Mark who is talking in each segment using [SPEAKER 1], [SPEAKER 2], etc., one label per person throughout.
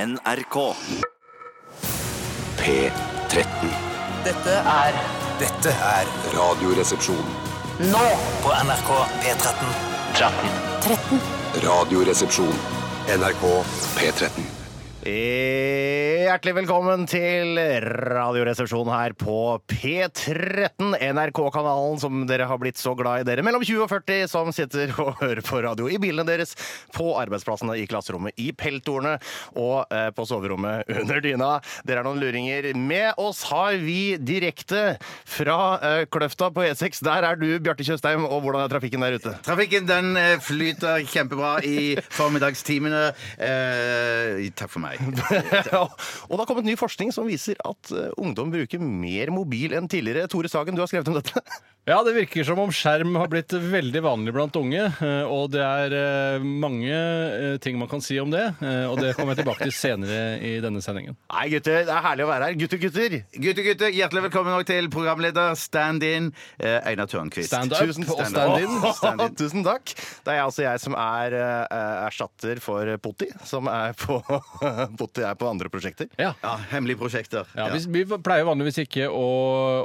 [SPEAKER 1] NRK.
[SPEAKER 2] P13.
[SPEAKER 3] Dette er Dette er
[SPEAKER 2] Radioresepsjon.
[SPEAKER 3] Nå på NRK P13
[SPEAKER 2] Radioresepsjon. NRK P13.
[SPEAKER 4] Hjertelig velkommen til Radioresepsjonen her på P13, NRK-kanalen som dere har blitt så glad i, dere mellom 20 og 40 som sitter og hører på radio i bilene deres, på arbeidsplassene, i klasserommet, i peltordene og eh, på soverommet under dyna. Dere er noen luringer. Med oss har vi direkte fra eh, Kløfta på E6. Der er du, Bjarte Tjøstheim, og hvordan er trafikken der ute?
[SPEAKER 5] Trafikken den eh, flyter kjempebra i formiddagstimene. Eh, takk for meg.
[SPEAKER 4] Ja, og det har kommet ny forskning som viser at eh, ungdom bruker mer mobil enn tidligere. Tore Sagen, du har skrevet om dette.
[SPEAKER 6] Ja, det virker som om skjerm har blitt veldig vanlig blant unge. eh, Og det er eh, mange eh, ting man kan si om det, eh, og det kommer jeg tilbake til senere i denne sendingen.
[SPEAKER 4] Nei, gutter, det er herlig å være her. Gutter, gutter!
[SPEAKER 5] Gutter, gutter, hjertelig velkommen også til programleder stand-in eh, Einar Tørnquist.
[SPEAKER 6] Stand up
[SPEAKER 4] Tusen
[SPEAKER 6] og
[SPEAKER 5] stand-up.
[SPEAKER 6] stand-in.
[SPEAKER 5] Åh, Stand-in.
[SPEAKER 4] Tusen takk. Det er altså jeg som er eh, erstatter for Potti, som er på, Potti er på andre prosjekter.
[SPEAKER 6] Ja.
[SPEAKER 5] Ja, hemmelige prosjekter.
[SPEAKER 6] Ja,
[SPEAKER 5] Ja.
[SPEAKER 6] vi, vi pleier vanligvis ikke å,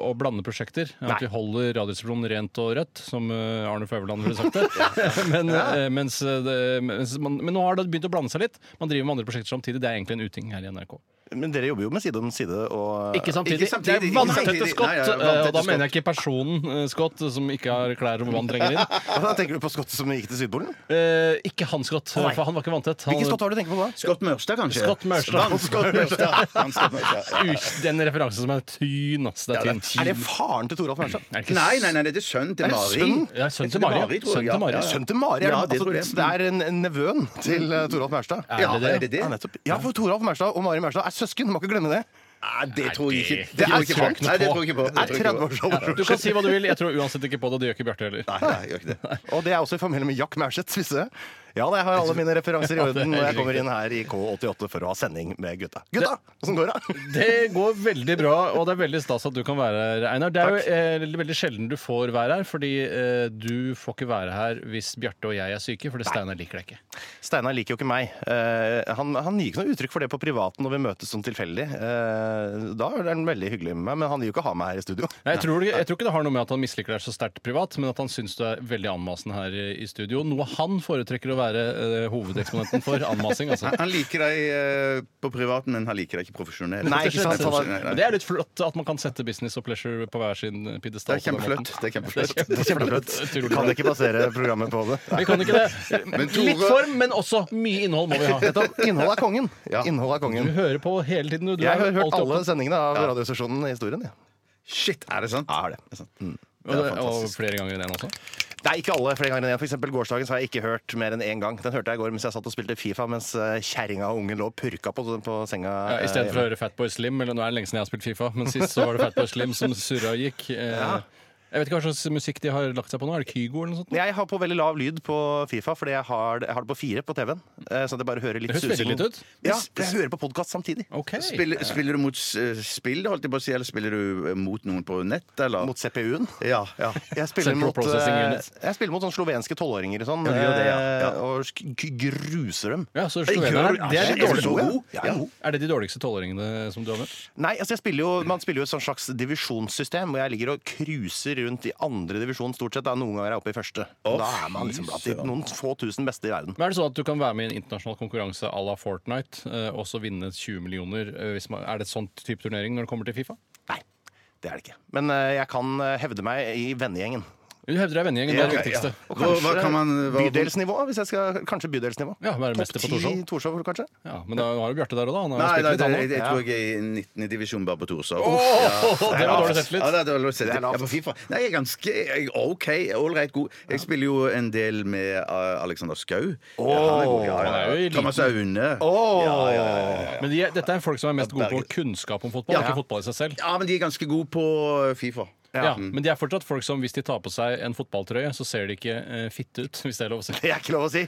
[SPEAKER 6] å blande prosjekter.
[SPEAKER 4] Nei.
[SPEAKER 6] At vi holder Radioresepsjonen rent og rødt, som eh, Arne Føverland ville sagt det. men, eh, mens det mens man, men nå har det begynt å blande seg litt. Man driver med andre prosjekter samtidig. Det er egentlig en uting her i NRK.
[SPEAKER 4] Men dere jobber jo med Side om side og
[SPEAKER 6] Ikke samtidig.
[SPEAKER 5] Ikke samtidig,
[SPEAKER 6] Det er
[SPEAKER 5] ikke
[SPEAKER 6] vanntette
[SPEAKER 5] samtidig.
[SPEAKER 6] skott.
[SPEAKER 5] Nei, ja,
[SPEAKER 6] eh, og da
[SPEAKER 5] vanntette
[SPEAKER 6] mener jeg ikke personen eh, Scott, som ikke har klær og vann trenger inn.
[SPEAKER 4] Da tenker du på Scott som gikk til Sydpolen?
[SPEAKER 6] Eh, ikke han Scott,
[SPEAKER 4] nei.
[SPEAKER 6] for han var ikke vanntett. Han-
[SPEAKER 4] Hvilken Scott var det du tenker på da?
[SPEAKER 5] Scott Mørstad, kanskje?
[SPEAKER 6] Scott Mørstad.
[SPEAKER 5] Vann- Scott Mørstad. Vann- Scott Mørstad. Ja.
[SPEAKER 6] Uff, Den referansen som er tynn, ass. Det er tynn.
[SPEAKER 4] Er det faren til Toralf Mernstad?
[SPEAKER 6] Er det ikke
[SPEAKER 5] Nei, nei, nei, det er sønnen til
[SPEAKER 4] det
[SPEAKER 5] Mari.
[SPEAKER 4] sønnen?
[SPEAKER 6] Ja, sønnen
[SPEAKER 5] Jeg tror
[SPEAKER 6] til
[SPEAKER 5] det er
[SPEAKER 6] Mari,
[SPEAKER 5] tror
[SPEAKER 6] ja.
[SPEAKER 5] jeg.
[SPEAKER 6] Sønnen til Mari,
[SPEAKER 4] Sønnen til Mari? Er
[SPEAKER 5] Ja,
[SPEAKER 6] ja.
[SPEAKER 5] Ja,
[SPEAKER 4] det,
[SPEAKER 5] det tror jeg.
[SPEAKER 4] altså, det er en, en nevøen til eh, Toralf Mernstad?
[SPEAKER 6] Er
[SPEAKER 5] Ja,
[SPEAKER 6] det
[SPEAKER 5] er det
[SPEAKER 6] det?
[SPEAKER 5] det?
[SPEAKER 4] Ja, nettopp. Ja, for Toralf Mærstad og Mari Mærstad er søsken. Må ikke glemme det.
[SPEAKER 5] Nei, det tror jeg ikke.
[SPEAKER 6] det-
[SPEAKER 5] Det tror
[SPEAKER 4] det
[SPEAKER 5] jeg ikke
[SPEAKER 4] tror
[SPEAKER 5] på.
[SPEAKER 4] jeg ikke noe
[SPEAKER 5] Nei, det tror jeg ikke på.
[SPEAKER 4] Det er
[SPEAKER 5] tror jeg ikke
[SPEAKER 4] 30
[SPEAKER 5] på.
[SPEAKER 4] år gammel.
[SPEAKER 6] Du kan si hva du vil. Jeg tror uansett ikke på det. og Det gjør ikke Bjarte heller.
[SPEAKER 5] Nei, nei, jeg gjør ikke det.
[SPEAKER 4] Og det er også i familie med Jack Mærseth, visste du? Ja, da, jeg har alle mine referanser i orden når jeg kommer inn her i K88 for å ha sending med gutta. Gutta, åssen går det?
[SPEAKER 6] Det går veldig bra, og det er veldig stas at du kan være her, Einar. Det er jo eh, veldig sjelden du får være her, fordi eh, du får ikke være her hvis Bjarte og jeg er syke, fordi Steinar liker deg ikke.
[SPEAKER 4] Steinar liker jo ikke meg. Eh, han, han gir ikke noe uttrykk for det på privaten når vi møtes sånn tilfeldig. Eh, da er han veldig hyggelig med meg, men han vil jo ikke ha meg her i studio.
[SPEAKER 6] Nei, Jeg tror, det- jeg tror ikke det har noe med at han misliker deg så sterkt privat, men at han syns du er veldig anmasende her i i studio. Noe han foretrekker å være eh, hovedeksponenten for. Anmasing, altså.
[SPEAKER 5] Han, han liker deg eh, på privaten, men han liker deg ikke profesjonelt.
[SPEAKER 4] Nei, ikke sant, han har-
[SPEAKER 5] Nei, nei.
[SPEAKER 6] Men Det er litt flott at man kan sette business og pleasure på hver sin
[SPEAKER 5] Det
[SPEAKER 6] pidestall.
[SPEAKER 5] er kjempefløtt. Det er kjempefløtt.
[SPEAKER 4] Kjempeflott. Kan ikke basere programmet på det.
[SPEAKER 6] Vi kan ikke det.
[SPEAKER 5] Men Tore-
[SPEAKER 6] Litt form, men også mye innhold må vi ha.
[SPEAKER 4] Nettopp. Innholdet er kongen. Innholdet er
[SPEAKER 6] Du
[SPEAKER 4] kongen.
[SPEAKER 6] hører på hele tiden. Du, du
[SPEAKER 4] Jeg
[SPEAKER 6] er
[SPEAKER 4] har hørt
[SPEAKER 6] alltid
[SPEAKER 4] alle
[SPEAKER 6] oppe.
[SPEAKER 4] sendingene av Radiostasjonen i historien. Ja.
[SPEAKER 5] Shit, er det sant?
[SPEAKER 4] Ja, er det.
[SPEAKER 5] er sant.
[SPEAKER 6] Og, det- og flere ganger enn én også.
[SPEAKER 4] Nei, ikke alle flere ganger enn én. For eksempel gårsdagens har jeg ikke hørt mer enn én gang. Den hørte jeg i går mens jeg satt og spilte Fifa mens eh, kjerringa og ungen lå og purka på, på senga.
[SPEAKER 6] Ja, I stedet
[SPEAKER 4] eh,
[SPEAKER 6] for å høre Fatboy Slim, eller nå er det lenge siden jeg har spilt Fifa, men sist så var det Fatboy Slim som surra og gikk. Eh, Jeg vet ikke hva slags musikk de har lagt seg på nå. Er det Kygo eller noe sånt?
[SPEAKER 4] Jeg har på veldig lav lyd på Fifa, fordi jeg har, jeg har det på fire på TV-en. eh, Så det bare hører litt
[SPEAKER 6] Det høres
[SPEAKER 4] susing.
[SPEAKER 6] veldig litt ut.
[SPEAKER 4] Ja, for jeg hører på podkast samtidig.
[SPEAKER 6] Ok.
[SPEAKER 5] Spiller, spiller du mot eh, spill, holdt jeg på å si, eller spiller du eh, mot noen på nett, eller?
[SPEAKER 4] Mot CPU-en.
[SPEAKER 5] Ja, ja.
[SPEAKER 4] Jeg spiller
[SPEAKER 6] Central
[SPEAKER 4] mot, eh,
[SPEAKER 6] Processing Unit.
[SPEAKER 4] jeg spiller mot sånne slovenske tolvåringer og sånn.
[SPEAKER 5] Ja, du gjør det, ja.
[SPEAKER 4] eh,
[SPEAKER 5] Ja.
[SPEAKER 4] Og sk- g- gruser dem.
[SPEAKER 6] Ja, så slovenerne er- det er
[SPEAKER 5] jeg
[SPEAKER 6] de dårligste-
[SPEAKER 5] så god.
[SPEAKER 4] Ja, jeg er god.
[SPEAKER 6] Er det de dårligste tolvåringene som du har møtt?
[SPEAKER 4] Nei, altså jeg spiller jo, Man spiller jo et sånn slags divisjonssystem, hvor jeg ligger og cruiser rundt i andre divisjon stort sett. Da noen ganger er jeg oppe i første. Og da er man liksom blant de noen få tusen beste i verden.
[SPEAKER 6] Men er det sånn at du kan være med i en internasjonal konkurranse à la Fortnite eh, og så vinne 20 millioner? eh, Hvis man, er det et sånt type turnering når det kommer til Fifa?
[SPEAKER 4] Nei, det er det ikke. Men eh, jeg kan eh, hevde meg i vennegjengen.
[SPEAKER 6] Du hevder deg vennegjengen, det er det viktigste.
[SPEAKER 5] Og Hva, hva kan man hva,
[SPEAKER 4] Bydelsnivå, hvis jeg skal Kanskje bydelsnivå.
[SPEAKER 6] Ja, være mester på
[SPEAKER 4] Topp ti
[SPEAKER 6] Torshov.
[SPEAKER 4] Torshov, kanskje.
[SPEAKER 6] Ja, men da har jo Bjarte der og da. Han har
[SPEAKER 5] Nei,
[SPEAKER 6] jo
[SPEAKER 5] nei,
[SPEAKER 6] spilt
[SPEAKER 5] det,
[SPEAKER 6] litt,
[SPEAKER 5] jeg,
[SPEAKER 6] han òg.
[SPEAKER 4] Ja.
[SPEAKER 5] jeg tror jeg er i 19. divisjon bare på Torshov.
[SPEAKER 6] Det var dårlig
[SPEAKER 5] Ja,
[SPEAKER 6] selvtillit.
[SPEAKER 5] det er dårlig selvtillit.
[SPEAKER 4] Det er lavt.
[SPEAKER 5] Ja, på FIFA. Nei, jeg er ganske jeg, er OK, ålreit god. Jeg spiller jo en del med eh, Alexander Skau. Ja, han er god, ja,
[SPEAKER 6] Han er jo
[SPEAKER 5] ja.
[SPEAKER 6] i
[SPEAKER 5] Thomas Aune.
[SPEAKER 6] Men de, er- dette er folk som er mest gode på kunnskap om fotball,
[SPEAKER 5] Ja.
[SPEAKER 6] ikke fotball i seg selv.
[SPEAKER 5] Ja, men de er ganske gode på eh, Fifa.
[SPEAKER 6] Ja. Men de er fortsatt folk som hvis de tar på seg en fotballtrøye, så ser de ikke eh, fitte ut, hvis det er lov å si.
[SPEAKER 4] Det er ikke lov å si.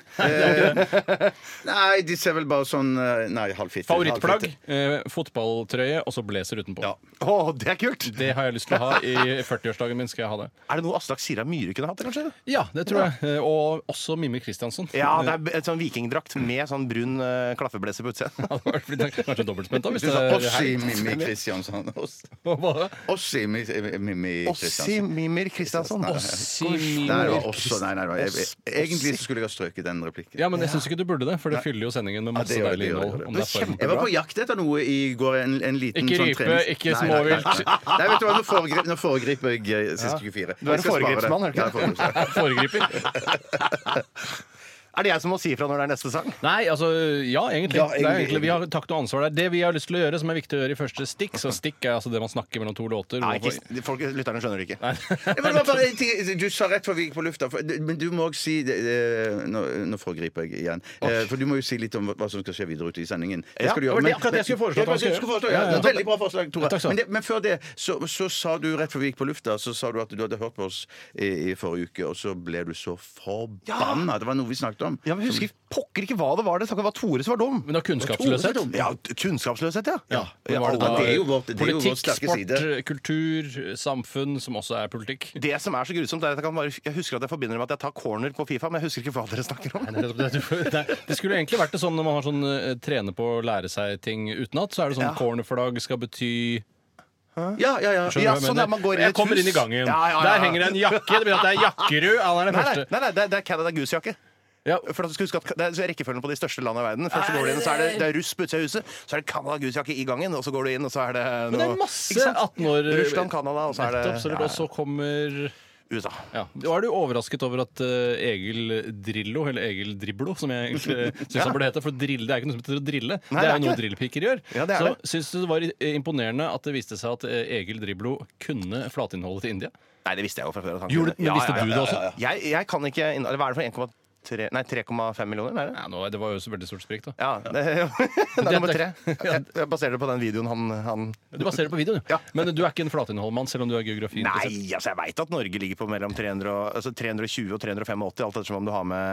[SPEAKER 5] Nei, de ser vel bare sånn eh, Nei, halvfitte.
[SPEAKER 6] Favorittplagg?
[SPEAKER 5] halvfitte.
[SPEAKER 6] Eh, fotballtrøye og så blazer utenpå.
[SPEAKER 5] Ja.
[SPEAKER 4] Å, det er kult!
[SPEAKER 6] Det har jeg lyst til å ha i 40-årsdagen min. skal jeg ha det
[SPEAKER 4] Er det noe Aslak Sira Myhre kunne hatt, kanskje?
[SPEAKER 6] Ja, det tror jeg. Eh, Og også Mimmi Kristiansen.
[SPEAKER 4] Ja, det er et sånn vikingdrakt med sånn brun uh, klaffebleser på utsiden.
[SPEAKER 6] Ja, det hadde vært fint. Kanskje dobbeltspent, da. Hvis
[SPEAKER 5] Du
[SPEAKER 6] det
[SPEAKER 5] sa
[SPEAKER 6] er
[SPEAKER 5] Ossi Mimmi Kristiansson. Oss-
[SPEAKER 6] Hva?
[SPEAKER 5] Ossi Mi- Mimmi
[SPEAKER 4] Ossi
[SPEAKER 5] Kristiansson.
[SPEAKER 4] Mimir Kristiansson.
[SPEAKER 6] Ossi
[SPEAKER 5] Nei, det var
[SPEAKER 6] Mimmi
[SPEAKER 5] også, nei, nei, nei. jeg- jeg- Egentlig så skulle jeg ha strøket den replikken.
[SPEAKER 6] Ja, men jeg syns ikke du burde det, for det fyller jo sendingen med masse
[SPEAKER 5] det gjør det,
[SPEAKER 6] deilig
[SPEAKER 5] det gjør det,
[SPEAKER 6] innhold.
[SPEAKER 5] det gjør
[SPEAKER 4] det.
[SPEAKER 6] om det er form.
[SPEAKER 5] Jeg var på jakt etter noe i går. En, en liten
[SPEAKER 6] Ikke
[SPEAKER 5] sånn
[SPEAKER 6] rype,
[SPEAKER 5] trenings-
[SPEAKER 6] ikke
[SPEAKER 5] Nei, nei, nei,
[SPEAKER 6] småvilt.
[SPEAKER 5] Nei, nei, vet du hva, nå foregriper, nå foregriper jeg eh, siste 24.
[SPEAKER 4] Du er en
[SPEAKER 5] Jeg skal spare det.
[SPEAKER 4] foregripsmann, er du ikke
[SPEAKER 5] Ja, jeg er foregripsmann.
[SPEAKER 6] Foregriper.
[SPEAKER 4] Er det jeg som må si ifra når det er neste sang?
[SPEAKER 6] Nei, altså Ja, egentlig.
[SPEAKER 5] Ja,
[SPEAKER 6] det er
[SPEAKER 5] egentlig.
[SPEAKER 6] egentlig vi har takt og ansvar der. Det vi har lyst til å gjøre, som er viktig å gjøre i første stikk, så stikk er altså det man snakker mellom to låter.
[SPEAKER 4] Nei,
[SPEAKER 6] Hvorfor-
[SPEAKER 4] ikke, folk, lytterne skjønner det ikke.
[SPEAKER 5] Ja, men det var bare en ting, du sa rett før vi gikk på lufta, for, men du må også si det, det, Nå, nå foregriper jeg igjen. Eh, For du må jo si litt om hva som skal skje videre ute i sendingen. Det
[SPEAKER 4] Ja,
[SPEAKER 5] skal du
[SPEAKER 6] det var det akkurat jeg skulle foreslå
[SPEAKER 5] Ja,
[SPEAKER 6] at han
[SPEAKER 5] det
[SPEAKER 6] skulle
[SPEAKER 5] skulle foreslå,
[SPEAKER 6] gjøre.
[SPEAKER 5] ja.
[SPEAKER 6] Ja, ja.
[SPEAKER 5] Veldig bra forslag, Tore.
[SPEAKER 6] Takk skal du ha.
[SPEAKER 5] men, det, men før det, så, så sa du rett før vi gikk på lufta, så sa du at du hadde hørt på oss i, i forrige uke, og så ble du så forbanna. Det var noe vi snakket om.
[SPEAKER 4] Ja, men husker pokker ikke hva det var. Det snakket om det var Tore som var dum.
[SPEAKER 6] Men det er kunnskapsløshet.
[SPEAKER 4] Ja, kunnskapsløshet, ja.
[SPEAKER 6] Ja, men
[SPEAKER 4] Ja,
[SPEAKER 6] var det
[SPEAKER 4] alle-
[SPEAKER 6] da-
[SPEAKER 5] det er jo vårt- det er jo vår
[SPEAKER 6] Politikk,
[SPEAKER 5] sterke
[SPEAKER 6] sport,
[SPEAKER 5] side.
[SPEAKER 6] kultur, samfunn, som også er politikk.
[SPEAKER 4] Det som er så grusomt, er at jeg, kan bare, jeg husker at jeg forbinder det med at jeg tar corner på Fifa, men jeg husker ikke hva dere snakker om.
[SPEAKER 6] Det, skulle egentlig vært det sånn når man har sånn eh, trene på å lære seg ting utenat, så er det sånn
[SPEAKER 4] Ja.
[SPEAKER 6] cornerflagg skal bety
[SPEAKER 5] Ja, ja, ja.
[SPEAKER 4] Ja,
[SPEAKER 6] Skjønner du hva jeg
[SPEAKER 4] sånn
[SPEAKER 6] mener?
[SPEAKER 4] er man går inn i et
[SPEAKER 6] Jeg kommer
[SPEAKER 4] hus.
[SPEAKER 6] inn i gangen.
[SPEAKER 4] Ja, ja, ja.
[SPEAKER 6] Der henger det en jakke. Det betyr at det er Jakkerud. Han er
[SPEAKER 4] Nei,
[SPEAKER 6] den
[SPEAKER 4] nei,
[SPEAKER 6] første.
[SPEAKER 4] nei, nei det, er- det er Canada Goose-jakke.
[SPEAKER 6] Ja.
[SPEAKER 4] For at du skal huske at Det er rekkefølgen på de største landene i verden. Først så går du inn, så er det, det er russ på utsida av huset, så er det Canada Goose-jakke i gangen, og så går du inn, og så er det noe
[SPEAKER 6] Men det er masse
[SPEAKER 4] Ikke sant?
[SPEAKER 6] 18 år
[SPEAKER 4] Russland, Canada, og så er det
[SPEAKER 6] Nettopp, så det-
[SPEAKER 4] ja,
[SPEAKER 6] Og så kommer
[SPEAKER 4] USA.
[SPEAKER 6] ja. Var du overrasket over at eh, Egil Drillo, eller Egil Driblo, som jeg egentlig syns han burde hete For drille det er ikke noe som heter å drille.
[SPEAKER 4] Nei,
[SPEAKER 6] det
[SPEAKER 4] det
[SPEAKER 6] er
[SPEAKER 4] er
[SPEAKER 6] jo noe
[SPEAKER 4] ikke det.
[SPEAKER 6] drillpiker gjør.
[SPEAKER 4] Ja, det er
[SPEAKER 6] så syns du det var i- imponerende at det viste seg at eh, Egil Driblo kunne flateinnholdet til India?
[SPEAKER 4] Nei, det visste jeg jo fra før. at han
[SPEAKER 6] Gjorde-
[SPEAKER 4] kunne.
[SPEAKER 6] men visste du det også?
[SPEAKER 4] Jeg, jeg kan ikke inn- eller Hva er det for 1,3 Nei, 3,5 millioner? Er det?
[SPEAKER 6] Ja, nå, det var jo så veldig stort sprik, da.
[SPEAKER 4] Ja. Det, det er nummer tre.
[SPEAKER 6] Dette-
[SPEAKER 4] Jeg, jeg baserer det på den videoen han, han
[SPEAKER 6] Du baserer det på videoen, du.
[SPEAKER 4] Ja.
[SPEAKER 6] Men du er ikke en flatinnholdmann, selv om du er geografien
[SPEAKER 4] Nei, altså jeg veit at Norge ligger på mellom 300 og, altså 320 og 385, alt ettersom om du har med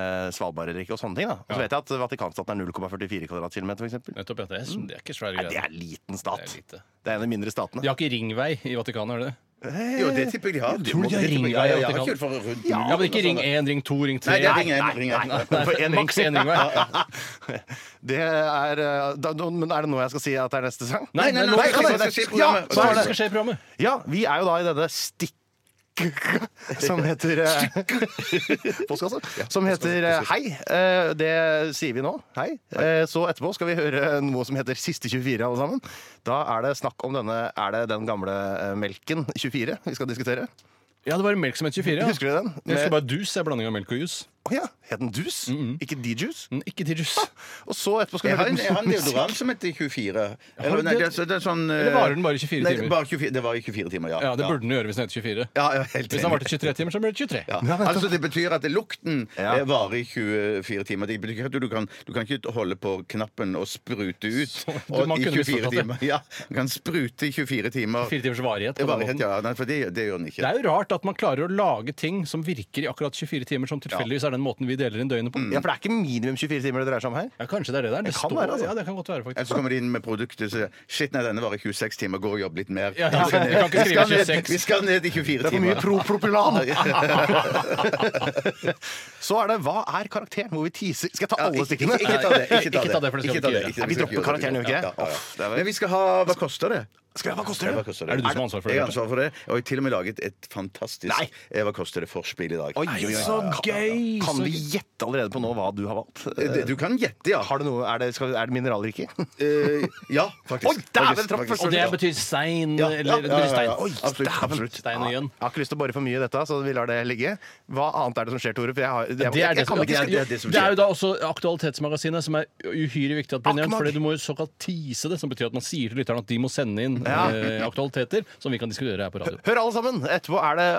[SPEAKER 4] eh, Svalbard eller ikke, og sånne ting. da. Og så
[SPEAKER 6] Ja.
[SPEAKER 4] vet jeg at Vatikanstaten er 0,44 kvadratkilometer, f.eks.
[SPEAKER 6] Nettopp, ja. Det er, det er ikke svære
[SPEAKER 4] Nei, det er
[SPEAKER 6] greier.
[SPEAKER 4] liten
[SPEAKER 6] Det
[SPEAKER 4] stat.
[SPEAKER 6] er lite.
[SPEAKER 4] Det er en av de mindre statene.
[SPEAKER 6] De har ikke ringvei i Vatikanet, er det det?
[SPEAKER 5] Jo, det tipper jeg de har.
[SPEAKER 6] tror de har
[SPEAKER 5] Det tipper jeg-
[SPEAKER 6] ringvei,
[SPEAKER 5] Ja, ja,
[SPEAKER 6] at de
[SPEAKER 5] ja,
[SPEAKER 6] kan-
[SPEAKER 5] kult for rundt
[SPEAKER 6] Ja,
[SPEAKER 5] muren
[SPEAKER 6] men ikke
[SPEAKER 5] og
[SPEAKER 6] ring
[SPEAKER 5] sånn.
[SPEAKER 6] 1, ring 2, ring 3.
[SPEAKER 5] Nei, det er ring én. Ring én.
[SPEAKER 4] For en
[SPEAKER 6] Maks
[SPEAKER 4] ring.
[SPEAKER 6] én ringvei.
[SPEAKER 4] Det er, eh, da, da- men er det nå jeg skal si at det er neste sang?
[SPEAKER 6] Nei, nei, nei,
[SPEAKER 5] Nei,
[SPEAKER 6] nei,
[SPEAKER 5] hva er
[SPEAKER 6] nei,
[SPEAKER 5] det som skjer i
[SPEAKER 4] Ja,
[SPEAKER 5] programmet?
[SPEAKER 6] Så hva er det som skal skje i programmet?
[SPEAKER 4] Ja, vi er jo da i denne stikk... Som heter eh, Postkasse. Som heter eh, Hei. Eh, Det sier vi nå. Hei. Eh, Så etterpå skal vi høre noe som heter Siste 24, alle sammen. Da er det snakk om denne Er det den gamle eh, melken 24 vi skal diskutere?
[SPEAKER 6] Ja, det var melk som het 24. Ja.
[SPEAKER 4] Husker du den?
[SPEAKER 6] Jeg
[SPEAKER 4] Med-
[SPEAKER 6] husker bare dus er blanding av melk og jus.
[SPEAKER 4] Å ja. Het den Dus? Ikke D-Juice?
[SPEAKER 6] Mm, Ikke til jus.
[SPEAKER 4] Og så etterpå skal vi
[SPEAKER 5] Jeg har
[SPEAKER 4] høre
[SPEAKER 5] en, jeg har en
[SPEAKER 4] musikk.
[SPEAKER 5] deodorant som heter 24.
[SPEAKER 6] Har du
[SPEAKER 5] Eller, nei,
[SPEAKER 6] det?
[SPEAKER 5] det, er så- det er sånn, eh,
[SPEAKER 6] Eller varer den bare 24
[SPEAKER 5] nei,
[SPEAKER 6] timer?
[SPEAKER 5] Bare 24, det var i 24 timer, ja.
[SPEAKER 6] Ja, det burde den gjøre hvis den heter 24.
[SPEAKER 5] ja, ja, helt
[SPEAKER 6] Hvis den
[SPEAKER 5] enig.
[SPEAKER 6] varte 23 timer, så blir det 23.
[SPEAKER 5] Ja. Altså, det betyr at lukten
[SPEAKER 4] Ja.
[SPEAKER 5] eh, varer i 24 timer. Det betyr ikke at du kan, du kan ikke holde på knappen og sprute ut
[SPEAKER 6] du-
[SPEAKER 5] og,
[SPEAKER 6] man
[SPEAKER 5] i
[SPEAKER 6] kunne
[SPEAKER 5] 24
[SPEAKER 6] misforstått det.
[SPEAKER 5] timer. Ja, du kan sprute i 24 timer.
[SPEAKER 6] Fire timers varighet. på den
[SPEAKER 5] Varighet,
[SPEAKER 6] måten.
[SPEAKER 5] ja. Nei, for det, det gjør den
[SPEAKER 6] Det
[SPEAKER 5] ikke.
[SPEAKER 6] er jo rart at man klarer å lage ting som virker i akkurat 24 timer, som tilfeldigvis er den måten vi deler inn døgnet på.
[SPEAKER 4] Mm. Ja, for det er ikke minimum 24 timer det dreier seg om her.
[SPEAKER 6] Ja, kanskje det er det der. Det,
[SPEAKER 4] kan
[SPEAKER 6] står,
[SPEAKER 4] være, altså.
[SPEAKER 6] ja, det kan godt være,
[SPEAKER 5] Eller
[SPEAKER 6] faktisk.
[SPEAKER 5] så kommer de inn med produktet og sier shit, nei, denne varer i 26 timer, gå og jobb litt mer.
[SPEAKER 6] Ja, ja,
[SPEAKER 5] Vi skal
[SPEAKER 6] vi kan
[SPEAKER 5] ned-
[SPEAKER 6] ikke
[SPEAKER 5] vi skal
[SPEAKER 6] skrive
[SPEAKER 5] ned-
[SPEAKER 6] 26.
[SPEAKER 5] Vi skal ned i 24
[SPEAKER 4] Det er for mye
[SPEAKER 5] timer.
[SPEAKER 4] pro-propylan! så er det 'Hva er karakteren?' hvor vi teaser. Skal jeg ta alle stikkene?
[SPEAKER 5] Ikke, ikke ta det. Ikke ta
[SPEAKER 6] Ikke ta det, for det skal vi ikke gjøre.
[SPEAKER 4] Nei, vi dropper karakteren, gjør vi ikke det? Uff, det er vel-
[SPEAKER 5] Men vi skal ha Hva koster det?
[SPEAKER 4] Skal jeg, hva koster
[SPEAKER 5] Ja, Hva
[SPEAKER 4] det?
[SPEAKER 5] koster
[SPEAKER 6] Er det du som har ansvar for det,
[SPEAKER 5] Jeg har
[SPEAKER 6] Bjarte?
[SPEAKER 5] ansvar for det. Og jeg har til og med laget et fantastisk
[SPEAKER 4] Nei.
[SPEAKER 5] eh, Hva koster det-forspill i dag.
[SPEAKER 4] Oi, oi, oi.
[SPEAKER 6] Så gøy!
[SPEAKER 4] Kan
[SPEAKER 6] så
[SPEAKER 4] vi
[SPEAKER 6] gøy.
[SPEAKER 4] gjette allerede på nå hva du har valgt?
[SPEAKER 5] Eh, Du kan gjette, ja.
[SPEAKER 4] Har du noe, er det, skal, er det mineralrike?
[SPEAKER 5] Eh, Ja, faktisk.
[SPEAKER 4] Oi, dæven,
[SPEAKER 5] Faktisk,
[SPEAKER 4] trapp
[SPEAKER 5] faktisk.
[SPEAKER 4] først.
[SPEAKER 6] Og det betyr stein
[SPEAKER 5] Ja, ja,
[SPEAKER 6] eller
[SPEAKER 5] ja, ja,
[SPEAKER 6] det betyr stein.
[SPEAKER 5] ja.
[SPEAKER 6] Oi,
[SPEAKER 5] Absolutt,
[SPEAKER 6] dæven.
[SPEAKER 5] absolutt.
[SPEAKER 6] Stein og jønn.
[SPEAKER 4] Jeg har ikke lyst til å bore for mye i dette, så vi lar det ligge. Hva annet er det som skjer, Tore? For jeg, har, jeg, jeg,
[SPEAKER 6] Det er det,
[SPEAKER 4] kan
[SPEAKER 6] som,
[SPEAKER 4] ikke
[SPEAKER 5] det er
[SPEAKER 4] skrive
[SPEAKER 5] det som
[SPEAKER 6] det er
[SPEAKER 5] skjer.
[SPEAKER 6] jo da også Aktualitetsmagasinet, som er uhyre viktig at blir nevnt.
[SPEAKER 4] Akmag.
[SPEAKER 6] Fordi du må jo såkalt tease det, som betyr at man sier til lytterne at de må sende inn
[SPEAKER 4] Ja.
[SPEAKER 6] eh, aktualiteter som vi kan diskutere her på radio.
[SPEAKER 4] Hør alle sammen! Etterpå er det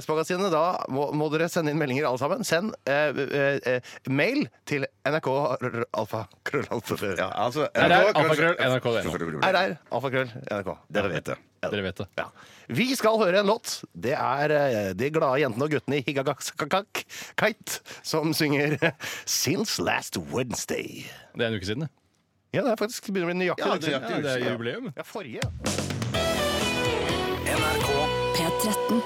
[SPEAKER 4] Aktualitetsmagasinet. Da må, må dere sende inn meldinger, alle sammen. Send eh, eh, eh, mail til nrk alfa krøllalfa
[SPEAKER 5] Ja, altså
[SPEAKER 6] Her er alfakrøll nrk.no.
[SPEAKER 4] rr alfakrøll nrk. Dere vet det. Ja.
[SPEAKER 6] Dere vet det.
[SPEAKER 4] Ja. Vi skal høre en låt. Det er eh, de glade jentene og guttene i Higgagakskakak Kite som synger eh, Since Last Wednesday.
[SPEAKER 6] Det er en uke siden, det.
[SPEAKER 4] Ja, det er faktisk begynner å bli nøyaktig.
[SPEAKER 5] Ja,
[SPEAKER 4] liksom.
[SPEAKER 5] nøyaktig.
[SPEAKER 6] Ja, det er jubileum.
[SPEAKER 4] ja, forrige.
[SPEAKER 3] NRK
[SPEAKER 1] P13.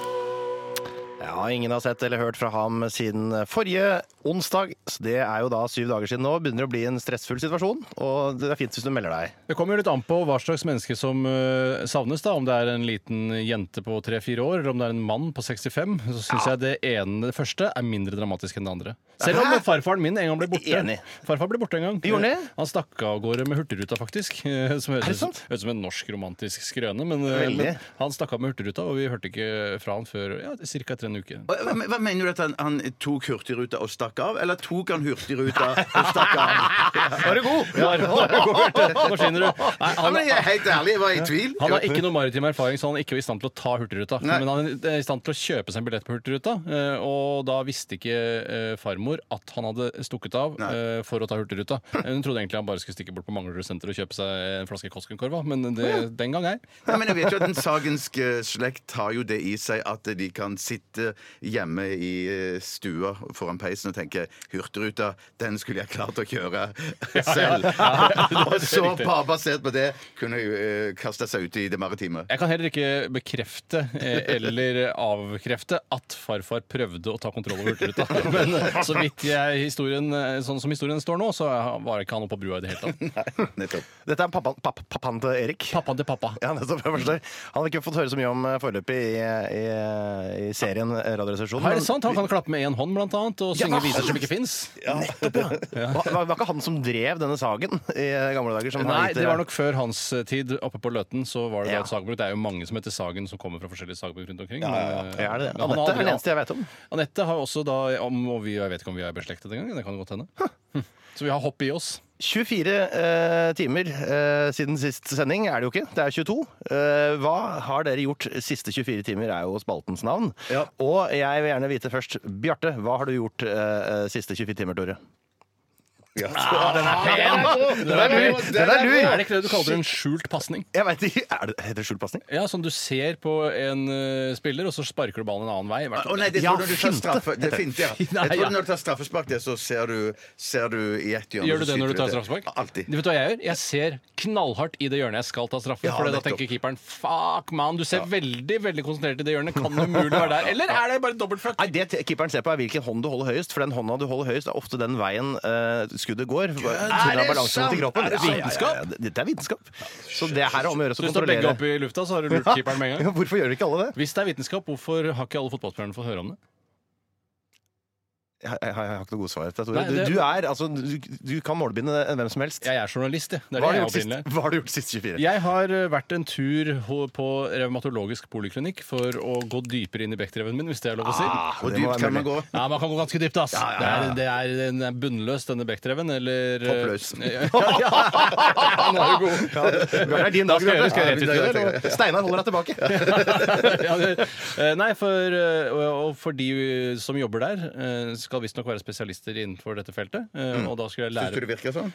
[SPEAKER 4] Ja, ingen har sett eller hørt fra ham siden forrige onsdag. Så det er jo da syv dager siden nå. Begynner det å bli en stressfull situasjon, og det er fint hvis du melder deg.
[SPEAKER 6] Det kommer jo litt an på hva slags menneske som øh, savnes. da, Om det er en liten jente på 3-4 år, eller om det er en mann på 65. Så syns jeg det ene, det første er mindre dramatisk enn det andre. Selv om
[SPEAKER 4] Hæ?
[SPEAKER 6] farfaren min en gang ble borte.
[SPEAKER 4] Enig.
[SPEAKER 6] Farfar ble borte en gang.
[SPEAKER 4] Gjorde han det?
[SPEAKER 6] Han stakk av gårde med Hurtigruta, faktisk. eh, Som
[SPEAKER 4] Er det
[SPEAKER 6] høres ut
[SPEAKER 4] sant?
[SPEAKER 6] høres ut som en norsk romantisk skrøne, men, eh,
[SPEAKER 4] Veldig.
[SPEAKER 6] men han stakk av med Hurtigruta, og vi hørte ikke fra han før ja, ca. tre uker.
[SPEAKER 5] Hva, hva mener du at han, han tok Hurtigruta og stakk av? Eller tok han Hurtigruta og stakk av?
[SPEAKER 6] Var du god? Ja, var du god, Bjarte? Hva skjønner du? Nei,
[SPEAKER 5] Ja,
[SPEAKER 6] han,
[SPEAKER 5] men jeg er helt ærlig, jeg var i tvil.
[SPEAKER 6] Han har ikke noe maritim erfaring, så han er ikke i stand til å ta Hurtigruta.
[SPEAKER 5] Nei.
[SPEAKER 6] Men han er i stand til å kjøpe seg en billett på Hurtigruta, eh, og da visste ikke eh, farmor at han hadde stukket av eh, for å ta Hurtigruta. Hun trodde egentlig han bare skulle stikke bort på Manglerud senter og kjøpe seg en flaske Koskenkorva, men det, den gang ei.
[SPEAKER 5] Nei, men jeg vet jo at Den sagenske slekt har jo det i seg at de kan sitte hjemme i eh, stua foran peisen og tenke 'Hurtigruta, den skulle jeg klart å kjøre selv'. Og så,
[SPEAKER 6] riktig.
[SPEAKER 5] pa- basert på det, kunne jeg eh, kaste seg ut i det maritime.
[SPEAKER 6] Jeg kan heller ikke bekrefte eh, eller avkrefte at farfar prøvde å ta kontroll over Hurtigruta. Men eh, så vidt jeg, historien, eh, sånn som historien står nå, så var ikke han oppe på brua i det hele tatt.
[SPEAKER 5] Nettopp.
[SPEAKER 4] Dette er pappaen, papp, pappaen til Erik.
[SPEAKER 6] Pappaen til pappa.
[SPEAKER 4] Ja, nettopp. Jeg forstår. Han har ikke fått høre så mye om eh, foreløpig i, i, i serien eh, Radioresepsjonen.
[SPEAKER 6] Ah, Er det
[SPEAKER 4] men-
[SPEAKER 6] sant? Han kan klappe med én hånd, blant annet, og
[SPEAKER 4] Ja,
[SPEAKER 6] synge
[SPEAKER 4] hva-
[SPEAKER 6] viser som ikke fins.
[SPEAKER 4] Nettopp, ja. Var, var- var ikke han som drev denne sagen i gamle dager? Som
[SPEAKER 6] Nei,
[SPEAKER 4] har gitt
[SPEAKER 6] det
[SPEAKER 4] dere-
[SPEAKER 6] var nok før hans eh, tid. Oppe på Løten så var det
[SPEAKER 4] Ja.
[SPEAKER 6] da et sagbruk. Det er jo mange som heter Sagen, som kommer fra forskjellige sagbruk rundt omkring. men, eh,
[SPEAKER 4] Ja, er det det?
[SPEAKER 6] men han
[SPEAKER 4] Anette er
[SPEAKER 6] har aldri-
[SPEAKER 4] den eneste jeg vet om.
[SPEAKER 6] Anette har jo også da om, og vi, Jeg vet ikke om vi er beslektet engang. Det kan godt hende. Hm. Så vi har hopp i oss.
[SPEAKER 4] 24 eh, timer eh, siden sist sending er det jo ikke. Det er 22. Eh, hva har dere gjort siste 24 timer, er jo spaltens navn.
[SPEAKER 5] Ja.
[SPEAKER 4] Og jeg vil gjerne vite først, Bjarte, hva har du gjort eh, siste 24 timer, Tore?
[SPEAKER 5] Ja.
[SPEAKER 6] Ah,
[SPEAKER 4] Den er lur! Den er
[SPEAKER 6] Er
[SPEAKER 4] lur.
[SPEAKER 6] det ikke det du kaller en skjult pasning?
[SPEAKER 4] Jeg vet ikke, er det, Heter det skjult pasning?
[SPEAKER 6] Ja, som du ser på en eh, spiller, og så sparker du ballen en annen vei. hvert
[SPEAKER 5] Å nei, det
[SPEAKER 4] Ja,
[SPEAKER 5] tror du du tar
[SPEAKER 4] finte.
[SPEAKER 5] straffe... Det er finte, ja.
[SPEAKER 6] Nei,
[SPEAKER 5] Jeg tror
[SPEAKER 6] ja.
[SPEAKER 5] når du tar straffespark, det, så ser du, ser du i ett hjørne.
[SPEAKER 6] Gjør du
[SPEAKER 5] så
[SPEAKER 6] det når du
[SPEAKER 5] skyter
[SPEAKER 6] tar
[SPEAKER 5] til.
[SPEAKER 6] straffespark?
[SPEAKER 5] Alltid.
[SPEAKER 6] Du vet hva jeg gjør? Jeg ser knallhardt i det hjørnet jeg skal ta straffe.
[SPEAKER 5] Ja,
[SPEAKER 6] for da
[SPEAKER 5] nettopp.
[SPEAKER 6] tenker keeperen fuck man, du ser veldig veldig konsentrert i det hjørnet. Kan det mulig være der? Eller er det bare dobbeltfuck?
[SPEAKER 4] Nei, det te- Keeperen ser på er hvilken hånd du holder høyest, for den hånda du holder høyest, er ofte den veien eh, skuddet går. på grunn av
[SPEAKER 5] Er det
[SPEAKER 4] balansen
[SPEAKER 5] sant?
[SPEAKER 4] til kroppen.
[SPEAKER 5] Er det
[SPEAKER 4] Ja, ja, ja,
[SPEAKER 6] vitenskap?
[SPEAKER 4] ja, Dette er vitenskap. Så det her er om å gjøre å
[SPEAKER 6] Så hvis du står begge
[SPEAKER 4] kontrollere.
[SPEAKER 6] opp i lufta, så har du lurt keeperen med en gang.
[SPEAKER 4] Hvorfor gjør ikke alle det?
[SPEAKER 6] Hvis det er vitenskap, hvorfor har ikke alle fotballspillerne fått høre om det?
[SPEAKER 4] Jeg, jeg, jeg har ikke noe godt svar. Tore.
[SPEAKER 6] Nei, det-
[SPEAKER 4] Du, du, er, altså, du, du kan målbinde hvem som helst.
[SPEAKER 6] Jeg er journalist, jeg. Det
[SPEAKER 4] Hva
[SPEAKER 6] er det
[SPEAKER 4] har, du
[SPEAKER 6] jeg er
[SPEAKER 4] gjort sist,
[SPEAKER 6] opprinnelig.
[SPEAKER 4] hva har du gjort sist 24?
[SPEAKER 6] Jeg har eh, vært en tur ho- på revmatologisk poliklinikk for å gå dypere inn i bekkdreven min, hvis Ah, det er lov å si.
[SPEAKER 5] Hvor
[SPEAKER 4] det må
[SPEAKER 5] dypt
[SPEAKER 4] være
[SPEAKER 5] kan man
[SPEAKER 4] mulig.
[SPEAKER 5] gå?
[SPEAKER 6] Ja, man kan gå ganske dypt, ass. Det, er, det er, den er bunnløs, denne bekkdreven. Eller eh,
[SPEAKER 5] Toppløs.
[SPEAKER 6] ja, ja, ja, nå er du god.
[SPEAKER 4] Ja, Bjørn, det er din
[SPEAKER 6] Da
[SPEAKER 4] dag.
[SPEAKER 6] skal jeg-
[SPEAKER 4] Bjørn.
[SPEAKER 6] skal jeg rett ut i det,
[SPEAKER 4] Ja, Steinar holder deg tilbake.
[SPEAKER 6] ja, det, eh, nei, for, eh, og- og for de eh, som jobber der, eh, skal visstnok være spesialister innenfor dette feltet. eh, Og da skulle jeg
[SPEAKER 5] Syns Mm. du
[SPEAKER 6] lære
[SPEAKER 5] det virker sånn?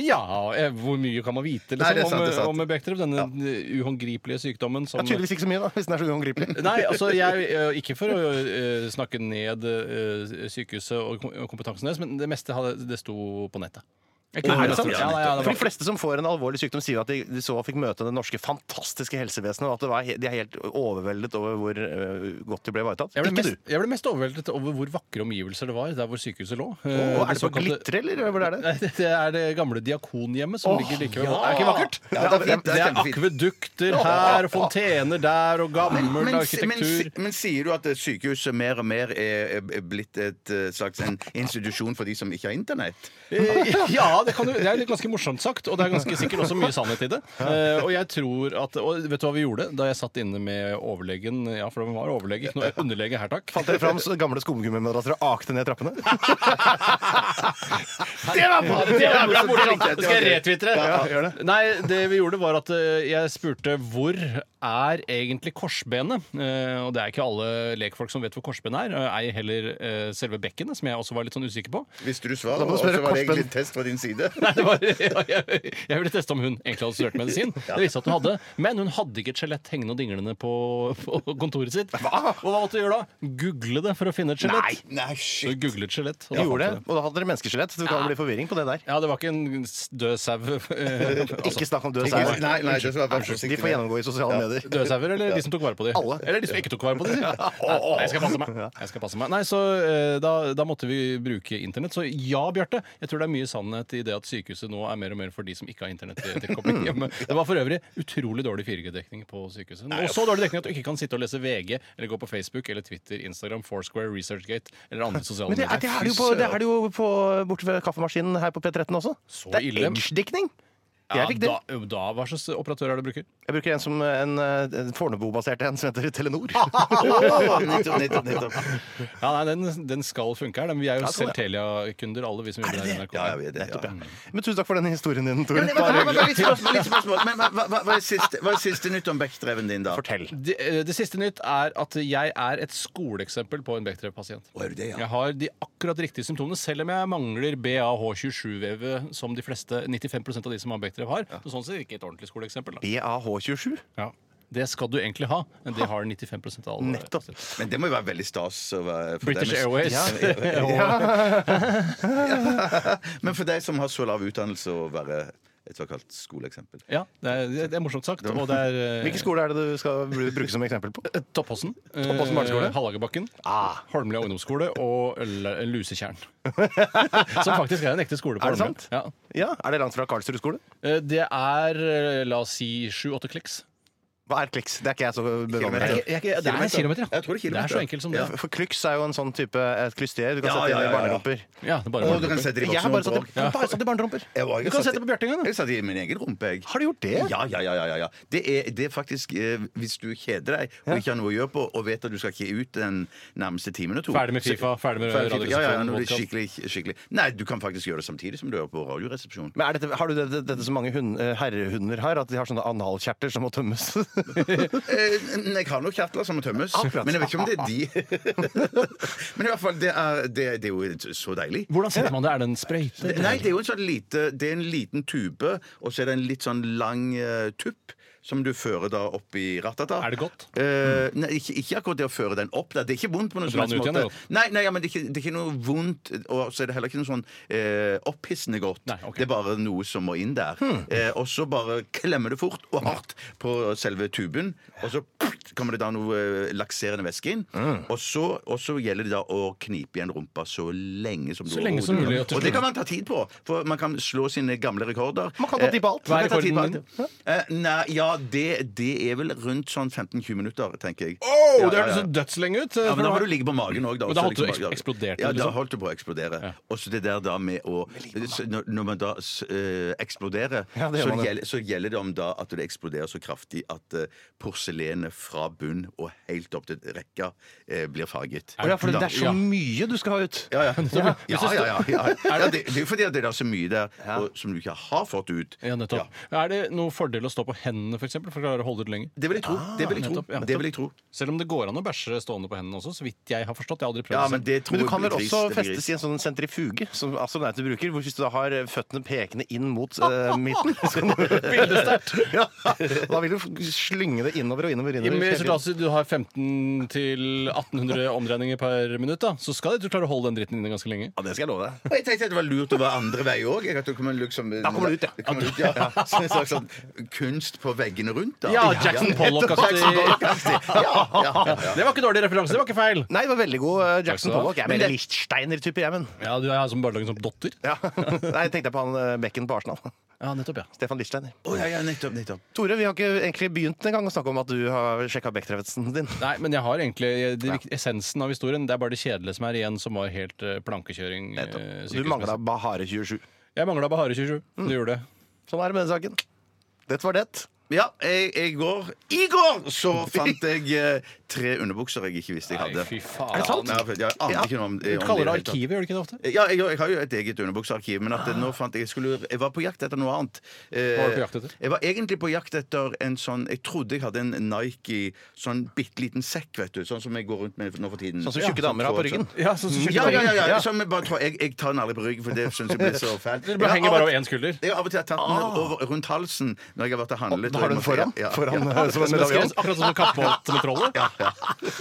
[SPEAKER 6] Ja, eh, hvor mye kan man vite liksom,
[SPEAKER 5] Nei, det er sant,
[SPEAKER 6] om,
[SPEAKER 5] det er sant.
[SPEAKER 6] om Bechdrev? Denne eh, uhåndgripelige sykdommen som
[SPEAKER 4] Ja, tydeligvis ikke så mye, da, hvis den er så uangripelig.
[SPEAKER 6] Nei, altså jeg, eh, ikke for å eh, snakke ned eh, sykehuset og kom- og kompetansen deres, men det meste hadde, det sto på nettet. Jeg kunne
[SPEAKER 4] Er det
[SPEAKER 6] lest
[SPEAKER 4] sant?
[SPEAKER 6] det. Ja, nei, ja, det
[SPEAKER 4] For
[SPEAKER 6] var-
[SPEAKER 4] de fleste som får en alvorlig sykdom, sier at de, de så fikk møte det norske fantastiske helsevesenet, og at det var, he- de er helt overveldet over hvor øh, godt de ble ivaretatt.
[SPEAKER 6] jeg ble,
[SPEAKER 4] Ikke du.
[SPEAKER 6] mest, jeg ble mest overveldet over hvor vakre omgivelser det var der hvor sykehuset lå. Eh,
[SPEAKER 4] Å, er det på
[SPEAKER 6] såkalte-
[SPEAKER 4] glitre, eller hvor er det?
[SPEAKER 6] Nei, det det er det gamle diakonhjemmet som ligger like ved.
[SPEAKER 4] ja.
[SPEAKER 6] Er det ikke vakkert?
[SPEAKER 5] Ja, det er fint, det er
[SPEAKER 6] Det er
[SPEAKER 5] kjempefint.
[SPEAKER 6] akvedukter her, og fontener der, og gammel
[SPEAKER 5] Men, men,
[SPEAKER 6] arkitektur.
[SPEAKER 5] men sier du at eh, sykehuset mer og mer er er blitt et eh, slags en institusjon for de som ikke har internett?
[SPEAKER 6] Eh, Ja, Ja, det, kan du, det er litt ganske morsomt sagt, og det er ganske sikkert også mye sannhet i det. Eh, og jeg tror at Og vet du hva vi gjorde da jeg satt inne med overlegen? Ja, for han var overlege, ikke noe underlege her, takk.
[SPEAKER 4] Fant dere fram så gamle skumgummimadrasser og akte ned trappene? det var bra!
[SPEAKER 6] Det er bra morsomt.
[SPEAKER 5] Det
[SPEAKER 6] Det skal jeg retwitre.
[SPEAKER 4] Ja, gjør det.
[SPEAKER 6] Nei, det vi gjorde var at eh, jeg spurte hvor er egentlig korsbenet? Eh, Og det er ikke alle lekfolk som vet hvor korsbenet er, eh, ei heller eh, selve bekkenet, som jeg også var litt sånn usikker på.
[SPEAKER 5] Hvis du svarer,
[SPEAKER 4] Da må du
[SPEAKER 5] og
[SPEAKER 4] spørre
[SPEAKER 5] så var det
[SPEAKER 4] Karsten.
[SPEAKER 5] egentlig en test fra din side.
[SPEAKER 6] Nei, det var, ja, jeg, jeg ville teste om hun egentlig hadde studert medisin. Det viste at hun hadde, men hun hadde ikke et skjelett hengende og dinglende på, på kontoret sitt. Og hva måtte du gjøre da? Google det for å finne et skjelett.
[SPEAKER 5] Nei,
[SPEAKER 6] Så
[SPEAKER 5] shit.
[SPEAKER 6] hun googlet skjelett. og
[SPEAKER 4] De
[SPEAKER 6] da fant
[SPEAKER 4] gjorde
[SPEAKER 6] hun
[SPEAKER 4] det, og da hadde dere menneskeskjelett. Så det kan bli forvirring på det der.
[SPEAKER 6] Ja, Altså, det var ikke en s- død sau. eh, altså.
[SPEAKER 4] Ikke snakk om død
[SPEAKER 5] Nei,
[SPEAKER 4] sau.
[SPEAKER 5] nei, nei, det skal være vær forsiktig
[SPEAKER 4] De får
[SPEAKER 5] med.
[SPEAKER 4] gjennomgå i sosiale medier.
[SPEAKER 6] Døde sauer, eller de som tok vare på dem?
[SPEAKER 4] Alle.
[SPEAKER 6] Eller de som ikke tok vare på dem? Nei, jeg skal passe meg. Jeg skal passe meg. Nei, så eh, da, da måtte vi bruke internett. Så ja, Bjarte, jeg tror det er mye sannhet i det at sykehuset nå er mer og mer for de som ikke har internettilkobling hjemme. Det var for øvrig utrolig dårlig 4G-dekning på sykehuset. Og så dårlig dekning at du ikke kan sitte og lese VG, eller gå på Facebook, eller Twitter, Instagram, Foursquare, Researchgate eller andre sosiale
[SPEAKER 4] Men det er det er det jo på, det er det jo på borte ved kaffemaskinen her på P13 også.
[SPEAKER 6] Så
[SPEAKER 4] Det er
[SPEAKER 6] ille.
[SPEAKER 4] edge-dikning.
[SPEAKER 6] Ja,
[SPEAKER 4] Jeg fikk det.
[SPEAKER 6] da, da, hva slags operatør er det du bruker?
[SPEAKER 4] Jeg bruker en som en, eh, en Fornebu-basert en som heter Telenor.
[SPEAKER 5] Åh, Nettopp, nettopp, nettopp.
[SPEAKER 6] Ja, nei, den, den skal funke her. men Vi er jo
[SPEAKER 4] Ja, sånn,
[SPEAKER 6] selv Telia-kunder, alle vi som jobber her i NRK.
[SPEAKER 5] Ja, jeg vet det. Ja.
[SPEAKER 4] Men tusen takk for den historien din, Tore.
[SPEAKER 5] Men, men, men, men, men, litt spørsmål, litt spørsmål. Men, hva, hva, hva, er siste, hva er siste nytt om Bechdreven din, da?
[SPEAKER 4] Fortell.
[SPEAKER 6] Det, eh, det siste nytt er at jeg er et skoleeksempel på en Bechdrev-pasient.
[SPEAKER 5] er du det, ja?
[SPEAKER 6] Jeg har de akkurat riktige symptomene, selv om jeg mangler BAH27-vevet som de fleste, 95 av de som har Bechdrev, har. Så sånn sett ikke et ordentlig skoleeksempel. Da.
[SPEAKER 4] BAH27.
[SPEAKER 6] Ja. Det skal du egentlig ha. men Det har 95 av alle.
[SPEAKER 4] Nettopp.
[SPEAKER 5] Men det må jo være veldig stas. å være- for
[SPEAKER 6] British
[SPEAKER 5] deg med-
[SPEAKER 6] Airways.
[SPEAKER 5] Men for deg som har så lav utdannelse, å være et såkalt skoleeksempel.
[SPEAKER 6] Ja, det er, det er morsomt sagt. Og det er eh,
[SPEAKER 4] Hvilken skole er det du skal bru- bruke som eksempel på?
[SPEAKER 6] Toppåsen.
[SPEAKER 4] Toppåsen barneskole. Ah.
[SPEAKER 6] Eh, Hallagerbakken. Holmlia ungdomsskole og L- Lusetjern. Som faktisk er en ekte skole. på
[SPEAKER 4] Er det
[SPEAKER 6] Holmlia.
[SPEAKER 4] sant?
[SPEAKER 6] Ja.
[SPEAKER 4] Ja, Er det langt fra Karlsrud skole?
[SPEAKER 6] Eh, Det er, eh, la oss si, sju-åtte klikks.
[SPEAKER 4] Hva er kliks? Det er ikke jeg så bevandret
[SPEAKER 5] Kilometer.
[SPEAKER 4] i.
[SPEAKER 6] Jeg- jeg- jeg- Det er en kilometer, ja.
[SPEAKER 5] Jeg tror det er kilometer.
[SPEAKER 6] så enkelt som det.
[SPEAKER 5] Ja.
[SPEAKER 4] For klyks er jo en sånn type et klyster du kan
[SPEAKER 5] Ja,
[SPEAKER 4] sette inn
[SPEAKER 5] ja, ja,
[SPEAKER 4] i
[SPEAKER 5] ja.
[SPEAKER 4] barnerumper.
[SPEAKER 6] Ja, det er bare
[SPEAKER 5] Og du kan sette det i
[SPEAKER 4] Jeg har bare satt i,
[SPEAKER 5] voksenrommet
[SPEAKER 4] bare satt i barnerumper.
[SPEAKER 5] òg.
[SPEAKER 6] Du kan sette på Bjarte en gang, da.
[SPEAKER 5] Jeg satt i min egen rumpe, jeg.
[SPEAKER 4] Har du gjort det?
[SPEAKER 5] Ja, ja, ja. ja, ja, ja. Det, er, det er faktisk eh, Hvis du kjeder deg og ikke har noe å gjøre på, og vet at du skal ikke ut den nærmeste timen eller to
[SPEAKER 6] Ferdig med FIFA, ferdig med
[SPEAKER 5] Ferdig med FIFA. Ja, ja, ja,
[SPEAKER 6] Radioresepsjonen,
[SPEAKER 5] når det er
[SPEAKER 6] podcast.
[SPEAKER 5] skikkelig, skikkelig. Nei, du kan faktisk gjøre det samtidig som du hører på Radioresepsjonen.
[SPEAKER 4] Men er dette, Har du det- det- dette som mange hund, eh, herrehunder har, at de har sånne analkjerter som må tømmes?
[SPEAKER 5] Eh, n- jeg har noen kjertler som må tømmes,
[SPEAKER 4] Akkurat.
[SPEAKER 5] men jeg vet ikke om det er de. men i hvert fall, det er, det, det er jo så deilig.
[SPEAKER 6] Hvordan setter man det? Er det en sprøyte?
[SPEAKER 5] Nei, det er jo en sånn lite Det er en liten tube, og så er det en litt sånn lang eh, tupp. Som du fører da opp i ratata.
[SPEAKER 6] Er det godt?
[SPEAKER 5] Eh, nei, ikke, ikke akkurat det å føre den opp. Da. Det er ikke vondt på noen
[SPEAKER 6] Dra
[SPEAKER 5] som
[SPEAKER 6] den
[SPEAKER 5] helst
[SPEAKER 6] ut igjen,
[SPEAKER 5] måte.
[SPEAKER 6] da.
[SPEAKER 5] Nei, nei ja, men det er, ikke, det er ikke noe vondt, og så er det heller ikke noe sånn eh, opphissende godt.
[SPEAKER 6] Nei, ok. Hmm.
[SPEAKER 5] Det er bare noe som må inn der. Eh, og så bare klemmer det fort og hardt på selve tuben, og så kommer det da noe eh, lakserende væske inn.
[SPEAKER 6] Hmm.
[SPEAKER 5] Og, så, og så gjelder det da å knipe igjen rumpa så lenge som
[SPEAKER 6] Så lenge som
[SPEAKER 5] overhodet kan.
[SPEAKER 6] mulig, og til
[SPEAKER 5] Og det
[SPEAKER 6] slutt-
[SPEAKER 5] kan man ta tid på, for man kan slå sine gamle rekorder.
[SPEAKER 4] Man kan ta
[SPEAKER 5] Eh,
[SPEAKER 4] tid på alt.
[SPEAKER 5] man
[SPEAKER 6] Hva er
[SPEAKER 5] kan ta tid på
[SPEAKER 6] rekorden
[SPEAKER 5] alt. Eh, Nei, ja, det, det er vel rundt sånn 15-20 minutter, tenker jeg.
[SPEAKER 6] Oh,
[SPEAKER 5] Ja,
[SPEAKER 6] det
[SPEAKER 5] ja,
[SPEAKER 6] hørtes
[SPEAKER 5] ja.
[SPEAKER 6] så dødslenge ut. eh,
[SPEAKER 5] Ja, men da må du ligge på magen òg, da.
[SPEAKER 6] Men da
[SPEAKER 5] også,
[SPEAKER 6] holdt du
[SPEAKER 5] liksom,
[SPEAKER 6] eks- eksploderte,
[SPEAKER 5] Ja, da
[SPEAKER 6] liksom.
[SPEAKER 5] holdt du på å eksplodere. Og så det der da med å så når- Når man da s- eh, eksploderer,
[SPEAKER 4] Ja, det gjør
[SPEAKER 5] så,
[SPEAKER 4] man jo.
[SPEAKER 5] gjelder, så gjelder det om da at det eksploderer så kraftig at eh, porselenet fra bunn og helt opp til rekka eh, blir farget.
[SPEAKER 4] Å ja, for det er så
[SPEAKER 6] Ja.
[SPEAKER 4] mye du skal ha ut.
[SPEAKER 5] ja, ja. Ja, ja, ja, ja, ja. ja det, det er jo fordi at det er så mye der og, som du ikke har fått ut.
[SPEAKER 6] Ja, nettopp. Er det noen fordel å stå på hendene, for eksempel, for å klare å holde ut lenger?
[SPEAKER 5] Det vil jeg tro. Det vil jeg tro.
[SPEAKER 6] nettopp, ja.
[SPEAKER 5] Det vil jeg tro.
[SPEAKER 6] Selv om det går an å bæsje stående på hendene også, så vidt jeg har forstått. Jeg har aldri prøvd
[SPEAKER 5] Ja,
[SPEAKER 6] det
[SPEAKER 5] men
[SPEAKER 6] selv.
[SPEAKER 5] det tror
[SPEAKER 4] Men du
[SPEAKER 5] jeg
[SPEAKER 4] kan
[SPEAKER 5] blir
[SPEAKER 4] vel
[SPEAKER 5] gris,
[SPEAKER 4] også
[SPEAKER 5] det blir gris.
[SPEAKER 4] festes i en sånn sentrifuge, som altså astronauter bruker, hvor hvis du da har eh, føttene pekende inn mot eh, midten så kan du- ja, Da vil du f- slynge det innover og innover. og
[SPEAKER 6] I-
[SPEAKER 4] innover
[SPEAKER 6] Hvis du- altså, du har 15 til 1800 omdreininger per minutt, da, så skal du klare å holde den dritten inne ganske lenge.
[SPEAKER 4] Ja, det skal jeg love deg.
[SPEAKER 5] Og jeg tenkte at det var lurt å være andre vei òg. Da kommer liksom,
[SPEAKER 4] kommer det ut, ja.
[SPEAKER 5] det kommer ut, ja. Så en slags sånn kunst på veggene rundt, da.
[SPEAKER 6] Ja, Jackson Pollock-aktig.
[SPEAKER 5] Jackson Pollock-aktig. Ja, ja, ja, ja.
[SPEAKER 6] Det var ikke dårlig referanse, det var ikke feil.
[SPEAKER 4] Nei, det var veldig god eh, Jackson
[SPEAKER 6] Takk skal du ha.
[SPEAKER 4] Pollock. Jeg er
[SPEAKER 5] Men
[SPEAKER 4] mer
[SPEAKER 5] det-
[SPEAKER 4] Lichtsteiner-type, jeg, men.
[SPEAKER 6] Ja, du er som barnelagen som dotter.
[SPEAKER 4] Ja. Nei, jeg tenkte på han eh, bekken på Arsenal.
[SPEAKER 6] Ja, nettopp, ja.
[SPEAKER 4] Stefan Lichtsteiner.
[SPEAKER 5] Å, ja, ja, nettopp, nettopp.
[SPEAKER 4] Tore, vi har ikke egentlig begynt engang å snakke om at du har sjekka Bechdrevetsen din.
[SPEAKER 6] Nei, men jeg har egentlig jeg- det, vikt- essensen av historien. Det er bare det kjedelige som er igjen, som var helt eh, plankekjøring. eh,
[SPEAKER 4] Du
[SPEAKER 6] sykehusmessig.
[SPEAKER 4] mangla Bahare 27.
[SPEAKER 6] Jeg mangla Bahare 27.
[SPEAKER 5] Mm.
[SPEAKER 6] Du gjorde det.
[SPEAKER 4] Sånn er det med den saken. Det var det.
[SPEAKER 5] Ja, jeg, jeg går I går så fant jeg eh, tre underbukser jeg ikke visste jeg hadde.
[SPEAKER 6] fy faen.
[SPEAKER 5] Er det sant? Ja, for jeg aner
[SPEAKER 4] Ja.
[SPEAKER 5] ikke noe om, om
[SPEAKER 6] Du kaller det
[SPEAKER 5] hele tatt.
[SPEAKER 6] arkivet, gjør du ikke det ofte?
[SPEAKER 5] Ja, jeg, jeg har jo et eget underbuksearkiv, men at det
[SPEAKER 4] Ah.
[SPEAKER 5] nå fant jeg, jeg, skulle, jeg var på jakt etter noe annet. Eh,
[SPEAKER 6] Hva var du på jakt etter?
[SPEAKER 5] Jeg var egentlig på jakt etter en sånn Jeg trodde jeg hadde en Nike sånn bitte liten sekk, vet du. Sånn som jeg går rundt med nå for tiden. sånn.
[SPEAKER 4] Sånn som tjukke damer har på ryggen.
[SPEAKER 6] Ja, så, så,
[SPEAKER 5] Ja, ja, ja, ja. Som jeg, bare tror, jeg, jeg tar den aldri på ryggen, for det syns jeg blir så fælt.
[SPEAKER 6] Dere
[SPEAKER 5] Jeg
[SPEAKER 6] bare
[SPEAKER 5] har
[SPEAKER 6] henger
[SPEAKER 5] av-
[SPEAKER 6] bare over én skulder.
[SPEAKER 5] Jeg har av og til tatt den over, rundt halsen når jeg har vært og handlet.
[SPEAKER 4] Ah. Har du den foran?
[SPEAKER 5] Ja, ja.
[SPEAKER 4] Foran
[SPEAKER 5] ja.
[SPEAKER 4] eh, som en medaljon?
[SPEAKER 6] Akkurat som kappholdt med trollet?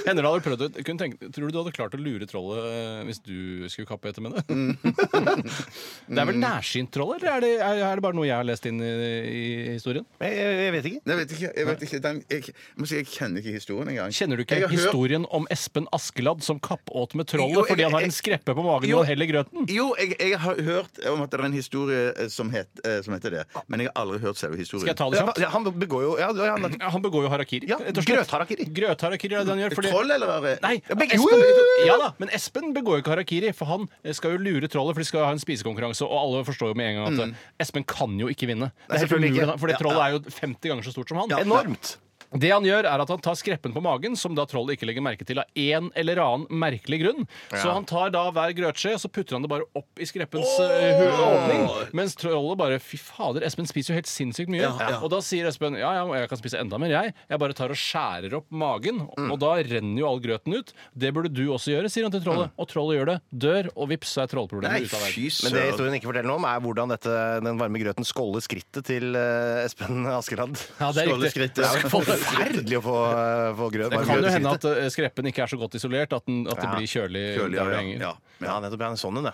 [SPEAKER 6] Hender det hadde prøvd å- kunne tenke, Tror du du hadde klart å lure trollet eh, hvis du skulle kappe etter med det?
[SPEAKER 5] Mm.
[SPEAKER 6] det er vel nærsynt trollet, eller er det, er, er det bare noe jeg har lest inn i, i historien?
[SPEAKER 4] Jeg, jeg, jeg vet ikke.
[SPEAKER 5] Nei, Jeg vet ikke. Jeg, vet ikke den, jeg, jeg må si, jeg kjenner ikke historien engang.
[SPEAKER 6] Kjenner du ikke
[SPEAKER 5] Jeg har hørt-
[SPEAKER 6] historien om Espen Askeladd som kappåt med trollet
[SPEAKER 5] Jo, jeg-
[SPEAKER 6] fordi han har
[SPEAKER 5] jeg-
[SPEAKER 6] en skreppe på magen
[SPEAKER 5] Jo.
[SPEAKER 6] og heller grøten?
[SPEAKER 5] Jo, jeg, jeg har hørt om at det er en historie eh, som, het, eh, som heter det. Men jeg har aldri hørt selve historien.
[SPEAKER 6] Skal jeg ta det kjapt?
[SPEAKER 4] Ja, han begår jo ja, ja, han,
[SPEAKER 6] Ja, Han begår jo harakiri.
[SPEAKER 4] Ja,
[SPEAKER 6] rett og slett.
[SPEAKER 4] grøtharakiri.
[SPEAKER 6] Grøtharakiri er det han gjør. fordi-
[SPEAKER 5] Troll, eller? er det-
[SPEAKER 6] Nei,
[SPEAKER 4] Ja, begge-
[SPEAKER 6] Espen,
[SPEAKER 4] jo, jo, jo, jo.
[SPEAKER 6] ja da, men Espen begår jo ikke harakiri, for han eh, skal jo lure trollet, for de skal ha en spisekonkurranse, og alle forstår jo med en gang at eh, Espen kan jo ikke vinne. Det er helt
[SPEAKER 4] Mm. selvfølgelig
[SPEAKER 6] umulig,
[SPEAKER 4] ikke.
[SPEAKER 6] da, fordi trollet er jo 50 ganger så stort som han.
[SPEAKER 4] Enormt.
[SPEAKER 6] Det han gjør, er at han tar skreppen på magen, som da trollet ikke legger merke til av en eller annen merkelig grunn. Så han tar da hver grøtskje, og så putter han det bare opp i skreppens eh, hu- åpning. Mens trollet bare Fy fader, Espen spiser jo helt sinnssykt mye. Og da sier Espen ja, ja, jeg kan spise enda mer, jeg. Jeg bare tar og skjærer opp magen, og da renner jo all grøten ut. Det burde du også gjøre, sier han til trollet. Og trollet gjør det, dør, og vips, så er
[SPEAKER 5] Nei,
[SPEAKER 6] trollproblemet ute av verden.
[SPEAKER 5] fy
[SPEAKER 4] Men det
[SPEAKER 5] søren.
[SPEAKER 4] historien ikke forteller noe om, er hvordan dette, den varme grøten skålder skrittet til eh, Espen Askeladd.
[SPEAKER 6] Ja, det er riktig.
[SPEAKER 5] Skåleskrittet. Ja.
[SPEAKER 4] Forferdelig å få, eh, få grøt.
[SPEAKER 6] Det
[SPEAKER 4] varm
[SPEAKER 6] kan
[SPEAKER 4] grøt
[SPEAKER 6] jo
[SPEAKER 4] i
[SPEAKER 6] hende
[SPEAKER 4] skrittet.
[SPEAKER 6] at eh, skreppen ikke er så godt isolert, at, den, at det blir kjølig,
[SPEAKER 5] Kjølig,
[SPEAKER 6] der det
[SPEAKER 5] ja,
[SPEAKER 6] henger.
[SPEAKER 5] ja.
[SPEAKER 4] Ja, nettopp. Ja, en sånn en, ja.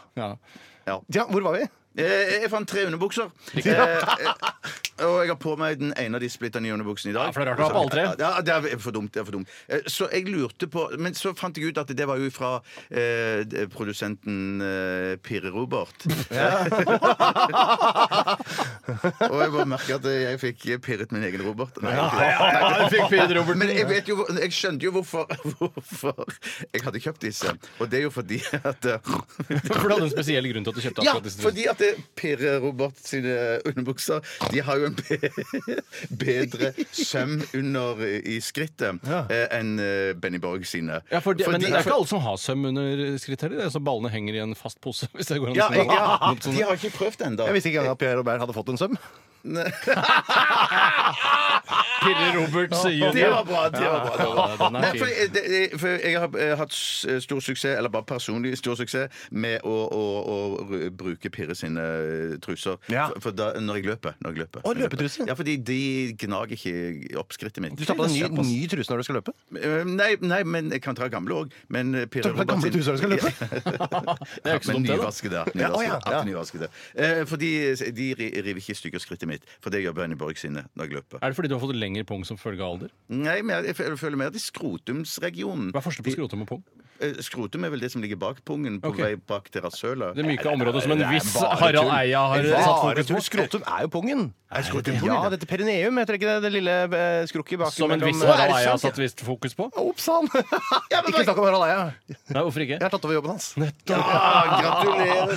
[SPEAKER 6] Ja.
[SPEAKER 4] Ja, hvor var vi?
[SPEAKER 5] Eh, Jeg fant tre underbukser. Eh, eh, Og jeg har på meg den ene av de splitter nye underbuksene i dag.
[SPEAKER 6] Ja, for det er rart å ha på alle tre.
[SPEAKER 5] Ja, det er for dumt. det er for dumt Eh, Så jeg lurte på Men så fant jeg ut at det var jo fra eh, d- produsenten eh, Pirre Robert. og jeg bare merker at jeg fikk pirret min egen Robert. Nei,
[SPEAKER 6] Ja, du fikk pirret Robert.
[SPEAKER 5] Men jeg, vet jo, hvor- jeg skjønte jo hvorfor, hvorfor jeg hadde kjøpt disse. Og det er jo fordi at eh,
[SPEAKER 6] For du hadde en spesiell grunn til at du kjøpte
[SPEAKER 5] Ja,
[SPEAKER 6] akkurat disse
[SPEAKER 5] fordi at det- Pirre Robert sine underbukser De har jo en be- bedre søm under i skrittet eh, enn eh, Benny Borg sine.
[SPEAKER 6] Ja, for det, men
[SPEAKER 5] Fordi-
[SPEAKER 6] det er ikke alle som har søm under skrittet heller. Det er så ballene henger i en fast pose. Hvis det går an å
[SPEAKER 5] ja,
[SPEAKER 6] si
[SPEAKER 5] jeg, ja,
[SPEAKER 6] det. Noe sånt.
[SPEAKER 5] De har ikke prøvd ennå.
[SPEAKER 4] Jeg visste ikke engang at Pierre Robert hadde fått en søm.
[SPEAKER 6] Pirre Robert sier
[SPEAKER 5] Det var bra! det var bra, det var bra.
[SPEAKER 6] Ja, den er
[SPEAKER 5] Nei, for,
[SPEAKER 6] fin.
[SPEAKER 5] jeg- det, det- for jeg har eh, hatt s- stor suksess, eller bare personlig stor suksess, med å, å, å ru- bruke Pirre sine eh, truser.
[SPEAKER 4] Ja.
[SPEAKER 5] For, for da, når jeg løper. Når jeg løper.
[SPEAKER 4] Å, løpetruser?
[SPEAKER 5] Ja, fordi de gnager ikke opp skrittet mitt.
[SPEAKER 4] Du tar på deg ny, ny truse når du skal løpe.
[SPEAKER 5] Eh, Nei, nei, men jeg kan ta gamle òg. Men eh, Pirre
[SPEAKER 4] Tar du på deg gamle truser når du skal løpe?
[SPEAKER 5] Det er
[SPEAKER 6] jo ikke så dumt, det, da.
[SPEAKER 5] Nyvaskede.
[SPEAKER 4] Ja, å, ja.
[SPEAKER 5] nyvaskede, alltid nyvaskede. Eh, For de, de ri- river ikke i stykker skrittet mitt. For det gjør Benny Borg sine når jeg løper.
[SPEAKER 6] Er det fordi du har fått lengre pung som følge av alder?
[SPEAKER 5] Nei, men jeg, jeg føler- jeg føler mer at i skrotumsregionen
[SPEAKER 6] Hva er forskjellen på skrotum og pung?
[SPEAKER 5] Eh, Skrotum er vel det som ligger bak pungen, på
[SPEAKER 6] Ok.
[SPEAKER 5] vei bak deres søla.
[SPEAKER 6] Det myke området som en
[SPEAKER 4] Det er
[SPEAKER 6] viss
[SPEAKER 4] bare
[SPEAKER 6] Harald
[SPEAKER 4] tull.
[SPEAKER 6] Eia har
[SPEAKER 4] Bare
[SPEAKER 6] satt fokus
[SPEAKER 4] tull.
[SPEAKER 6] på.
[SPEAKER 4] Skrotum er jo pungen.
[SPEAKER 5] Er skrotum pungen,
[SPEAKER 4] Ja,
[SPEAKER 5] da?
[SPEAKER 4] dette perineum heter ikke det, det lille eh, skrukket bak
[SPEAKER 6] Som en
[SPEAKER 4] mellom-
[SPEAKER 6] viss
[SPEAKER 4] Å, er
[SPEAKER 6] Harald
[SPEAKER 4] det
[SPEAKER 6] Eia har
[SPEAKER 4] sant?
[SPEAKER 6] satt visst fokus på.
[SPEAKER 4] Ops, han! Ikke snakk om Harald Eia.
[SPEAKER 6] Nei, hvorfor
[SPEAKER 4] Jeg
[SPEAKER 6] ikke?
[SPEAKER 4] har tatt over jobben hans.
[SPEAKER 5] Ah, gratulerer!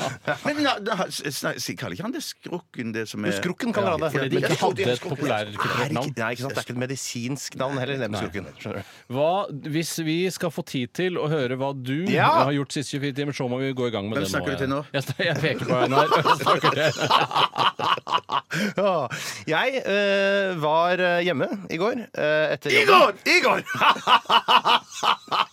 [SPEAKER 5] Men na, na, s- snak- si- kaller ikke han det skrukken, det som er
[SPEAKER 4] Skrukken kaller han det.
[SPEAKER 6] Fordi de
[SPEAKER 4] Men
[SPEAKER 6] ikke
[SPEAKER 4] jeg trodde
[SPEAKER 6] hadde
[SPEAKER 4] jeg
[SPEAKER 6] et populærkulturelt
[SPEAKER 4] Nei,
[SPEAKER 6] navn.
[SPEAKER 4] ikke, nei, ikke sant? Det er ikke et medisinsk navn heller. Det med skrukken. skjønner du.
[SPEAKER 6] Hva, hvis vi skal få tid til å høre hva du
[SPEAKER 4] Ja!
[SPEAKER 6] har gjort siste 24 timer, så må vi gå i gang med
[SPEAKER 5] Hvem
[SPEAKER 6] det
[SPEAKER 5] snakker du til nå?
[SPEAKER 6] Jeg, jeg peker på Einar. Hvem snakker til?
[SPEAKER 4] Ja. Jeg eh, var eh, hjemme i går. eh, etter
[SPEAKER 5] I
[SPEAKER 4] jobben.
[SPEAKER 5] går! I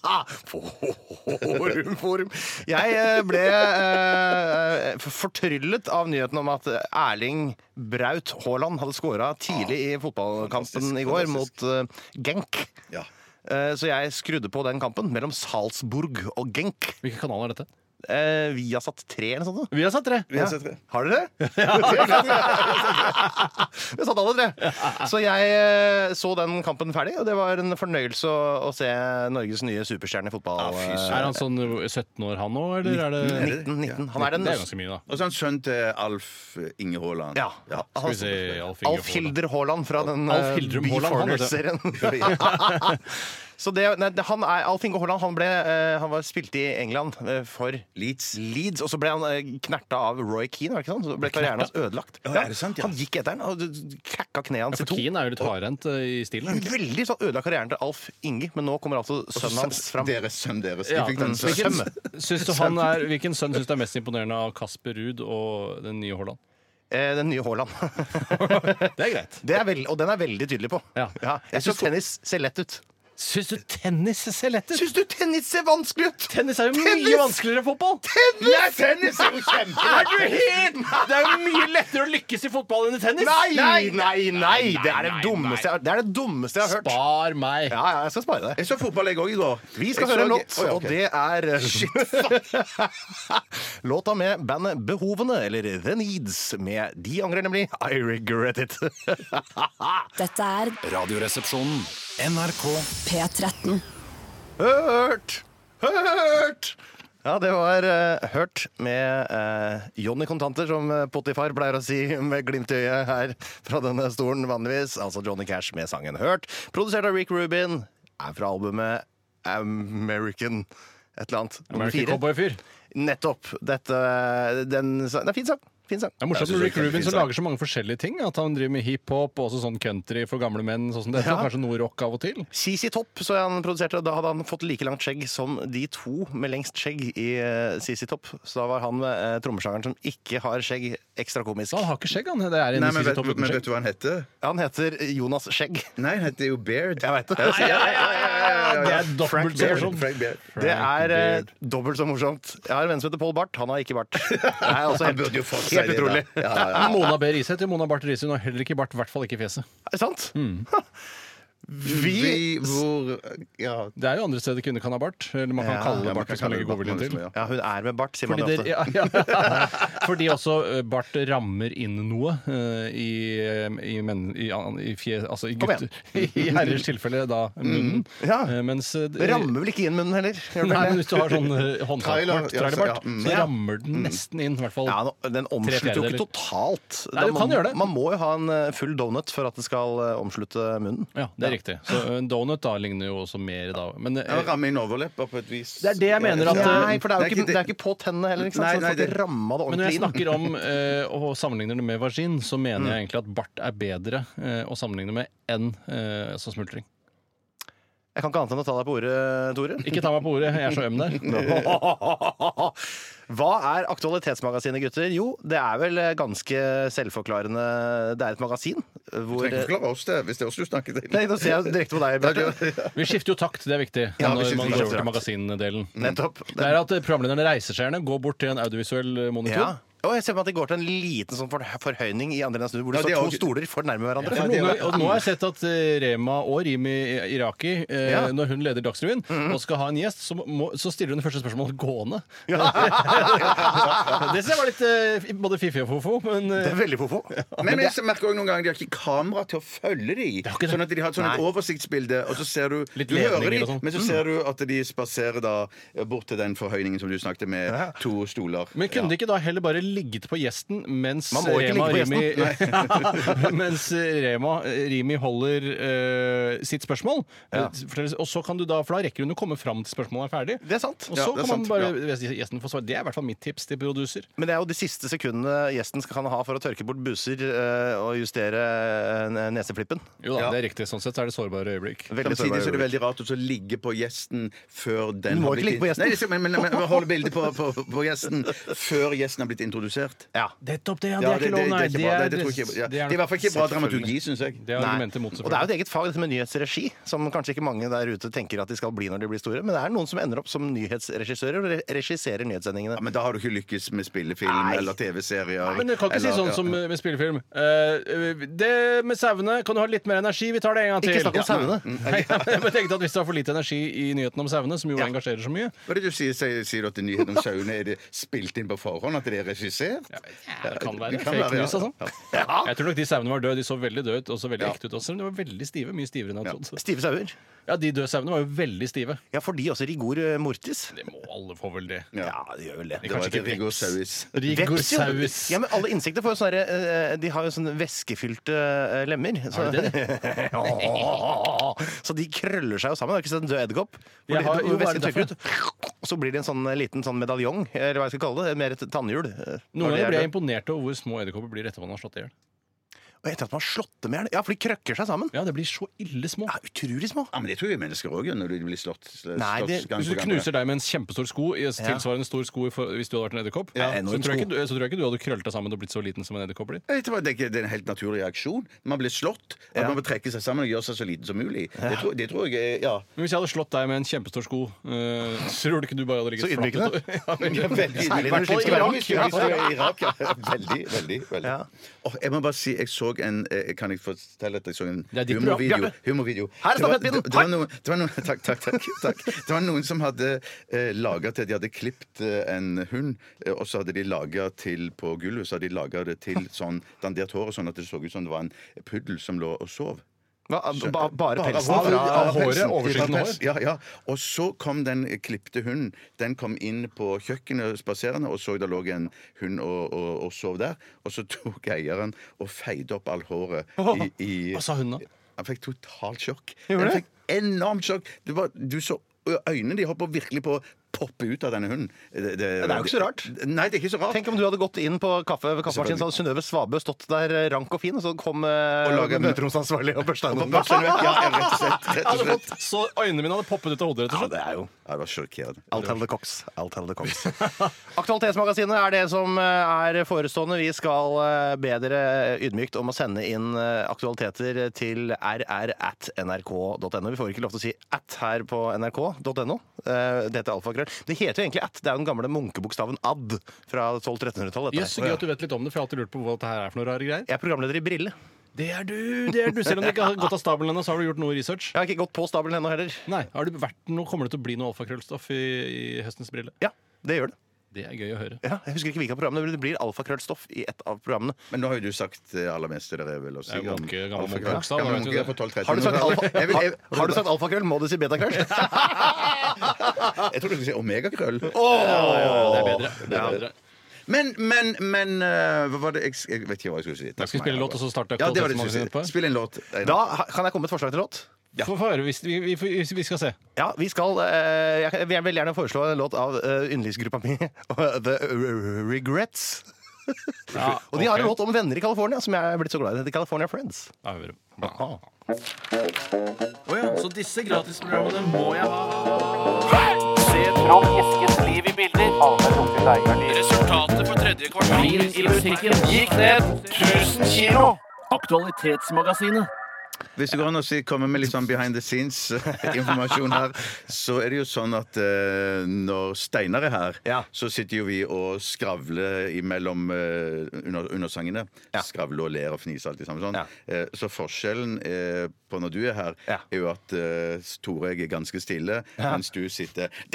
[SPEAKER 5] går!
[SPEAKER 4] Forum, forum. Jeg eh, ble eh, fortryllet av nyheten om at Erling Braut Haaland hadde skåra tidlig i fotballkampen i går mot eh, Genk.
[SPEAKER 5] Ja.
[SPEAKER 4] Eh, Så jeg skrudde på den kampen mellom Salzburg og Genk.
[SPEAKER 6] Hvilken kanal er dette?
[SPEAKER 4] Eh, Vi har satt tre eller noe sånt. nå.
[SPEAKER 6] Vi har satt tre.
[SPEAKER 5] Vi har sett det.
[SPEAKER 4] Har dere det? Vi har satt alle tre. Så jeg eh, så den kampen ferdig, og det var en fornøyelse å, å se Norges nye superstjerne i fotball.
[SPEAKER 5] fy
[SPEAKER 4] eh,
[SPEAKER 5] søren.
[SPEAKER 6] Er han sånn 17 år, han òg, eller er det
[SPEAKER 4] 19, 19. Han er den
[SPEAKER 6] Det er ganske mye, da.
[SPEAKER 5] Og så er han sønn til Alf eh, Inge Haaland.
[SPEAKER 4] Ja.
[SPEAKER 6] Skal vi se Alf Inge
[SPEAKER 4] Alf Hilder Haaland fra den
[SPEAKER 6] Alf
[SPEAKER 4] eh,
[SPEAKER 6] Hildrum Haaland, han heter det.
[SPEAKER 4] Beforeigners-serien. Så det, nei, det- han er, Alf-Inge Haaland han ble, eh, han var, spilte i England eh, for
[SPEAKER 5] Leeds.
[SPEAKER 4] Leeds, og så ble han eh, knerta av Roy Keane, var det ikke sant? Så ble karrieren hans ødelagt.
[SPEAKER 5] Ja, er det sant, ja?
[SPEAKER 4] Han gikk etter den og d- krakka kneet hans i
[SPEAKER 6] For
[SPEAKER 4] to.
[SPEAKER 6] Keane er jo litt hardhendt eh, i stilen. er han ikke?
[SPEAKER 4] Veldig sånn ødela karrieren til Alf Inge, men nå kommer altså sønnen hans fram. Mm.
[SPEAKER 5] Deres sønn deres. De
[SPEAKER 6] Ja,
[SPEAKER 5] fikk den
[SPEAKER 4] sønnen.
[SPEAKER 5] sønnen.
[SPEAKER 6] Syns du han er, hvilken sønn syns du er mest imponerende av Kasper Ruud og den nye Haaland?
[SPEAKER 4] Eh, den nye Haaland.
[SPEAKER 6] Det er greit.
[SPEAKER 4] Det er veld- og den er veldig tydelig på.
[SPEAKER 6] Ja.
[SPEAKER 4] jeg syns tennis ser lett ut.
[SPEAKER 6] Syns du tennis ser lett ut?
[SPEAKER 4] Syns du tennis ser vanskelig ut?
[SPEAKER 6] Tennis er jo
[SPEAKER 4] Tennis!
[SPEAKER 6] mye vanskeligere enn fotball!
[SPEAKER 4] Tennis!
[SPEAKER 5] Ja, tennis er jo
[SPEAKER 6] Er
[SPEAKER 5] kjempelett!
[SPEAKER 6] du helt Det er jo mye lettere å lykkes i fotball enn i tennis!
[SPEAKER 4] Nei, nei, nei! Det er det dummeste jeg, det er det dummeste jeg har hørt.
[SPEAKER 6] Spar meg!
[SPEAKER 4] Ja, ja, jeg skal spare det.
[SPEAKER 5] Jeg så fotball, jeg òg, i går.
[SPEAKER 4] Vi skal
[SPEAKER 5] Jeg
[SPEAKER 4] høre en
[SPEAKER 5] så-
[SPEAKER 4] låt,
[SPEAKER 5] Å, ja,
[SPEAKER 4] og
[SPEAKER 5] ok.
[SPEAKER 4] det er eh, Låta med bandet Behovene, eller The Needs, med De angrer nemlig I regret it.
[SPEAKER 1] Dette er
[SPEAKER 2] Radioresepsjonen.
[SPEAKER 3] NRK
[SPEAKER 1] P13.
[SPEAKER 4] Hørt! Hørt! Ja, det var eh, Hørt med eh, Johnny Kontanter, som eh, Pottifar pleier å si med glimt i øyet her fra denne stolen vanligvis. Altså Johnny Cash med sangen Hørt. Produsert av Rick Rubin. Er fra albumet American et eller annet. Nummer
[SPEAKER 6] American
[SPEAKER 4] fire.
[SPEAKER 6] Cowboy-fyr.
[SPEAKER 4] Nettopp. Dette eh, den, sa- Det er fin sang. Fin sang.
[SPEAKER 6] Det er morsomt
[SPEAKER 5] Jeg synes
[SPEAKER 6] med Rick
[SPEAKER 5] det er
[SPEAKER 6] Rubin som
[SPEAKER 5] fint,
[SPEAKER 6] lager så mange forskjellige ting. At han driver med hiphop og også sånn country for gamle menn. Sånn som dette,
[SPEAKER 4] Ja.
[SPEAKER 6] og Kanskje noe rock av og til.
[SPEAKER 4] CC Topp så han produserte, da hadde han fått like langt skjegg som de to med lengst skjegg i eh, CC Topp. Så da var han eh, trommesjangeren som ikke har skjegg, ekstra komisk.
[SPEAKER 6] Så han har ikke skjegg, han. Det er en
[SPEAKER 5] Nei, men
[SPEAKER 6] siste
[SPEAKER 5] vet,
[SPEAKER 6] topp uten
[SPEAKER 5] men vet
[SPEAKER 6] skjegg.
[SPEAKER 5] du hva han heter?
[SPEAKER 4] Han heter Jonas Skjegg.
[SPEAKER 5] Nei, han heter jo Beard.
[SPEAKER 4] Jeg Sånn. veit det.
[SPEAKER 5] Ja, ja, ja, ja, ja,
[SPEAKER 6] Det
[SPEAKER 5] ja.
[SPEAKER 6] er dobbelt så
[SPEAKER 5] Beard,
[SPEAKER 6] morsomt.
[SPEAKER 5] Frank Beard.
[SPEAKER 4] Det er eh, dobbelt så morsomt. Jeg har en venn som heter Pål Bart. Han har ikke bart. Det er også
[SPEAKER 5] Han
[SPEAKER 4] helt,
[SPEAKER 5] burde jo fått seg
[SPEAKER 4] helt
[SPEAKER 5] det, da.
[SPEAKER 4] utrolig.
[SPEAKER 5] Ja, ja, ja.
[SPEAKER 6] Mona B. Riise heter jo Mona Barth Riise. Hun har heller ikke bart, i hvert fall ikke i fjeset.
[SPEAKER 4] Er det sant?
[SPEAKER 6] Mm.
[SPEAKER 4] Vi
[SPEAKER 5] Vi, hvor Ja.
[SPEAKER 6] Det er jo andre steder kvinner kan ha bart. Eller man kan
[SPEAKER 4] Ja.
[SPEAKER 5] Ja,
[SPEAKER 6] kalle det
[SPEAKER 5] man
[SPEAKER 6] bart.
[SPEAKER 5] kan
[SPEAKER 6] Det kan
[SPEAKER 5] kalle
[SPEAKER 6] legge
[SPEAKER 5] det bart,
[SPEAKER 6] godviljen
[SPEAKER 5] liksom,
[SPEAKER 6] til.
[SPEAKER 5] ja.
[SPEAKER 4] Ja, hun er med bart, sier man
[SPEAKER 6] Fordi,
[SPEAKER 4] det
[SPEAKER 6] det,
[SPEAKER 4] ofte.
[SPEAKER 6] ja, ja. Fordi også eh, bart rammer inn noe eh, i, eh, i, menn, i, an- i, fje, altså i
[SPEAKER 4] Kom igjen.
[SPEAKER 6] gutter. I herrers tilfelle da
[SPEAKER 5] Mm.
[SPEAKER 6] munnen.
[SPEAKER 4] Ja.
[SPEAKER 6] Eh, Mens eh,
[SPEAKER 4] Det rammer vel ikke inn munnen heller? Gjør det
[SPEAKER 6] Nei, men
[SPEAKER 4] det?
[SPEAKER 6] hvis du har sånn eh,
[SPEAKER 5] Trailer,
[SPEAKER 6] håndtakbart,
[SPEAKER 5] ja, så-
[SPEAKER 6] trailerbart,
[SPEAKER 5] ja, mm.
[SPEAKER 6] så
[SPEAKER 4] Ja.
[SPEAKER 6] rammer den nesten inn. I hvert fall.
[SPEAKER 4] Ja, nå- Den omslutter jo
[SPEAKER 6] fjerdedeler.
[SPEAKER 4] ikke totalt.
[SPEAKER 6] Nei, du
[SPEAKER 4] Da
[SPEAKER 6] kan
[SPEAKER 4] må-
[SPEAKER 6] gjøre det.
[SPEAKER 4] Man må jo ha en eh, full donut for at det skal eh, omslutte munnen.
[SPEAKER 6] Ja, det er riktig. Så en donut da ligner jo også mer da. Men eh,
[SPEAKER 5] Han rammer inn overleppa på et vis.
[SPEAKER 6] Det er det jeg mener at, eh,
[SPEAKER 5] Ja.
[SPEAKER 4] eh, Nei, for det er jo ikke, det er ikke på tennene heller, ikke sant?
[SPEAKER 5] Nei,
[SPEAKER 4] så du
[SPEAKER 5] nei,
[SPEAKER 4] får
[SPEAKER 5] det-
[SPEAKER 4] ikke ramma det
[SPEAKER 6] Men når
[SPEAKER 4] ordentlig
[SPEAKER 6] jeg
[SPEAKER 4] inn.
[SPEAKER 6] snakker om eh, å sammenligne det med vagin, så mener
[SPEAKER 4] Mm.
[SPEAKER 6] jeg egentlig at bart er bedre eh, å sammenligne med enn eh, som smultring.
[SPEAKER 4] Jeg kan ikke annet enn å ta deg på ordet, Tore.
[SPEAKER 6] Ikke ta meg på ordet, jeg er så øm der.
[SPEAKER 4] Hva er Aktualitetsmagasinet, gutter? Jo, det er vel eh, ganske selvforklarende. Det er et magasin hvor
[SPEAKER 5] Trenger ikke
[SPEAKER 4] Nei,
[SPEAKER 5] forklare oss det, hvis det er oss du snakker til.
[SPEAKER 4] nå ser jeg direkte på deg, Bjarte.
[SPEAKER 6] Vi skifter jo takt, det er viktig.
[SPEAKER 4] Ja, vi
[SPEAKER 6] når
[SPEAKER 4] skifter
[SPEAKER 6] man
[SPEAKER 4] takt.
[SPEAKER 6] går over til magasindelen.
[SPEAKER 4] Nettopp.
[SPEAKER 6] Det er at eh, programlederne reiser seg gjerne, går bort til en audiovisuell eh,
[SPEAKER 4] Ja.
[SPEAKER 6] monitor.
[SPEAKER 4] Og jeg ser på meg at det går til en liten sånn for- forhøyning i andre enden av snur, hvor det
[SPEAKER 5] Ja, det
[SPEAKER 4] står
[SPEAKER 5] er
[SPEAKER 4] to
[SPEAKER 5] jo-
[SPEAKER 4] stoler for nærme hverandre.
[SPEAKER 6] Noen ganger- og nå har jeg sett at eh, Rema og Rimi Iraki, eh,
[SPEAKER 4] Ja. Mm-hmm.
[SPEAKER 6] når hun leder Dagsrevyen og skal ha en gjest, så, må, så stiller hun det første spørsmålet gående. det synes jeg var litt eh, både fiffig og fofo, men eh,
[SPEAKER 4] Det er veldig fofo.
[SPEAKER 5] Men jeg merker også noen ganger de har ikke kamera til å følge de
[SPEAKER 6] ikke det.
[SPEAKER 5] Sånn at de har et sånn et
[SPEAKER 4] Nei.
[SPEAKER 5] oversiktsbilde, og så ser du
[SPEAKER 6] Litt
[SPEAKER 5] Du hører
[SPEAKER 6] ledninger
[SPEAKER 5] de,
[SPEAKER 6] og sånn.
[SPEAKER 5] men så ser du at de spaserer da eh, bort til den forhøyningen som du snakket med, to stoler.
[SPEAKER 6] Men kunne de
[SPEAKER 5] Ja.
[SPEAKER 6] ikke da heller bare ligget på gjesten mens
[SPEAKER 4] Man må ikke
[SPEAKER 6] Rema,
[SPEAKER 4] ligge
[SPEAKER 6] Rimi, mens Rema Rimi holder eh, sitt spørsmål?
[SPEAKER 4] Ja.
[SPEAKER 6] Fortell- Og så kan du da, for da rekker hun å komme fram til spørsmålet er ferdig.
[SPEAKER 4] Det er sant.
[SPEAKER 6] Og
[SPEAKER 5] Ja,
[SPEAKER 6] så
[SPEAKER 5] det er
[SPEAKER 6] kan man
[SPEAKER 5] sant,
[SPEAKER 6] bare gjesten få svar. Det er i hvert fall mitt tips til produser.
[SPEAKER 4] Men det er jo de siste sekundene gjesten skal kan ha for å tørke bort buser eh, og justere eh, neseflippen.
[SPEAKER 6] Jo da,
[SPEAKER 5] Ja.
[SPEAKER 6] det er riktig. Sånn sett så er det sårbare øyeblikk.
[SPEAKER 4] Veldig
[SPEAKER 5] Samtidig så er det
[SPEAKER 4] sårbare øyeblikk.
[SPEAKER 5] veldig rart å så ligge på gjesten før den
[SPEAKER 4] Du må
[SPEAKER 5] har
[SPEAKER 4] ikke
[SPEAKER 5] blitt
[SPEAKER 4] ligge på
[SPEAKER 5] in-
[SPEAKER 4] gjesten.
[SPEAKER 5] Nei, det skal- men, men, men, men holde bildet på, på, på gjesten før gjesten har blitt introdusert.
[SPEAKER 4] Ja.
[SPEAKER 6] Nettopp det, ja.
[SPEAKER 5] Ja, det, det, det er ikke bra. Det, det, tror jeg ikke, ja.
[SPEAKER 6] det
[SPEAKER 5] det
[SPEAKER 6] er
[SPEAKER 5] er i hvert fall ikke bra
[SPEAKER 6] selvfølgelig.
[SPEAKER 5] dramaturgi, syns jeg.
[SPEAKER 6] Det er
[SPEAKER 4] Nei.
[SPEAKER 6] argumentet mot,
[SPEAKER 4] Og det er jo et
[SPEAKER 6] selvfølgelig.
[SPEAKER 4] eget fag, dette med nyhetsregi, som kanskje ikke mange der ute tenker at de skal bli når de blir store, men det er noen som ender opp som nyhetsregissører og re- regisserer nyhetssendingene.
[SPEAKER 5] Ja, men da har du ikke lykkes med spillefilm
[SPEAKER 4] Nei.
[SPEAKER 5] eller TV-serier.
[SPEAKER 6] Men du kan ikke si
[SPEAKER 5] eller-
[SPEAKER 6] sånn som
[SPEAKER 5] ja.
[SPEAKER 6] med spillefilm. Eh, det med sauene kan du ha litt mer energi. Vi tar det en gang til.
[SPEAKER 4] Ikke snakk om sauene.
[SPEAKER 6] Nei, jeg bare tenkte at Hvis du har for lite energi i nyhetene om sauene, som jo engasjerer så mye
[SPEAKER 5] Hva er det du sier, sier, sier du at nyheten om sauene er det spilt inn på forhånd? At det er komplisert?
[SPEAKER 6] Ja, det kan være.
[SPEAKER 5] Det kan
[SPEAKER 6] Fake
[SPEAKER 5] være, ja.
[SPEAKER 6] news, altså.
[SPEAKER 4] Ja.
[SPEAKER 6] Jeg tror nok de sauene var døde. De så veldig døde ut og så veldig ekte ut også. Men de var veldig stive. Mye stivere enn jeg trodde.
[SPEAKER 4] Stive sauer.
[SPEAKER 6] Ja, de døde sauene var jo veldig stive.
[SPEAKER 4] Ja, for de også rigor eh, mortis.
[SPEAKER 6] Det må alle få vel det.
[SPEAKER 4] Ja, de gjør vel det.
[SPEAKER 5] Det var
[SPEAKER 6] Kanskje
[SPEAKER 5] det
[SPEAKER 6] ikke
[SPEAKER 5] Viggo
[SPEAKER 6] veps.
[SPEAKER 5] Sauis.
[SPEAKER 4] Veps, jo.
[SPEAKER 6] Rigorsaus.
[SPEAKER 4] Ja, men alle insekter får jo sånne eh, De har jo sånne væskefylte eh, lemmer. Så,
[SPEAKER 6] Har de det,
[SPEAKER 4] Ja. så de krøller seg jo sammen. Har du ikke sett en død edderkopp? Hvor
[SPEAKER 6] Jeg
[SPEAKER 4] det-
[SPEAKER 6] har-
[SPEAKER 4] Hvor
[SPEAKER 6] jo, hva er
[SPEAKER 4] væsken
[SPEAKER 6] det
[SPEAKER 4] tørker ut, så blir det en sånn eh, liten sånn medaljong, eller hva jeg skal kalle det. Mer et tannhjul. eh, når de er
[SPEAKER 6] Noen ganger blir jeg
[SPEAKER 4] døde.
[SPEAKER 6] imponert over hvor små edderkopper blir etter at man har slått i hjel.
[SPEAKER 4] Og etter at man har slått dem i hjel. Ja, for de krøkker seg sammen.
[SPEAKER 6] Ja, det blir så ille små.
[SPEAKER 4] Ja, utrolig små.
[SPEAKER 5] Ja, men det tror jeg mennesker òg gjør når de blir slått. slått
[SPEAKER 4] Nei, det-
[SPEAKER 5] gang
[SPEAKER 6] Hvis
[SPEAKER 5] på
[SPEAKER 6] du
[SPEAKER 5] gang.
[SPEAKER 6] knuser deg med en kjempestor sko, i en tilsvarende stor sko i for- hvis du hadde vært en edderkopp, så,
[SPEAKER 4] enorm
[SPEAKER 6] tror
[SPEAKER 4] sko.
[SPEAKER 6] jeg ikke, du- så tror jeg ikke du hadde krøllet deg sammen og blitt så liten som en edderkopp blir.
[SPEAKER 5] Jeg tror Det er ikke- det er en helt naturlig reaksjon. Man blir slått. At man må trekke seg sammen og gjøre seg så liten som mulig. Det tror, det tror jeg er- ja.
[SPEAKER 6] Men hvis jeg hadde slått deg med en kjempestor sko, eh, tror du ikke du bare hadde ligget
[SPEAKER 4] Så ydmykende.
[SPEAKER 6] flatt ut? Ja, veldig.
[SPEAKER 5] Veldig,
[SPEAKER 4] Særlig når du
[SPEAKER 5] Hvertfall
[SPEAKER 4] slipper Irak.
[SPEAKER 5] Irak. Hvis du er i Irak, ja. Veldig, veldig. veldig.
[SPEAKER 4] Ja.
[SPEAKER 5] Åh, jeg må bare si, jeg så en eh, Kan jeg fortelle at jeg så en
[SPEAKER 6] Det er ditt program,
[SPEAKER 5] humorvideo?
[SPEAKER 6] Bjarte.
[SPEAKER 5] humorvideo.
[SPEAKER 4] Her er
[SPEAKER 5] Det var-
[SPEAKER 4] stafettpinnen.
[SPEAKER 5] det- det var noen- det var noen- Takk, takk, takk. takk. Det var noen som hadde eh, laga til De hadde klippet eh, en hund, eh, og så hadde de laga til på gulvet så hadde de laget det til sånn dandert hår, og sånn at det så ut som det var en puddel som lå og sov.
[SPEAKER 4] Hva, ba, bare pelsen
[SPEAKER 5] Bare-
[SPEAKER 4] fra
[SPEAKER 5] bare
[SPEAKER 6] håret,
[SPEAKER 5] pelsen.
[SPEAKER 6] overskytende
[SPEAKER 5] Fra pels, Ja, ja. Og så kom den klipte hunden. Den kom inn på kjøkkenet spaserende og så der lå en hund og, og, og sov der. Og så tok eieren og feide opp all håret i, i
[SPEAKER 6] Hva sa hun da?
[SPEAKER 5] Han fikk totalt sjokk.
[SPEAKER 4] Gjorde
[SPEAKER 5] Han
[SPEAKER 4] det?
[SPEAKER 5] fikk enormt sjokk. Du, bare, du så øynene de holdt på virkelig på å poppe ut av denne hunden. Det,
[SPEAKER 4] Det er jo ikke så rart.
[SPEAKER 5] Nei, det er ikke så rart.
[SPEAKER 4] Tenk om du hadde gått inn på kaffe, kaffemaskinen, så hadde Synnøve Svabø stått der eh, rank og fin, og så kom eh,
[SPEAKER 5] Og laget-
[SPEAKER 4] møteromsansvarlig og børsta
[SPEAKER 5] Og på
[SPEAKER 4] henne.
[SPEAKER 5] børsen vekk, ja, rett og slett. Rett og slett.
[SPEAKER 6] Så øynene mine hadde poppet ut av hodet, rett og slett.
[SPEAKER 4] det er jo
[SPEAKER 5] Ja, det var sjokkerende.
[SPEAKER 4] I'll tell the cocks. I'll tell the cocks. Aktualitetsmagasinet er det som eh, er forestående. Vi skal eh, be dere ydmykt om å sende inn eh, aktualiteter til rr.nrk.no. Vi får ikke lov til å si at her på nrk.no. Eh, Det heter alfakrøll. Det heter jo egentlig at. Det er jo den gamle munkebokstaven ad fra 1200-1300-tallet.
[SPEAKER 6] Jøss,
[SPEAKER 4] dette
[SPEAKER 6] så
[SPEAKER 4] her.
[SPEAKER 6] gøy at du vet litt om det, for jeg har alltid lurt på hva dette her er for noen rare greier.
[SPEAKER 4] Jeg er programleder i Brille.
[SPEAKER 6] Det er du! det er du Selv om du ikke har gått av stabelen ennå, så har du gjort noe research.
[SPEAKER 4] Jeg har ikke gått på stabelen ennå heller.
[SPEAKER 6] Nei, har du vært noe, Kommer det til å bli noe alfakrøllstoff i, i høstens brille?
[SPEAKER 4] Ja, det gjør det.
[SPEAKER 6] Det er gøy å høre.
[SPEAKER 4] Ja, jeg husker ikke hvilke av programmene, men det blir alfakrøllstoff i et av programmene.
[SPEAKER 5] Men nå har jo du sagt eh, aller mest til dere, vel? å si
[SPEAKER 6] Det er jo
[SPEAKER 5] om-
[SPEAKER 6] Munke, gammel
[SPEAKER 5] Alfa-
[SPEAKER 6] Munke Rokstad,
[SPEAKER 5] Gammel
[SPEAKER 6] da vet
[SPEAKER 5] Munke
[SPEAKER 6] vi
[SPEAKER 5] er
[SPEAKER 6] det.
[SPEAKER 5] på 12-13.
[SPEAKER 4] Har du sagt, alfa,
[SPEAKER 5] Jeg vil- jeg-
[SPEAKER 4] har, har du sagt alfakrøll, må du si betakrøll.
[SPEAKER 5] Jeg tror du skulle si omegakrøll.
[SPEAKER 6] Det er bedre. Det er bedre.
[SPEAKER 5] Men, men, men eh, Hva var det jeg, jeg vet ikke hva jeg skulle si. Takk
[SPEAKER 6] Jeg skal
[SPEAKER 5] for meg.
[SPEAKER 6] spille låt, og så starte
[SPEAKER 5] Ja, det var det jeg
[SPEAKER 6] Aktualitetsmagasinet
[SPEAKER 5] skulle
[SPEAKER 6] etterpå.
[SPEAKER 5] si. Spill en låt. Einar.
[SPEAKER 4] Da ha- kan jeg komme med et forslag til låt.
[SPEAKER 6] Få få høre, hvis vi, vi, vi, vi skal se.
[SPEAKER 4] Ja, vi skal eh, Jeg vil veldig gjerne foreslå en låt av eh, yndlingsgruppa mi, eh, The Regrets. Og de har en låt om venner i California som jeg er blitt så glad i. Det heter California Friends.
[SPEAKER 7] Så disse gratisprogrammene må jeg ha. Se Trond Eskens liv i bilder. Resultatet for tredje kvartal Vin i butikken gikk ned 1000 kilo. Aktualitetsmagasinet.
[SPEAKER 5] Hvis det går an å si, komme med litt sånn behind the scenes-informasjon her, så er det jo sånn at eh, når Steinar er her,
[SPEAKER 4] Ja.
[SPEAKER 5] så sitter jo vi og skravler imellom eh, under, under sangene.
[SPEAKER 4] Ja.
[SPEAKER 5] Skravler og ler og fniser alltid sammen sånn.
[SPEAKER 4] Ja.
[SPEAKER 5] Eh, så forskjellen eh, på når du er her,
[SPEAKER 4] Ja.
[SPEAKER 5] er jo at eh, Tore jeg er ganske stille, mens du sitter ja.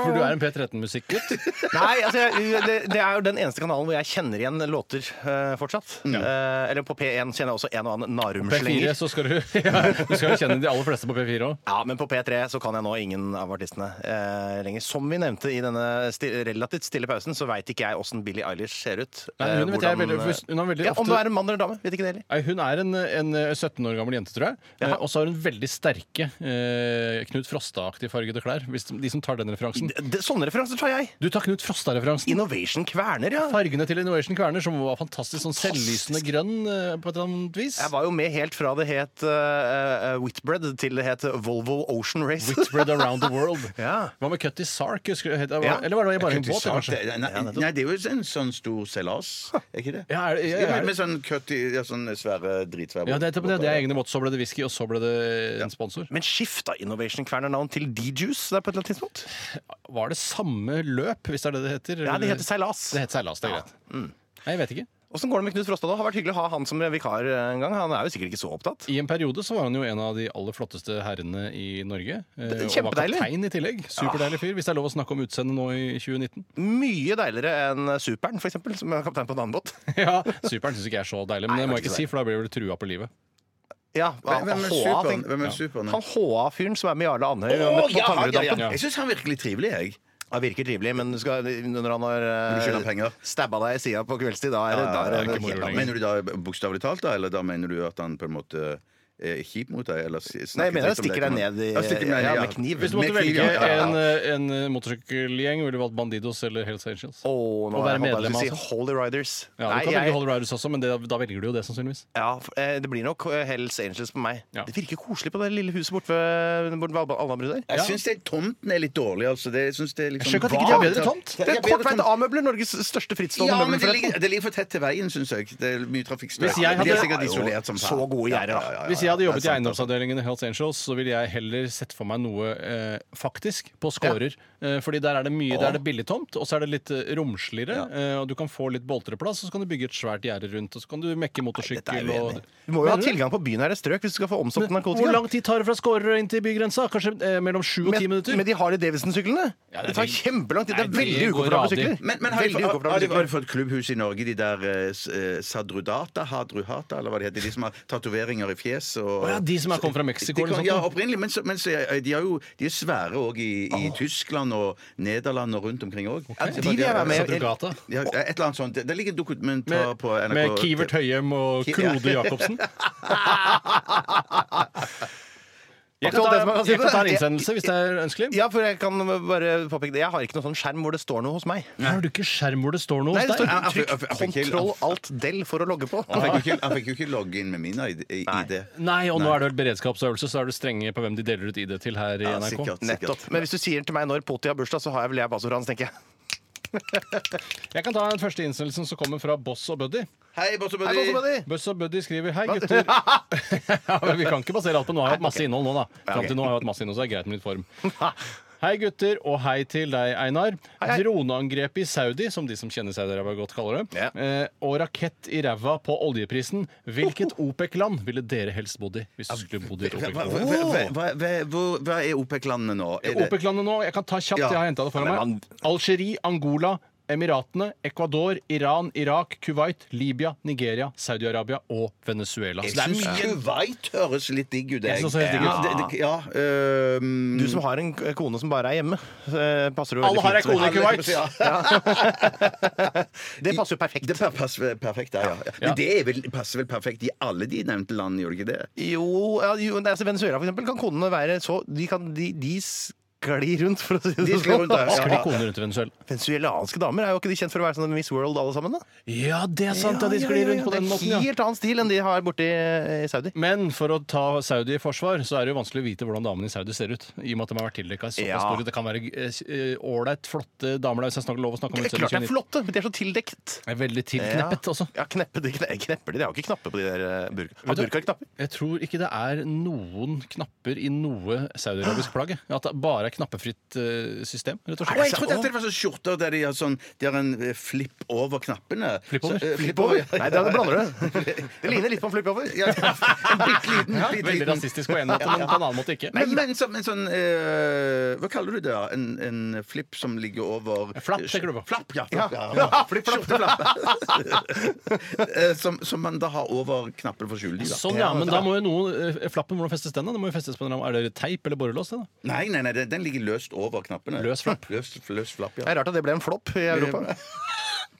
[SPEAKER 6] For du er en P13-musikkgutt.
[SPEAKER 4] Nei, altså, jeg, det, det er jo den eneste kanalen hvor jeg kjenner igjen låter eh, fortsatt. Eh, eller på P1 kjenner jeg også en og annen
[SPEAKER 6] P4
[SPEAKER 4] Narum-slenger.
[SPEAKER 6] så skal du ja, Du skal jo kjenne de aller fleste på P4 òg.
[SPEAKER 4] Ja, men på P3 så kan jeg nå ingen av artistene eh, lenger. Som vi nevnte i denne sti relativt stille pausen, så veit ikke jeg åssen Billie Eilish ser ut.
[SPEAKER 6] Nei,
[SPEAKER 4] Eh,
[SPEAKER 6] hun vet jeg
[SPEAKER 4] hvordan,
[SPEAKER 6] veldig- hvis- hun har veldig
[SPEAKER 4] ja, Om
[SPEAKER 6] ofte-
[SPEAKER 4] du er en mann eller en dame, vet ikke det heller.
[SPEAKER 6] Nei, Hun er en, en 17 år gammel jente, tror jeg. Eh,
[SPEAKER 4] Ja.
[SPEAKER 6] Og så har hun veldig sterke eh, Knut Frosta-aktig fargede klær. Hvis de, de som tar den referansen.
[SPEAKER 4] Det- det- Sånne referanser tar jeg!
[SPEAKER 6] Du tar Knut Frosta-referansen.
[SPEAKER 4] Innovation kverner, ja.
[SPEAKER 6] Fargene til Innovation Kverner, som var fantastisk sånn selvlysende grønn eh, på et eller annet vis.
[SPEAKER 4] Jeg var jo med helt fra det het eh, eh, Whitbread til det het Volvo Ocean Race.
[SPEAKER 6] Whitbread around the world.
[SPEAKER 4] Ja.
[SPEAKER 6] Hva med Cutty Sark? Husker, du- het-
[SPEAKER 4] Ja.
[SPEAKER 6] Eller var det bare en
[SPEAKER 5] Cutty
[SPEAKER 6] båt?
[SPEAKER 5] Sark,
[SPEAKER 6] kanskje?
[SPEAKER 5] det- Nei, nei, det er jo en sånn stor seilas, er ikke det?
[SPEAKER 6] Ja, er det- ja, ja, ja.
[SPEAKER 5] Med sånn cut i ja, sånne svære dritsvære
[SPEAKER 6] Ja, det er, det er
[SPEAKER 5] båter.
[SPEAKER 6] egne måter. Så ble det whisky, og så ble det en sponsor.
[SPEAKER 4] Men skifta Innovation Kverner navn til D-Juice der på et eller annet tidspunkt?
[SPEAKER 6] Var det samme løp, hvis det er det det
[SPEAKER 4] Ja,
[SPEAKER 6] heter?
[SPEAKER 4] det
[SPEAKER 6] eller-
[SPEAKER 4] heter Seilas. mm.
[SPEAKER 6] Det heter seilas, det er greit. Nei, jeg vet ikke.
[SPEAKER 4] Åssen går det med Knut Frosta nå? Det har vært hyggelig å ha han som vikar en gang. Han er jo sikkert ikke så opptatt.
[SPEAKER 6] I en periode så var han jo en av de aller flotteste herrene i Norge. eh,
[SPEAKER 4] Det er
[SPEAKER 6] Og var
[SPEAKER 4] kjempedeilig.
[SPEAKER 6] kaptein i tillegg. Superdeilig fyr. Hvis det er lov å snakke om utseendet nå i 2019.
[SPEAKER 4] Mye deiligere enn Superen, f.eks., som er kaptein på en annen båt.
[SPEAKER 6] Ja, Superen syns ikke jeg er så deilig, men
[SPEAKER 4] Nei,
[SPEAKER 6] det
[SPEAKER 4] det
[SPEAKER 6] må jeg
[SPEAKER 4] var
[SPEAKER 6] ikke
[SPEAKER 4] ikke
[SPEAKER 6] si, for da blir jeg vel trua på livet.
[SPEAKER 4] Ja,
[SPEAKER 5] Hvem hvem er
[SPEAKER 4] HA,
[SPEAKER 5] superen?
[SPEAKER 4] tenk-
[SPEAKER 5] Hvem er superen?
[SPEAKER 4] Han HA-fyren som er med Jarle Andøy
[SPEAKER 5] Å,
[SPEAKER 4] med- på
[SPEAKER 5] ja,
[SPEAKER 4] Tangerud
[SPEAKER 5] ja, ja.
[SPEAKER 4] Dampen.
[SPEAKER 5] Jeg syns han er virkelig trivelig, jeg.
[SPEAKER 4] Han virker trivelig, men du skal, når han har
[SPEAKER 5] du skylder han
[SPEAKER 4] eh,
[SPEAKER 5] penger.
[SPEAKER 4] stabba deg i sida på kveldstid, da er det, da er
[SPEAKER 5] Da
[SPEAKER 4] det,
[SPEAKER 6] ikke moro
[SPEAKER 4] helt
[SPEAKER 6] lenger.
[SPEAKER 4] annet.
[SPEAKER 5] mener du da bokstavelig talt, da? Eller da mener du at han på en måte er kjip mot deg? Eller s-
[SPEAKER 4] Nei, jeg mener
[SPEAKER 5] snakker
[SPEAKER 4] jeg stikker deg
[SPEAKER 5] dritt om
[SPEAKER 4] ned i,
[SPEAKER 5] Ja, stikker meg ned,
[SPEAKER 4] ja,
[SPEAKER 5] ja.
[SPEAKER 4] med kniv.
[SPEAKER 6] Hvis du måtte
[SPEAKER 5] Med kniv,
[SPEAKER 6] velge
[SPEAKER 5] ja, ja, ja.
[SPEAKER 6] en, eh, en motorsykkelgjeng, ville du valgt Bandidos eller Hells Angels?
[SPEAKER 4] Å, nå
[SPEAKER 6] Å
[SPEAKER 4] har jeg håpet
[SPEAKER 6] være medlem,
[SPEAKER 4] at du
[SPEAKER 6] altså.
[SPEAKER 4] sier Holy Riders.
[SPEAKER 6] Ja, du
[SPEAKER 4] Nei,
[SPEAKER 6] kan
[SPEAKER 4] jeg-
[SPEAKER 6] velge Holder Riders også, men det, da velger du jo det, sannsynligvis.
[SPEAKER 4] Ja, f- eh, det blir nok eh, Hells Angels på meg.
[SPEAKER 6] Ja.
[SPEAKER 4] Det virker koselig på det lille huset borte ved, borte ved Alba- Alnabru der.
[SPEAKER 5] Jeg syns tomten er litt dårlig, altså. Det, jeg synes det er liksom
[SPEAKER 6] skjønner at ikke de har bedre tomt.
[SPEAKER 4] Det er kortveid A-møbler, Norges største frittstående
[SPEAKER 5] Ja, men det
[SPEAKER 4] møbelforretning.
[SPEAKER 5] ligger, det ligger for tett til veien, syns jeg. Det er mye trafikkstøy.
[SPEAKER 6] Hvis jeg
[SPEAKER 5] Men De er
[SPEAKER 6] hadde-
[SPEAKER 5] sikkert isolert som
[SPEAKER 4] Så gode gjerder, da.
[SPEAKER 6] Hvis jeg hadde jobbet i
[SPEAKER 5] eiendomsavdeling
[SPEAKER 6] eiendomsavdelingen i Hells Angels, så ville jeg heller sett for meg noe eh, faktisk på skårer. Eh, fordi der er det mye, der er det billig tomt, og så er det litt eh, romsligere. Eh, og du kan få litt boltreplass, og så kan du bygge et svært gjerde rundt, og så kan du
[SPEAKER 5] Nei, dette
[SPEAKER 6] mekke
[SPEAKER 5] er
[SPEAKER 6] motorsykkel
[SPEAKER 5] jeg uenig i.
[SPEAKER 6] og
[SPEAKER 4] Du må jo ha
[SPEAKER 6] Mener du?
[SPEAKER 4] tilgang på bynære strøk hvis du skal få omsatt narkotika.
[SPEAKER 6] Hvor lang tid tar det fra skårer og inn til bygrensa? Kanskje eh, mellom sju og ti
[SPEAKER 4] Men,
[SPEAKER 6] minutter?
[SPEAKER 4] men de Harley Davidson-syklene?
[SPEAKER 6] Ja, det er
[SPEAKER 4] det tar
[SPEAKER 6] det-
[SPEAKER 4] kjempelang tid. Det er
[SPEAKER 6] Nei, det
[SPEAKER 4] veldig
[SPEAKER 6] går
[SPEAKER 4] ukomfortable
[SPEAKER 6] radig.
[SPEAKER 4] sykler.
[SPEAKER 5] men, men har, de,
[SPEAKER 4] Veldig
[SPEAKER 5] har,
[SPEAKER 4] ukomfortable
[SPEAKER 5] de, har
[SPEAKER 4] sykler.
[SPEAKER 5] de fått klubbhus i Norge, de der eh, s- eh, Sadrudata, Hadruhata, eller hva det heter? De som har tatoveringer i fjes og
[SPEAKER 6] Å ja, de som er kommet fra Mexico
[SPEAKER 5] De
[SPEAKER 6] eller
[SPEAKER 5] kom-
[SPEAKER 6] sånt,
[SPEAKER 5] Ja,
[SPEAKER 6] da.
[SPEAKER 5] opprinnelig. Men, så, men så, er- de, har jo, de er svære òg i, i Tyskland og Nederland og rundt omkring òg.
[SPEAKER 4] de vil jeg være med i.
[SPEAKER 6] Satrugata.
[SPEAKER 5] Ja, et eller annet sånt. Det, det ligger dokumentar
[SPEAKER 6] Med,
[SPEAKER 5] på NRK.
[SPEAKER 6] med Kivert Høyem og
[SPEAKER 5] Ki- ja.
[SPEAKER 6] Klode Jacobsen? Jeg kan,
[SPEAKER 4] Aktuelt, det som
[SPEAKER 6] ta,
[SPEAKER 4] er kanskje-
[SPEAKER 6] jeg kan ta en innsendelse hvis det er ønskelig.
[SPEAKER 4] Ja, for jeg kan bare påpeke det. Jeg har ikke noen sånn skjerm hvor det står noe hos meg.
[SPEAKER 6] Har du ikke skjerm hvor det står noe
[SPEAKER 4] Nei, det
[SPEAKER 6] hos deg?
[SPEAKER 4] står
[SPEAKER 5] Ja, jeg fikk-
[SPEAKER 4] trykk
[SPEAKER 5] jeg fikk ikke-
[SPEAKER 4] kontroll alt del for å logge på.
[SPEAKER 5] Han fikk, jo ikke, han fikk jo ikke logge inn med min ID. i- i det.
[SPEAKER 6] Nei, og nå er det vel beredskapsøvelse, så er du strenge på hvem de deler ut ID til her i
[SPEAKER 5] Ja,
[SPEAKER 6] NRK.
[SPEAKER 5] sikkert,
[SPEAKER 4] Nettopp.
[SPEAKER 5] sikkert.
[SPEAKER 4] Men hvis du sier til meg når Poti har bursdag, så har jeg vel jeg passordet hans, tenker jeg.
[SPEAKER 6] Jeg kan ta den første innsendelsen som kommer fra Boss og Buddy.
[SPEAKER 5] Hei, Bosso
[SPEAKER 4] Hei, Bosse
[SPEAKER 5] Buddy!
[SPEAKER 4] Buddy!
[SPEAKER 6] Boss og Buddy skriver Hei, gutter. ja, men vi kan ikke basere alt på Nå har jeg hatt masse innhold nå, da. Fram til nå har jeg hatt masse innhold, så er det greit med litt form. Hei, gutter, og hei til deg, Einar. Droneangrepet i Saudi, som de som kjenner Saudi-Arabia godt kaller det,
[SPEAKER 4] Ja.
[SPEAKER 6] eh, og rakett i ræva på oljeprisen. Hvilket OPEC-land ville dere helst bodd i hvis du skulle bodd i et
[SPEAKER 5] Hva, hva, hva,
[SPEAKER 6] OPEC-land?
[SPEAKER 5] hva, hva- hvor- hva er OPEC-landene nå? Er det-
[SPEAKER 6] OPEC-landet nå, jeg kan ta kjapt,
[SPEAKER 5] Ja.
[SPEAKER 6] jeg har henta det foran
[SPEAKER 4] Men
[SPEAKER 6] meg. Algerie, Angola, Emiratene, Ecuador, Iran, Irak, Kuwait, Libya, Nigeria, Saudi-Arabia og Venezuela. Så
[SPEAKER 5] Jeg
[SPEAKER 6] det er
[SPEAKER 5] syns
[SPEAKER 6] mye
[SPEAKER 5] Kuwait høres litt digg ut.
[SPEAKER 6] Jeg synes det høres digg ut.
[SPEAKER 5] Ja, det- det- ja, øhm,
[SPEAKER 4] Du som har en k- kone som bare er hjemme, eh, passer jo
[SPEAKER 6] Alle
[SPEAKER 4] veldig
[SPEAKER 6] har ei
[SPEAKER 4] fint.
[SPEAKER 6] kone i
[SPEAKER 5] Alle-
[SPEAKER 6] Kuwait!
[SPEAKER 5] Ja.
[SPEAKER 4] Det passer jo perfekt.
[SPEAKER 5] Det pa- passer perfekt der, ja. Men det er vel, passer vel perfekt i alle de nevnte landene, gjør det ikke det?
[SPEAKER 4] Jo, ja, jo altså Venezuela for eksempel, kan konene være så De, kan, de, de sklir rundt, for å si
[SPEAKER 5] De
[SPEAKER 4] det
[SPEAKER 5] sklir
[SPEAKER 4] sånn.
[SPEAKER 5] rundt der, ja.
[SPEAKER 6] Sklir koner rundt i Venezuela.
[SPEAKER 4] Venezuelanske damer er jo ikke de kjent for å være sånn Miss World alle sammen. da
[SPEAKER 6] Ja, det er sant! Ja, de
[SPEAKER 4] Ja, ja,
[SPEAKER 6] sklir
[SPEAKER 4] ja,
[SPEAKER 6] rundt på den måten, ja.
[SPEAKER 4] Det er helt annen stil enn de har borti eh, Saudi.
[SPEAKER 6] Men for å ta Saudi i forsvar, så er det jo vanskelig å vite hvordan damene i Saudi ser ut. I og med at de har vært tildekka i såpass
[SPEAKER 4] Ja.
[SPEAKER 6] stor Det kan være eh, åleit, flotte damer der, hvis jeg snakker lov å snakke om
[SPEAKER 4] Det er klart det er
[SPEAKER 6] utseendet.
[SPEAKER 4] flotte, men de er så tildekt.
[SPEAKER 6] Det er veldig tilkneppet også.
[SPEAKER 4] Ja, kneppe, de, kne, knepper de. De har jo ikke knapper på de der eh, burka. Har
[SPEAKER 6] Vet du-
[SPEAKER 4] burka knapper?
[SPEAKER 6] Jeg tror ikke det er noen knapper i noe saudiarabisk plagg. jeg. At det bare er knappefritt eh, system, rett og
[SPEAKER 5] Å, jeg
[SPEAKER 6] slett.
[SPEAKER 5] trodde at det var sånne skjorter der de har, sånn, de har en eh, flipp over knappene.
[SPEAKER 6] Flipp over?
[SPEAKER 5] Så, eh, flipp over,
[SPEAKER 4] Flippover?
[SPEAKER 5] ja.
[SPEAKER 4] Nei, det, det blander du. Det ligner litt på en flippover.
[SPEAKER 5] Ja, en bitte liten, bitte
[SPEAKER 6] Veldig
[SPEAKER 5] liten.
[SPEAKER 6] rasistisk på en måte, men på en annen måte ikke.
[SPEAKER 5] Men, men så, men sånn eh, Hva kaller du det? da? En, en flipp som ligger over
[SPEAKER 6] Flapp, tenker du på?
[SPEAKER 5] Flapp, ja. Flapp, ja.
[SPEAKER 4] Ja, flipp-flapp.
[SPEAKER 5] Skjorteflapp. Eh, som, som man da har over knappene for å skjule de, da.
[SPEAKER 6] Sånn, ja, men da må jo noen eh, Flappen, hvordan festes den? da? Det må jo festes på en eller annen- Er det teip eller borrelås? det da?
[SPEAKER 5] Nei, nei, nei, den, den ligger løst over knappene.
[SPEAKER 6] Løs flapp.
[SPEAKER 5] Løs, løs flapp,
[SPEAKER 4] Det
[SPEAKER 5] ja.
[SPEAKER 4] er rart at det ble en flopp i Europa.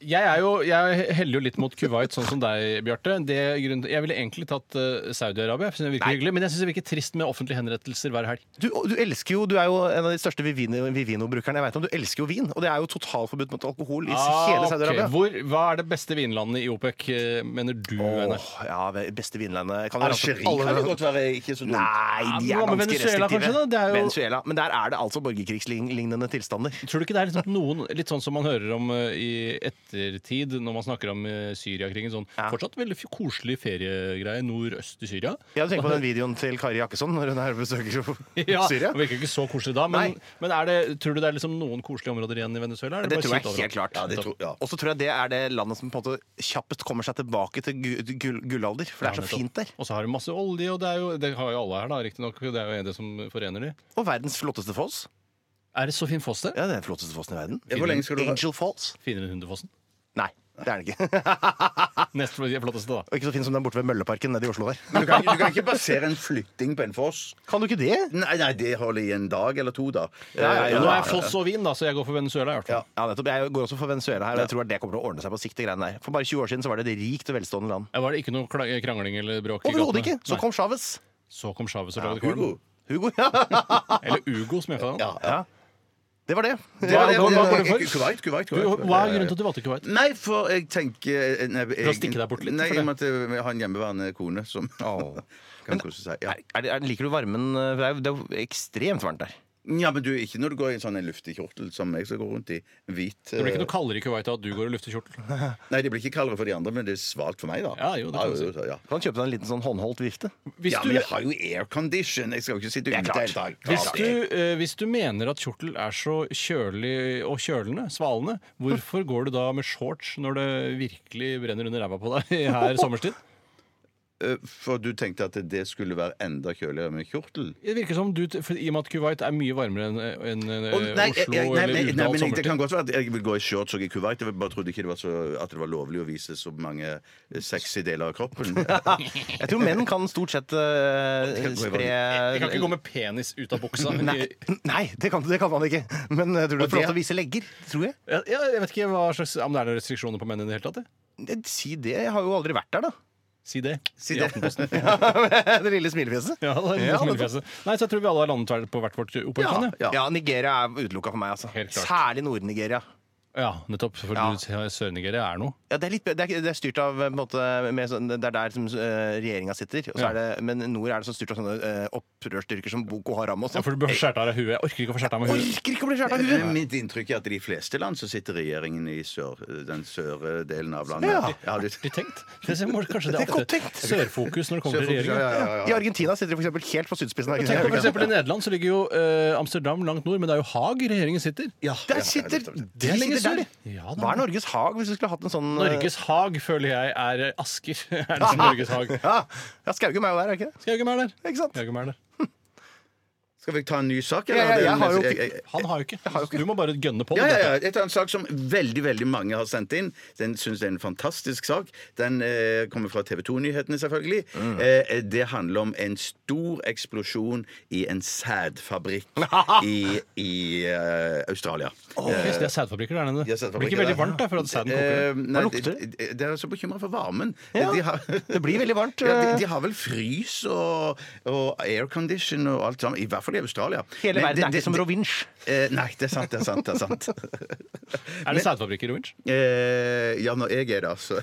[SPEAKER 6] Jeg, er jo, jeg heller jo litt mot Kuwait, sånn som deg, Bjarte. Det er grunnen- Jeg ville egentlig tatt eh, Saudi-Arabia, for det virker hyggelig. Men jeg syns det virker trist med offentlige henrettelser hver helg.
[SPEAKER 4] Du, og du elsker jo, du er jo en av de største Vivino- Vivino-brukerne jeg vet om. Du elsker jo vin, og det er jo totalforbudt mot alkohol i hele
[SPEAKER 6] Ah, ok.
[SPEAKER 4] Saudi-Arabia.
[SPEAKER 6] Hvor, hva er det beste vinlandet i OPEC, eh, mener du? Einar?
[SPEAKER 4] Åh, ja, det beste vinlandet kan jo-
[SPEAKER 6] sånn
[SPEAKER 5] Algerie
[SPEAKER 4] alle-
[SPEAKER 5] kan jo godt være ikke så dumt.
[SPEAKER 4] Nei, de er
[SPEAKER 6] Ja, men
[SPEAKER 4] ganske restriktive.
[SPEAKER 6] Venezuela kanskje, da? Det er jo-
[SPEAKER 4] Venezuela. Men der er det altså borgerkrigslignende tilstander.
[SPEAKER 6] Tror du ikke det er liksom noen, litt sånn som man hører om eh, i et ettertid, når man snakker om eh, Syriakrigen. Sånn
[SPEAKER 4] Ja.
[SPEAKER 6] fortsatt veldig f- koselig feriegreie nordøst i Syria.
[SPEAKER 4] Jeg hadde tenkt på den videoen til Kari Jakkesson når hun er besøker jo
[SPEAKER 6] Ja,
[SPEAKER 4] Syria.
[SPEAKER 6] det Virker ikke så koselig da, men, men er det, tror du det er liksom noen koselige områder igjen i Venezuela?
[SPEAKER 4] Det tror jeg helt klart.
[SPEAKER 5] Ja, det tror, ja.
[SPEAKER 4] Og så tror jeg det er det landet som på en måte kjappest kommer seg tilbake til gu- gull- gullalder, for det er så fint der.
[SPEAKER 6] Og så har de masse olje, og det, er jo, det har jo alle her, da, riktignok. Det er jo det som forener de.
[SPEAKER 4] Og verdens flotteste foss.
[SPEAKER 6] Er det så fin foss, det?
[SPEAKER 4] Ja, det er den flotteste fossen i verden.
[SPEAKER 5] Ja, Hvor lenge skal du ha?
[SPEAKER 4] Angel Falls.
[SPEAKER 6] Finere enn Hundefossen?
[SPEAKER 4] Nei, det er den ikke.
[SPEAKER 6] Nest flotteste, da.
[SPEAKER 4] Og ikke så fin som den borte ved Mølleparken nede i Oslo der.
[SPEAKER 5] Men du kan, du kan ikke basere en flytting på en foss.
[SPEAKER 4] Kan du ikke det?
[SPEAKER 5] Nei, nei, det holder i en dag eller to, da. Eh,
[SPEAKER 4] ja, ja.
[SPEAKER 6] Nå er foss og vin, da, så jeg går for Venezuela. i hvert fall.
[SPEAKER 4] Ja, nettopp. Jeg går også for Venezuela her, og jeg tror det kommer til å ordne seg på sikt. det greiene der. For bare 20 år siden så var det et rikt og velstående land.
[SPEAKER 6] Var det ikke noe kla- krangling eller bråk? i
[SPEAKER 4] Overhodet
[SPEAKER 6] gatene?
[SPEAKER 4] ikke! Så
[SPEAKER 6] Nei.
[SPEAKER 4] kom Chávez.
[SPEAKER 6] Så kom Chávez og lagde
[SPEAKER 5] Hugo.
[SPEAKER 6] kål.
[SPEAKER 4] Hugo. Ja.
[SPEAKER 6] Eller Ugo, som jeg kaller han.
[SPEAKER 4] ja. Det var det.
[SPEAKER 5] Det var det-
[SPEAKER 6] Hva- hva- hva går du
[SPEAKER 5] det-
[SPEAKER 6] for?
[SPEAKER 5] Kuwait, Kuwait,
[SPEAKER 6] Du,
[SPEAKER 5] Kuwait.
[SPEAKER 6] Hva er grunnen til at du valgte Kuwait?
[SPEAKER 5] Nei, for jeg tenker eh, nei, jeg,
[SPEAKER 6] å stikke deg bort litt,
[SPEAKER 5] Nei,
[SPEAKER 6] for
[SPEAKER 5] jeg
[SPEAKER 6] det.
[SPEAKER 5] måtte ha en hjemmeværende kone som
[SPEAKER 4] Åh.
[SPEAKER 5] kan kose seg. Ja.
[SPEAKER 4] Er, er, det- er, liker du varmen? eh, For det er jo- det er jo ekstremt varmt der.
[SPEAKER 5] ja, men du, ikke når du går i en sånn en luftig kjortel som jeg skal gå rundt i. Hvit. eh,
[SPEAKER 6] Det blir ikke noe kaldere i Kuwait av at du går i luftekjortel.
[SPEAKER 5] Nei, det blir ikke kaldere for de andre, men det er svalt for meg, da.
[SPEAKER 6] Ja, jo, det kan du si.
[SPEAKER 5] jo, ja.
[SPEAKER 4] Kan kjøpe deg en liten sånn håndholdt vifte.
[SPEAKER 6] Hvis
[SPEAKER 5] ja,
[SPEAKER 6] du,
[SPEAKER 5] men jeg har jo aircondition! Jeg skal jo ikke sitte ute
[SPEAKER 4] klart.
[SPEAKER 5] hele dagen.
[SPEAKER 6] hvis
[SPEAKER 5] Ja,
[SPEAKER 6] du, eh, hvis du mener at kjortel er så kjølig og kjølende, svalende, hvorfor går du da med shorts når det virkelig brenner under ræva på deg her sommerstid?
[SPEAKER 5] Eh, For du tenkte at det skulle være enda kjøligere med kjortel?
[SPEAKER 6] Det virker som du, for I og med at Kuwait er mye varmere enn enn, eh,
[SPEAKER 5] Å, nei, jeg-
[SPEAKER 6] Oslo
[SPEAKER 5] jeg- nei, nei,
[SPEAKER 6] eller
[SPEAKER 5] nei, men
[SPEAKER 6] Uvdal
[SPEAKER 5] Det kan
[SPEAKER 6] sommertid.
[SPEAKER 5] godt være at jeg vil gå i shorts og i Kuwait. Jeg bare trodde ikke det var så, at det var lovlig å vise så mange eh, sexy deler av kroppen.
[SPEAKER 4] Jeg tror menn kan stort sett eh,
[SPEAKER 5] Det kan gå i varmen.
[SPEAKER 6] Jeg kan ikke
[SPEAKER 4] spre
[SPEAKER 6] gå med penis ut av buksa.
[SPEAKER 4] Nei, nei det, kan, det kan man ikke. Men jeg tror det er flott å vise legger. Tror jeg.
[SPEAKER 6] Ja, ja, jeg vet ikke hva slags, om det er noen restriksjoner på menn i det hele tatt. jeg.
[SPEAKER 4] Jeg- Eh, Si det. Jeg har jo aldri vært der, da.
[SPEAKER 6] Si det.
[SPEAKER 5] Si
[SPEAKER 6] i
[SPEAKER 5] det.
[SPEAKER 6] Aftenposten.
[SPEAKER 4] det lille smilefjeset.
[SPEAKER 6] Ja, det er
[SPEAKER 4] Ja,
[SPEAKER 6] litt smilefjeset. Nei, så jeg tror vi alle har landet her på hvert vårt opphold. Ja.
[SPEAKER 4] Ja, Nigeria er utelukka for meg. altså
[SPEAKER 6] Helt klart.
[SPEAKER 4] Særlig Nord-Nigeria.
[SPEAKER 6] ja, nettopp. For
[SPEAKER 4] Ja.
[SPEAKER 6] du sier Sør-Nigeria er noe.
[SPEAKER 4] Ja, det, er litt, det, er, det er styrt av eh, på en måte, med sånn, Det er der som regjeringa sitter. Og så
[SPEAKER 6] Ja.
[SPEAKER 4] er det, men nord er det så styrt av sånne eh, opprørsstyrker som Boko Haram. og
[SPEAKER 6] Ja,
[SPEAKER 4] sånn.
[SPEAKER 6] for du bør skjære av deg huet. Jeg orker ikke å få skjært av meg huet.
[SPEAKER 4] Orker ikke å bli skjært av huet!
[SPEAKER 5] Men mitt inntrykk er at i de fleste land så sitter regjeringen i sør, den søre delen av landet.
[SPEAKER 4] Ja.
[SPEAKER 5] det,
[SPEAKER 6] Artig tenkt. Det er Kanskje
[SPEAKER 4] Det er
[SPEAKER 6] det
[SPEAKER 4] godt
[SPEAKER 6] er
[SPEAKER 4] tenkt.
[SPEAKER 6] ofte sørfokus når det kommer til
[SPEAKER 5] Sørfokus, ja,
[SPEAKER 6] regjeringen.
[SPEAKER 5] ja, ja,
[SPEAKER 4] I
[SPEAKER 5] ja.
[SPEAKER 4] Argentina sitter de for eksempel helt på sydspissen. av
[SPEAKER 6] Tenk på for
[SPEAKER 4] Argentina.
[SPEAKER 6] eksempel I Nederland så ligger jo eh, Amsterdam langt nord, men det er jo Haag regjeringen sitter.
[SPEAKER 5] Ja,
[SPEAKER 4] Der
[SPEAKER 5] ja,
[SPEAKER 4] sitter
[SPEAKER 5] ja, ja, ja.
[SPEAKER 4] de sitter der! de.
[SPEAKER 6] Ja,
[SPEAKER 4] Hva
[SPEAKER 6] da.
[SPEAKER 4] er Norges Haag hvis vi skulle hatt en sånn eh,
[SPEAKER 6] Norges Haag føler jeg er eh, Asker. er det som Norges Haag.
[SPEAKER 4] Ja, ja Skaugum er jo der, er ikke det?
[SPEAKER 6] Skaugum er der.
[SPEAKER 4] Ikke sant?
[SPEAKER 6] Skaugum er der.
[SPEAKER 5] Skal vi ta en ny sak?
[SPEAKER 4] Ja, ja, jeg har jo-
[SPEAKER 5] Jeg- jeg-
[SPEAKER 6] Han har jo ikke. Du må bare gønne på.
[SPEAKER 5] Ja,
[SPEAKER 6] det.
[SPEAKER 5] ja, ja. Jeg tar en sak som veldig veldig mange har sendt inn. Den syns jeg er en fantastisk sak. Den eh, kommer fra TV 2-nyhetene, selvfølgelig.
[SPEAKER 4] Mm.
[SPEAKER 5] Eh, det handler om en stor eksplosjon i en sædfabrikk i, i eh, Australia.
[SPEAKER 6] Åh, yes, det er sædfabrikker der
[SPEAKER 5] De har
[SPEAKER 6] nede. Det
[SPEAKER 5] sædfabrikker
[SPEAKER 6] blir ikke veldig
[SPEAKER 5] der.
[SPEAKER 6] varmt da, for at sæden koker.
[SPEAKER 5] Eh, nei,
[SPEAKER 4] Hva lukter
[SPEAKER 5] de, de, de er så bekymra for varmen.
[SPEAKER 4] Ja,
[SPEAKER 5] De har,
[SPEAKER 4] Det blir veldig varmt.
[SPEAKER 5] ja, de,
[SPEAKER 4] eh,
[SPEAKER 5] de har vel frys og, og aircondition og alt sammen. I hvert fall i Australia.
[SPEAKER 4] Hele
[SPEAKER 5] Men
[SPEAKER 4] verden
[SPEAKER 5] det-
[SPEAKER 4] er
[SPEAKER 5] det-
[SPEAKER 4] ikke som
[SPEAKER 5] det-
[SPEAKER 4] Rovinj.
[SPEAKER 5] eh, Nei, det er sant. det er sant, det er sant
[SPEAKER 6] Er det sædfabrikker i Winch?
[SPEAKER 5] eh, Ja, når jeg er der, så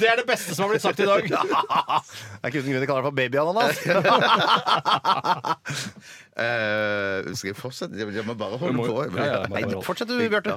[SPEAKER 6] Det er det beste som har blitt sagt i dag.
[SPEAKER 4] Det er ikke uten grunn de kaller det for babyananas.
[SPEAKER 5] Eh, skal jeg fortsette? Jeg jeg må bare holde
[SPEAKER 6] Du må-
[SPEAKER 5] på.
[SPEAKER 6] ja, ja,
[SPEAKER 4] Nei,
[SPEAKER 6] bare hold.
[SPEAKER 4] fortsett du, Bjarte.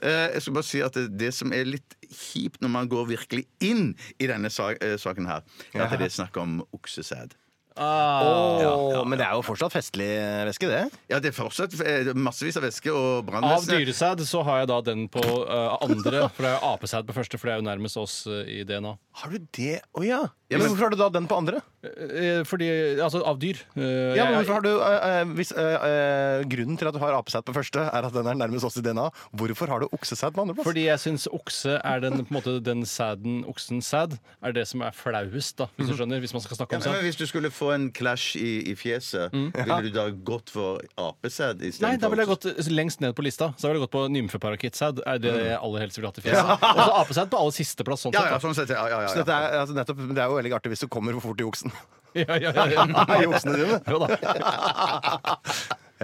[SPEAKER 5] Eh, Jeg skal bare si at det, det som er litt kjipt når man går virkelig inn i denne sa eh, saken her, er at det er snakk om oksesæd.
[SPEAKER 6] Ah.
[SPEAKER 4] Åh, Men det er jo fortsatt festlig eh, væske, det.
[SPEAKER 5] Ja, det er fortsatt eh, massevis av væske og
[SPEAKER 6] Av
[SPEAKER 5] brannvesenet.
[SPEAKER 6] dyresæd så har jeg da den på eh, andre, for det er jo apesæd på første, for det er jo nærmest oss eh, i DNA.
[SPEAKER 4] Har du det? Å ja.
[SPEAKER 5] Ja,
[SPEAKER 4] men
[SPEAKER 5] men-
[SPEAKER 4] hvorfor har du da den på andre?
[SPEAKER 6] Eh, fordi Altså av dyr. Eh,
[SPEAKER 4] Ja, men
[SPEAKER 6] jeg-
[SPEAKER 4] hvorfor har du, eh, eh, hvis eh, eh, Grunnen til at du har apesæd på første, er at den er nærmest oss i DNA. Hvorfor har du oksesæd på andreplass?
[SPEAKER 6] fordi jeg syns okse er den på en måte den sæden, oksens sæd, er det som er flauest, da, hvis du skjønner. Hvis man skal snakke
[SPEAKER 5] Ja,
[SPEAKER 6] om
[SPEAKER 5] men
[SPEAKER 6] sæd.
[SPEAKER 5] hvis du skulle få en clash i, i fjeset, ville du da gått for apesæd
[SPEAKER 6] Mm. Nei, da
[SPEAKER 5] istedenfor?
[SPEAKER 6] ville jeg gått eh, lengst ned på lista. Så da ville jeg gått på nymfeparakittsæd. Er det jeg aller helst ville hatt i fjeset. Og så apesæd på aller siste plass. Sånn
[SPEAKER 5] Ja, ja,
[SPEAKER 6] sett, da.
[SPEAKER 5] sånn sett. Ja, ja, ja,
[SPEAKER 4] Så
[SPEAKER 5] ja.
[SPEAKER 4] dette er, altså, nettopp, det er jo veldig artig hvis du kommer for fort i oksen.
[SPEAKER 6] Ja, ja, ja, ja.
[SPEAKER 4] I oksene dine.
[SPEAKER 6] Jo da.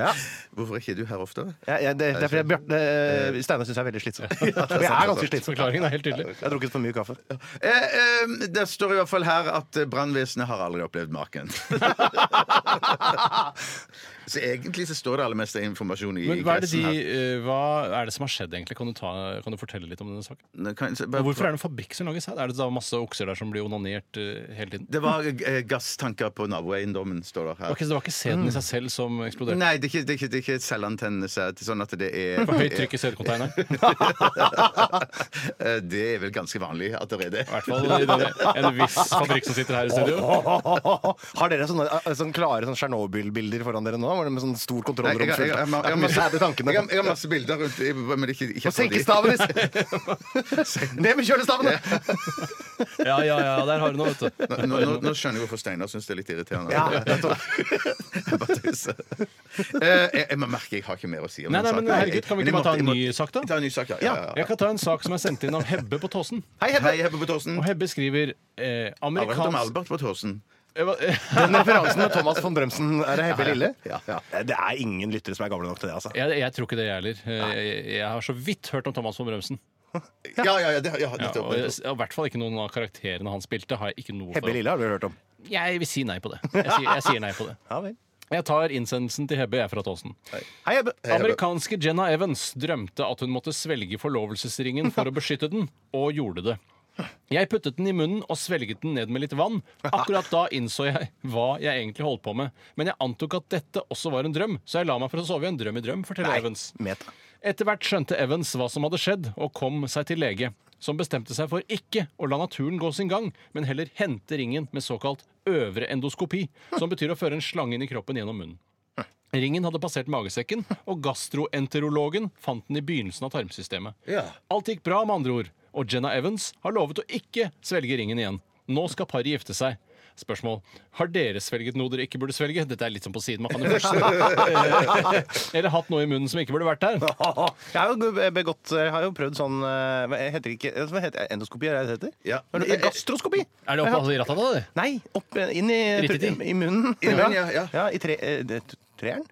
[SPEAKER 4] Ja.
[SPEAKER 5] Hvorfor er ikke du her ofte?
[SPEAKER 4] Ja, ja, det, det er fordi Bjarte eh, Steinar syns jeg er veldig slitsom. Og jeg
[SPEAKER 5] sant,
[SPEAKER 4] er ganske
[SPEAKER 5] det er
[SPEAKER 4] slitsom.
[SPEAKER 6] Forklaringen er helt tydelig.
[SPEAKER 4] Jeg har drukket for mye kaffe.
[SPEAKER 5] Eh, eh, det står i hvert fall her at eh, brannvesenet har aldri opplevd maken. så egentlig så står det aller meste informasjon i
[SPEAKER 6] Men hva er, det de,
[SPEAKER 5] ingressen her.
[SPEAKER 6] eh, hva er det som har skjedd, egentlig? Kan du, ta, kan du fortelle litt om denne saken?
[SPEAKER 5] Nå kan jeg-
[SPEAKER 6] Og hvorfor er det en fabrikk som lager sæd? Er det da masse okser der som blir onanert eh, hele tiden?
[SPEAKER 5] Det var eh, gasstanker på naboeiendommen, står det her.
[SPEAKER 6] Ok, så det var ikke sæden i seg selv som eksploderte?
[SPEAKER 5] Nei, det er ikke, det er ikke, det er ikke selvantennene, så det er sånn at det er
[SPEAKER 6] Det var høyt trykk i sædcontaineren.
[SPEAKER 5] Eh, Det er vel ganske vanlig at det er det.
[SPEAKER 6] I hvert fall i det- en viss fabrikk som sitter her i studio.
[SPEAKER 4] Har dere sånne, eh, sånne klare sånn Tsjernobyl-bilder foran dere nå? Var det med sånn stor
[SPEAKER 5] Nei,
[SPEAKER 4] kontrollrom
[SPEAKER 5] jeg, har- jeg, har- jeg, har- jeg, har
[SPEAKER 4] fullt av
[SPEAKER 5] masse-
[SPEAKER 4] sæde
[SPEAKER 5] jeg, har-
[SPEAKER 4] tankene?
[SPEAKER 5] jeg har masse bilder rundt i- men ikke,
[SPEAKER 4] Må
[SPEAKER 5] ikke fra de.
[SPEAKER 4] senke staven! Ned med kjølestavene!
[SPEAKER 6] Ja, ja, ja, der har du noe, vet du.
[SPEAKER 5] Nå, nå, nå skjønner jeg hvorfor Steinar syns det er litt irriterende.
[SPEAKER 4] Ja, nettopp.
[SPEAKER 5] Jeg bare tuser. Eh, jeg, jeg merker jeg har ikke mer å si om
[SPEAKER 6] Nei,
[SPEAKER 5] den
[SPEAKER 6] nei, men
[SPEAKER 5] saken.
[SPEAKER 6] herregud, kan
[SPEAKER 5] Men
[SPEAKER 6] vi ikke
[SPEAKER 5] jeg
[SPEAKER 6] bare
[SPEAKER 5] måtte-
[SPEAKER 6] ta
[SPEAKER 5] jeg
[SPEAKER 6] en ny
[SPEAKER 5] måtte-
[SPEAKER 6] sak, da?
[SPEAKER 5] Ta en ny sak, ja. ja, ja, ja.
[SPEAKER 6] Jeg kan ta en sak som er sendt inn av Hebbe på Tåsen.
[SPEAKER 4] Hei, Hedda.
[SPEAKER 5] Hei, Hebbe på Tåsen.
[SPEAKER 6] Og
[SPEAKER 5] Har
[SPEAKER 6] Hebbe skriver eh,
[SPEAKER 5] du hørt om
[SPEAKER 6] amerikansk
[SPEAKER 5] Albert på Tåsen?
[SPEAKER 6] Eh, hva-
[SPEAKER 4] Den referansen med Thomas von Bremsen, er det Hebbe Lille?
[SPEAKER 5] Ja, ja.
[SPEAKER 4] Det er ingen lyttere som er gamle nok til det, altså.
[SPEAKER 6] Jeg, jeg tror ikke det, jeg heller. Eh, Jeg, jeg har så vidt hørt om Thomas von Bremsen.
[SPEAKER 5] Ja, ja, ja, det, ja
[SPEAKER 6] Ja,
[SPEAKER 5] nettopp.
[SPEAKER 6] og jeg- og i hvert fall ikke noen av karakterene han spilte. har Jeg ikke noe
[SPEAKER 4] Hebbe
[SPEAKER 6] for.
[SPEAKER 4] Lille har du hørt om?
[SPEAKER 6] Jeg vil si nei på det. Jeg sier, jeg sier nei på det.
[SPEAKER 4] Ja vel.
[SPEAKER 6] Jeg tar innsendelsen til Hebbe, jeg er fra Tåsen.
[SPEAKER 4] Hei, Hebbe.
[SPEAKER 6] Amerikanske Jenna Evans drømte at hun måtte svelge forlovelsesringen for å beskytte den, og gjorde det. Jeg puttet den i munnen og svelget den ned med litt vann. Akkurat da innså jeg hva jeg egentlig holdt på med. Men jeg antok at dette også var en drøm, så jeg la meg for å sove i en drøm i drøm, forteller Evans.
[SPEAKER 4] Meta.
[SPEAKER 6] Etter hvert skjønte Evans hva som hadde skjedd, og kom seg til lege, som bestemte seg for ikke å la naturen gå sin gang, men heller hente ringen med såkalt øvre endoskopi, som betyr å føre en slange inn i kroppen gjennom munnen. Ringen hadde passert magesekken, og gastroenterologen fant den i begynnelsen av tarmsystemet. Alt gikk bra, med andre ord, og Jenna Evans har lovet å ikke svelge ringen igjen. Nå skal paret gifte seg. Spørsmål. Har dere svelget noe dere ikke burde svelge? Dette er litt sånn på siden. Man kan jo først Eller hatt noe i munnen som ikke burde vært der.
[SPEAKER 4] Jeg har jo begått Jeg har jo prøvd sånn eh, Hva heter det ikke hva heter det? Endoskopi, er det det heter?
[SPEAKER 5] Ja.
[SPEAKER 4] Hva er det? Gastroskopi!
[SPEAKER 6] Er det
[SPEAKER 5] altså
[SPEAKER 6] opphold i rattet da, det?
[SPEAKER 4] Nei, opp eh, inn i,
[SPEAKER 6] Riktig.
[SPEAKER 4] i munnen.
[SPEAKER 5] I munnen, ja, ja.
[SPEAKER 4] i tre, eh, det- treeren?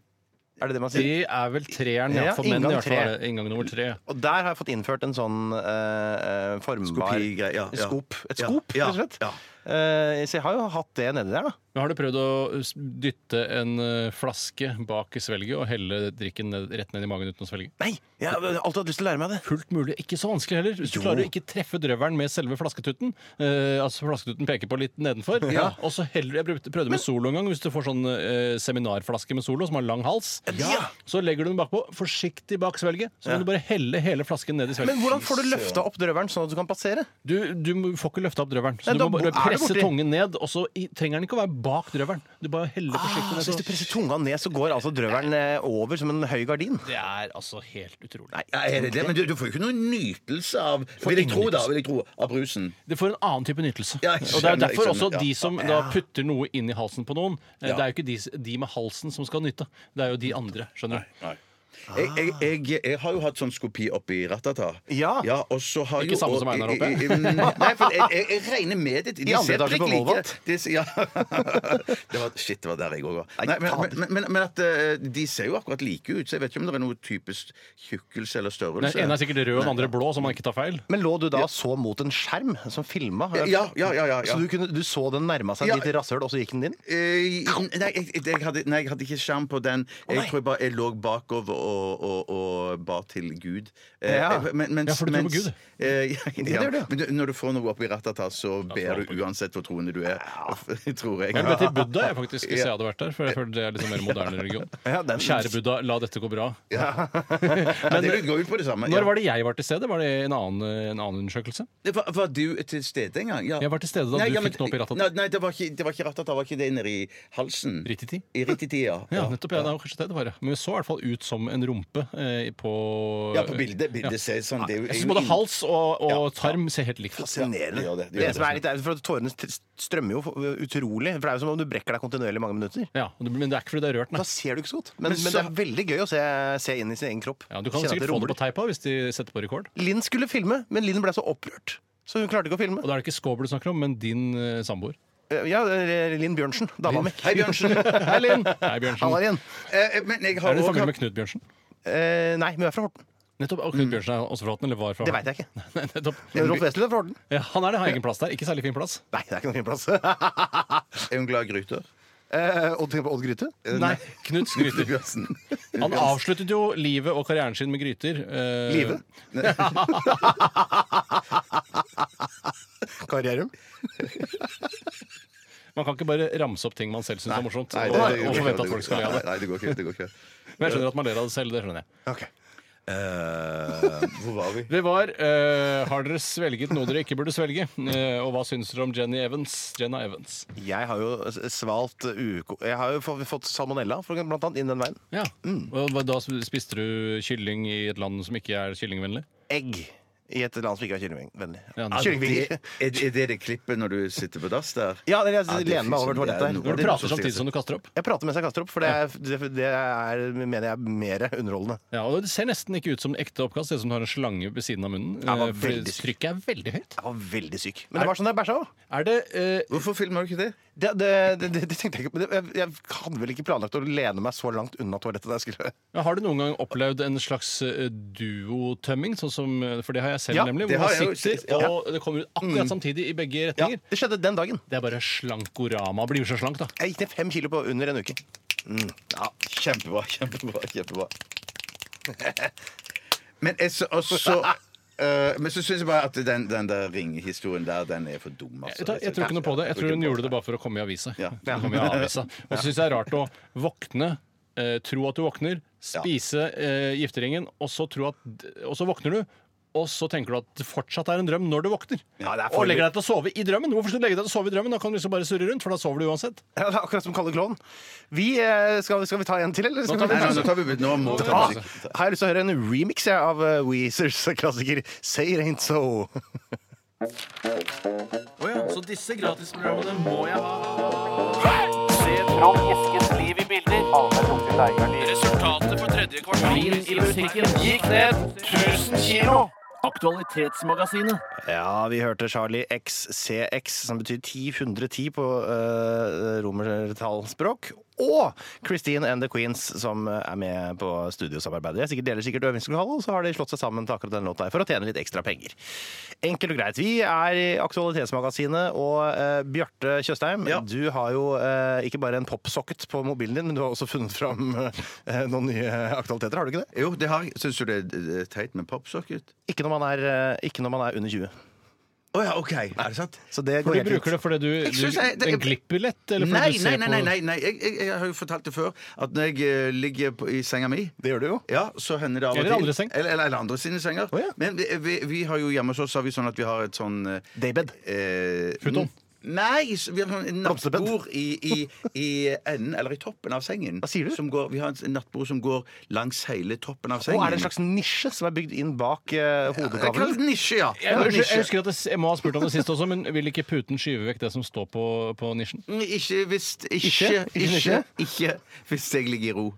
[SPEAKER 4] Er det det man sier?
[SPEAKER 6] Det er vel treeren, ja.
[SPEAKER 4] Ja,
[SPEAKER 6] For menn, i
[SPEAKER 4] inngang
[SPEAKER 6] hvert fall.
[SPEAKER 4] tre.
[SPEAKER 6] er det Inngang nummer tre.
[SPEAKER 4] Og der har jeg fått innført en sånn eh, eh, formbar
[SPEAKER 5] Skopigreie, ja, ja.
[SPEAKER 4] skop. Et
[SPEAKER 5] Ja,
[SPEAKER 4] skop,
[SPEAKER 5] ja,
[SPEAKER 4] rett og slett.
[SPEAKER 5] ja.
[SPEAKER 4] Eh, så jeg har jo hatt det nedi der, da.
[SPEAKER 6] Men har du prøvd å uh, s- dytte en eh, flaske bak i svelget og helle drikken ned, rett ned i magen uten å svelge?
[SPEAKER 4] Nei! Jeg har alltid hatt lyst til å lære meg det.
[SPEAKER 6] Fullt mulig. Ikke så vanskelig heller. Hvis du klarer å ikke treffe drøvelen med selve flasketutten, eh, altså flasketutten peker på litt nedenfor, og så heller Jeg brukte- prøvde med Solo en gang. Hvis du får sånn eh, seminarflaske med Solo som har lang hals, så legger du den bakpå, forsiktig bak svelget, så kan du bare helle hele flasken ned i svelget.
[SPEAKER 4] Men hvordan får du løfta opp drøveren sånn at du kan passere?
[SPEAKER 6] Du, du må- får ikke løfta opp drøvelen. Så
[SPEAKER 4] Nei,
[SPEAKER 6] du
[SPEAKER 4] da
[SPEAKER 6] må bare
[SPEAKER 4] er det
[SPEAKER 6] presse
[SPEAKER 4] borti.
[SPEAKER 6] tungen ned, og så i, trenger den ikke å være bak drøvelen. Du bare heller forsiktig
[SPEAKER 4] Ah,
[SPEAKER 6] ned.
[SPEAKER 4] så hvis du presser tunga ned, så går altså drøveren eh, over som en høy gardin?
[SPEAKER 6] Det er altså helt utrolig.
[SPEAKER 5] Ja, er det det? Men du, du får jo ikke noen nytelse av Vil jeg
[SPEAKER 6] ingen
[SPEAKER 5] tro, da.
[SPEAKER 6] nytelse.
[SPEAKER 5] Vil jeg tro, av brusen.
[SPEAKER 6] Det får en annen type nytelse.
[SPEAKER 5] Ja, jeg
[SPEAKER 6] og det er
[SPEAKER 5] skjønner, jeg
[SPEAKER 6] derfor også
[SPEAKER 5] skjønner, ja.
[SPEAKER 6] de som da putter noe inn i halsen på noen, eh,
[SPEAKER 5] Ja.
[SPEAKER 6] det er jo ikke de, s- de med halsen som skal nyte. Det er jo de andre. skjønner du?
[SPEAKER 5] Jeg, jeg, jeg, jeg har jo hatt sånn skopi oppi Ratata.
[SPEAKER 4] Ja.
[SPEAKER 5] og så har
[SPEAKER 6] Ikke
[SPEAKER 5] jo,
[SPEAKER 6] samme
[SPEAKER 5] og-
[SPEAKER 6] som Einar oppe.
[SPEAKER 5] i- i- i- Nei, for jeg, jeg, jeg regner med det. De
[SPEAKER 4] I andre
[SPEAKER 5] ser
[SPEAKER 4] etasje på
[SPEAKER 5] prikk like.
[SPEAKER 4] Volvat.
[SPEAKER 5] De s- ja. det var, shit, det var der jeg òg var. Nei, Men,
[SPEAKER 4] fader.
[SPEAKER 5] men, men, men at eh, de ser jo akkurat like ut, så jeg vet ikke om det er noe typisk tjukkelse eller
[SPEAKER 6] Den
[SPEAKER 5] størrelse.
[SPEAKER 6] ene er sikkert rød, og den andre blå, så man ikke tar feil.
[SPEAKER 4] Men lå du da så mot en skjerm som filma?
[SPEAKER 5] Ja, ja, ja, ja, ja.
[SPEAKER 4] Så du, kunne, du så den nærma seg
[SPEAKER 5] Ja.
[SPEAKER 4] ditt rasshøl, og så gikk den din?
[SPEAKER 5] Eh, nei, jeg, jeg- jeg hadde, nei, jeg hadde ikke skjerm på den. Jeg tror jeg bare jeg lå bakover og, og, og ba til Gud. Eh,
[SPEAKER 4] Ja.
[SPEAKER 5] jeg- men- mens-
[SPEAKER 6] Ja, for du tror på
[SPEAKER 5] mens-
[SPEAKER 6] Gud.
[SPEAKER 5] Eh, ja, ja.
[SPEAKER 4] gjør du, ja.
[SPEAKER 5] Men du, når du får noe opp i ratata, så ber du uansett hvor troende du er. Tror jeg.
[SPEAKER 6] Jeg vet til Buddha, jeg faktisk, hvis jeg hadde vært der. For jeg føler det er litt sånn mer moderne religion.
[SPEAKER 4] Ja, den-
[SPEAKER 6] Kjære Buddha, la dette gå bra.
[SPEAKER 5] Ja, det går ut på det samme.
[SPEAKER 6] eh, Når var det jeg var til stede? Var det en annen, en annen undersøkelse?
[SPEAKER 5] det? Var, var du til stede en gang? Ja.
[SPEAKER 6] Jeg var til stede da du fikk den opp i ratata.
[SPEAKER 5] Nei, nei det, var ikke, det var ikke ratata. Var ikke det nedi halsen?
[SPEAKER 6] Rititi?
[SPEAKER 5] I Rititi, ja.
[SPEAKER 6] Ja, nettopp. Ja, det var kanskje det det var. ja. Men vi så i hvert fall ut som en rumpe eh, på
[SPEAKER 5] Ja, på bildet. Bildet ser sånn det er jo-
[SPEAKER 6] Jeg syns både hals og, og tarm ser helt likt ut.
[SPEAKER 4] Fascinerende.
[SPEAKER 5] Ja, det gjør det.
[SPEAKER 4] det,
[SPEAKER 5] Det gjør det.
[SPEAKER 4] som er litt er for at Tårene st- strømmer jo utrolig. For Det er jo som om du brekker deg kontinuerlig i mange minutter.
[SPEAKER 6] Ja, og det- men det er ikke fordi det er rørt, nei.
[SPEAKER 4] Da ser du ikke så godt. Men, men,
[SPEAKER 5] så-
[SPEAKER 4] det er veldig gøy å se, se inn i sin egen kropp.
[SPEAKER 6] Ja, du kan
[SPEAKER 4] Kjenne at
[SPEAKER 6] sikkert
[SPEAKER 4] det
[SPEAKER 6] få det
[SPEAKER 4] rumler.
[SPEAKER 6] på teipa hvis de setter på rekord.
[SPEAKER 4] Linn skulle filme, men Linn ble så opprørt, så hun klarte ikke å filme.
[SPEAKER 6] Og da er det ikke Skåber du snakker om, men din eh, samboer.
[SPEAKER 4] Ja, det er Linn Bjørnsen. Dama mi.
[SPEAKER 5] Hei, Bjørnsen.
[SPEAKER 4] Hei, Linn.
[SPEAKER 6] Hei, Bjørnsen.
[SPEAKER 4] Halla igjen.
[SPEAKER 5] Eh, eh, Men jeg har
[SPEAKER 6] Er du
[SPEAKER 5] også
[SPEAKER 6] familie med
[SPEAKER 5] hatt
[SPEAKER 6] Knut Bjørnsen?
[SPEAKER 4] Eh, nei, men hun er fra Horten.
[SPEAKER 6] Nettopp. Og Knut Bjørnsen er også fra Horten, eller var fra
[SPEAKER 4] Det veit jeg ikke.
[SPEAKER 6] Nei, nettopp.
[SPEAKER 4] Men Rolf Wesenlund er fra Horten.
[SPEAKER 6] Ja, han er det. Har egen plass der. Ikke særlig fin plass.
[SPEAKER 4] Nei, det er ikke noen fin plass.
[SPEAKER 5] Er hun glad i gryter?
[SPEAKER 4] eh, Odd, tenker du på Odd Grythe? Eh,
[SPEAKER 6] Nei, Knut skryter.
[SPEAKER 5] Bjørnsen.
[SPEAKER 6] Han avsluttet jo livet og karrieren sin med gryter. eh,
[SPEAKER 4] Livet? Karrierum?
[SPEAKER 6] Man kan ikke bare ramse opp ting man selv syns er morsomt.
[SPEAKER 5] Nei,
[SPEAKER 6] og,
[SPEAKER 5] det- det går
[SPEAKER 6] og
[SPEAKER 5] ikke.
[SPEAKER 6] forvente at folk skal le av
[SPEAKER 5] Nei,
[SPEAKER 6] det.
[SPEAKER 5] Nei, det går ikke. Det går ikke.
[SPEAKER 6] Men jeg skjønner at man ler av det selv. Det skjønner jeg.
[SPEAKER 4] Ok.
[SPEAKER 5] Eh, hvor var vi?
[SPEAKER 6] Det var eh, Har dere svelget noe dere ikke burde svelge? Eh, og hva syns dere om Jenny Evans? Jenna Evans.
[SPEAKER 4] Jeg har jo s- svalt uko... Jeg har jo få- fått salmonella, for eksempel, blant annet, innen den veien.
[SPEAKER 6] Ja. Og hva- da spiste du kylling i et land som ikke er kyllingvennlig?
[SPEAKER 4] Egg i et land som ikke er kyllingvennlig. Ah,
[SPEAKER 6] Ja, nei.
[SPEAKER 4] Kyllingvinger.
[SPEAKER 5] Er, er det det klippet når du sitter på dass der?
[SPEAKER 4] Ja, det er-
[SPEAKER 5] Ja,
[SPEAKER 4] jeg
[SPEAKER 5] det
[SPEAKER 4] lener meg over
[SPEAKER 5] finnes- det er
[SPEAKER 4] toalettet.
[SPEAKER 5] noe-
[SPEAKER 4] her.
[SPEAKER 6] Når du
[SPEAKER 5] det er
[SPEAKER 6] prater
[SPEAKER 5] så
[SPEAKER 6] samtidig
[SPEAKER 5] stilig.
[SPEAKER 6] som du kaster opp.
[SPEAKER 4] Jeg prater mens jeg kaster opp, for det, er, det, det er, mener jeg er mer underholdende.
[SPEAKER 6] Ja, og Det ser nesten ikke ut som ekte oppkast. Det ser ut som du har en slange ved siden av munnen.
[SPEAKER 4] Ja, det var
[SPEAKER 6] eh, fordi
[SPEAKER 4] veldig sykt.
[SPEAKER 6] trykket er veldig høyt.
[SPEAKER 4] Jeg var veldig syk. Men det var sånn jeg bæsja òg.
[SPEAKER 6] Er det eh,
[SPEAKER 5] Hvorfor filmer du ikke det?
[SPEAKER 4] Det, det, det, det, det tenkte jeg ikke på. Det- Jeg, jeg hadde vel ikke planlagt å lene meg så langt unna toalettet da jeg skulle
[SPEAKER 6] Har du noen gang opplevd en slags eh, duotømming? Sånn som, eh, for det har jeg selv,
[SPEAKER 4] Ja,
[SPEAKER 6] nemlig.
[SPEAKER 5] det
[SPEAKER 6] Hvor
[SPEAKER 5] har jeg
[SPEAKER 6] man
[SPEAKER 5] jo
[SPEAKER 6] sitter,
[SPEAKER 5] sett, ja. Mm.
[SPEAKER 6] og det kommer ut akkurat samtidig i begge
[SPEAKER 4] Ja,
[SPEAKER 6] retninger.
[SPEAKER 4] det skjedde den dagen.
[SPEAKER 6] Det er bare slankorama. Blir jo så slank, da.
[SPEAKER 4] Jeg gikk ned fem kilo på under en uke.
[SPEAKER 5] Ja, kjempebra, kjempebra, kjempebra. Men jeg så også eh, men så syns jeg bare at den, den der ringhistorien der, den er for dum. Altså.
[SPEAKER 6] Jeg, tar, jeg tror ikke noe på det. Jeg tror hun gjorde det bare for å komme i avisa.
[SPEAKER 5] Ja.
[SPEAKER 6] For å komme i avisa. Og så syns jeg det er rart å våkne, eh, tro at du våkner, spise eh, gifteringen, og så, tro at, og så våkner du. Og så tenker du at det fortsatt er en drøm når du våkner. og legger deg til å sove i drømmen. Hvorfor skal du legge deg til å sove i drømmen? Da kan du liksom bare surre rundt, for da sover du uansett.
[SPEAKER 4] Ja, det er akkurat som Kalle Klovn. Vi, eh, skal, skal vi ta en til, eller? Skal
[SPEAKER 6] tar
[SPEAKER 4] vi
[SPEAKER 5] Nei, nei, nå tar vi ut Nå må vi ta
[SPEAKER 4] Ah,
[SPEAKER 5] musikk.
[SPEAKER 4] har jeg lyst til å høre en remix jeg, av eh, Weezers klassiker Say It Ain't So.
[SPEAKER 7] Så disse gratisprogrammene må jeg ha. Se Trond Eskens liv i bilder. Resultatet for tredje kvartal i musikken gikk ned 1000 kilo. Aktualitetsmagasinet.
[SPEAKER 4] Ja, vi hørte Charlie XCX, som betyr 1010 på uh, romertallspråk. Og Christine and the Queens, som eh, er med på studiosamarbeidet. Jeg sikkert deler sikkert øvingslokalet, og så har de slått seg sammen til akkurat den låta her for å tjene litt ekstra penger. Enkelt og greit. Vi er i Aktualitetsmagasinet, og eh, Bjarte Tjøstheim,
[SPEAKER 5] Ja.
[SPEAKER 4] du har jo eh, ikke bare en popsocket på mobilen din, men du har også funnet fram eh, noen nye aktualiteter, har du ikke det?
[SPEAKER 5] Jo, det har jeg. Syns du det er eh, teit med popsocket?
[SPEAKER 4] Ikke når man er, eh, ikke når man er under 20.
[SPEAKER 5] Å ja, OK. Er det sant?
[SPEAKER 4] Så det
[SPEAKER 6] For
[SPEAKER 4] går
[SPEAKER 6] du
[SPEAKER 4] helt fint.
[SPEAKER 6] bruker det fordi du,
[SPEAKER 5] Jeg
[SPEAKER 6] du
[SPEAKER 5] synes jeg- det-
[SPEAKER 6] Den glipper lett? Eller fordi
[SPEAKER 5] Nei,
[SPEAKER 6] du
[SPEAKER 5] nei,
[SPEAKER 6] ser
[SPEAKER 5] nei. nei, nei, nei. Jeg, jeg, jeg har jo fortalt det før, at når jeg eh, ligger på, i senga mi
[SPEAKER 4] Det gjør du jo.
[SPEAKER 5] Ja, så hender det av og
[SPEAKER 6] Eller
[SPEAKER 5] til.
[SPEAKER 6] andre seng.
[SPEAKER 5] Eller, eller andre sine senger. Men vi, vi, vi har jo hjemme hos oss har vi sånn at vi har et sånn eh,
[SPEAKER 4] Daybed.
[SPEAKER 5] eh,
[SPEAKER 6] Futon.
[SPEAKER 5] Nei, s- vi har sånn
[SPEAKER 4] Blomsterbed.
[SPEAKER 5] nattbord i, i, i enden, eller i toppen av sengen.
[SPEAKER 4] Hva sier du?
[SPEAKER 5] Som går, vi har et nattbord som går langs hele toppen av
[SPEAKER 4] Og
[SPEAKER 5] sengen.
[SPEAKER 4] er det en slags nisje som er bygd inn bak eh,
[SPEAKER 5] Jeg kaller
[SPEAKER 4] hodekavlen?
[SPEAKER 5] det nisje, ja.
[SPEAKER 6] Jeg,
[SPEAKER 5] Ja,
[SPEAKER 6] jeg,
[SPEAKER 5] nisje.
[SPEAKER 6] husker at jeg, jeg må ha spurt om det sist også, men vil ikke puten skyve vekk det som står på, på nisjen?
[SPEAKER 5] Ikke hvis
[SPEAKER 4] Ikke?
[SPEAKER 5] ikke,
[SPEAKER 4] Ikke
[SPEAKER 5] ikke,
[SPEAKER 4] nisje?
[SPEAKER 5] ikke hvis jeg ligger i ro.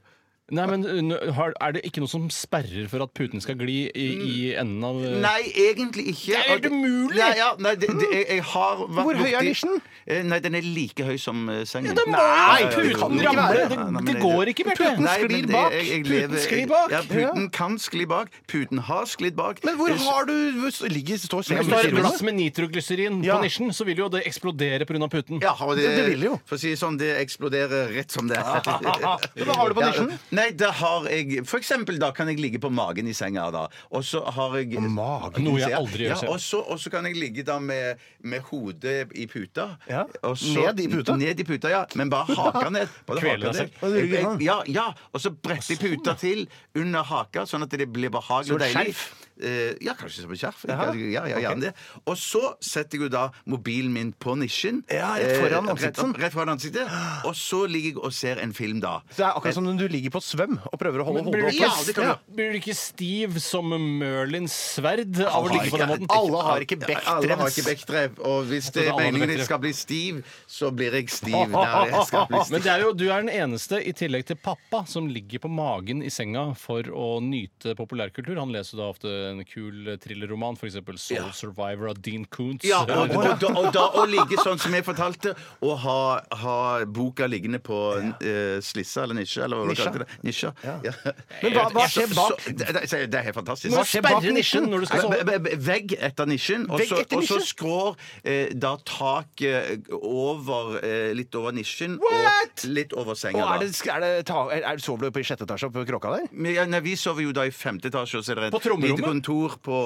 [SPEAKER 6] Nei, men uh, har- Er det ikke noe som sperrer for at puten skal gli i, i enden av uh,
[SPEAKER 5] Mm. Nei, egentlig ikke.
[SPEAKER 6] er helt umulig!
[SPEAKER 5] Nei, ja, nei, det, det, jeg, jeg har vært
[SPEAKER 4] Hvor høy er
[SPEAKER 5] borti-
[SPEAKER 4] nisjen?
[SPEAKER 5] Eh, Nei, den er like høy som eh, sengen.
[SPEAKER 6] det må jo- puten ramler. Det- det går ikke, Bjarte.
[SPEAKER 5] Puten
[SPEAKER 6] Nei,
[SPEAKER 5] sklir
[SPEAKER 6] men
[SPEAKER 5] bak.
[SPEAKER 6] jeg- jeg lever-
[SPEAKER 5] Puten sklir bak. Ja, puten kan skli bak. Puten har sklidd bak.
[SPEAKER 4] Men hvor
[SPEAKER 5] Eh, så-
[SPEAKER 4] har du hvor ligger, står senga
[SPEAKER 6] Hvis du har et
[SPEAKER 4] midt i
[SPEAKER 6] glass
[SPEAKER 4] rommet?
[SPEAKER 6] med nitroglyserin
[SPEAKER 4] Ja.
[SPEAKER 6] på nisjen, så vil jo det eksplodere pga. puten.
[SPEAKER 5] Ja, og det,
[SPEAKER 4] Det- det vil jo.
[SPEAKER 5] For å si det sånn, det eksploderer rett som det er.
[SPEAKER 4] Hva har du på nisjen?
[SPEAKER 5] Ja, nei, da har jeg For eksempel, da kan jeg ligge på magen i senga, da. Og så har jeg
[SPEAKER 4] magen?
[SPEAKER 6] Noe jeg aldri gjør
[SPEAKER 5] ja,
[SPEAKER 6] selv.
[SPEAKER 5] og så- Og så kan jeg ligge da med, med hodet i puta.
[SPEAKER 4] Ja.
[SPEAKER 5] og
[SPEAKER 4] Ned i puta?
[SPEAKER 5] Ned i puta, ja. Men bare haka ned. Bare
[SPEAKER 6] Kvele
[SPEAKER 5] haka
[SPEAKER 6] deg selv.
[SPEAKER 5] ned.
[SPEAKER 4] Og ryggen
[SPEAKER 5] Jeg- jeg-
[SPEAKER 4] av.
[SPEAKER 5] Ja, ja. Og så bretter jeg puta til under haka, sånn at det blir behagelig
[SPEAKER 4] Som
[SPEAKER 5] og
[SPEAKER 4] et
[SPEAKER 5] deilig.
[SPEAKER 4] skjerf?
[SPEAKER 5] Eh, ja, kanskje som et skjerf.
[SPEAKER 4] Jaha.
[SPEAKER 5] Ja, ja, gjerne det. Og så setter jeg jo da mobilen min på nisjen.
[SPEAKER 4] Ja, rett foran
[SPEAKER 5] Eh,
[SPEAKER 4] ansiktet.
[SPEAKER 5] Rett, rett foran ansiktet. Og så ligger jeg og ser en film, da.
[SPEAKER 4] Det er akkurat som om du ligger på svøm og prøver å holde
[SPEAKER 6] Blir
[SPEAKER 4] hodet oppe.
[SPEAKER 6] du ikke,
[SPEAKER 5] Ja, det kan du.
[SPEAKER 6] blir du ikke stiv som Merlins sverd av å
[SPEAKER 5] Alle
[SPEAKER 6] ligge på den
[SPEAKER 5] har
[SPEAKER 6] måten?
[SPEAKER 5] ikke-
[SPEAKER 4] Alle har ikke
[SPEAKER 5] Alle har
[SPEAKER 4] bekkdrems.
[SPEAKER 5] ikke bekkdrev. Og hvis det
[SPEAKER 6] Jeg
[SPEAKER 5] er
[SPEAKER 6] trodde alle
[SPEAKER 5] meningen jeg
[SPEAKER 6] bekkdrev.
[SPEAKER 5] skal bli stiv, så blir jeg stiv. Nei, jeg skal bli
[SPEAKER 6] Men
[SPEAKER 5] stiv.
[SPEAKER 6] det er jo, du er den eneste, i tillegg til pappa, som ligger på magen i senga for å nyte populærkultur. Han leser da ofte en kul thrillerroman, f.eks. Soul Survivor av Dean Koontz.
[SPEAKER 5] Ja, og, og, og, og, da å ligge sånn som jeg fortalte, og ha, ha boka liggende på eh, slissa eller nisja, eller hva du
[SPEAKER 4] Nisja.
[SPEAKER 5] kalte det. Nisja. Ja. Eh,
[SPEAKER 4] Men hva- hva skjer
[SPEAKER 5] Så-
[SPEAKER 4] bak-
[SPEAKER 5] så- det, det, det er helt fantastisk.
[SPEAKER 4] Hva skjer bak
[SPEAKER 6] sperre nisjen
[SPEAKER 4] nisjen?
[SPEAKER 6] når du skal
[SPEAKER 5] Nei,
[SPEAKER 6] sove.
[SPEAKER 5] be- be- Vegg etter nisjen, og
[SPEAKER 4] Vegg
[SPEAKER 5] så,
[SPEAKER 4] etter
[SPEAKER 5] og så
[SPEAKER 4] nisjen?
[SPEAKER 5] skrår eh, da taket over eh, litt over nisjen
[SPEAKER 4] What?
[SPEAKER 5] og litt over senga.
[SPEAKER 4] Og er
[SPEAKER 5] da.
[SPEAKER 4] det, er det ta, er, er, Sover du på i sjette etasje på kråka der?
[SPEAKER 5] Men, ja, nei, vi sover jo da i femte etasje, og så er det
[SPEAKER 6] På
[SPEAKER 5] et
[SPEAKER 6] trommerommet?
[SPEAKER 5] lite kontor på,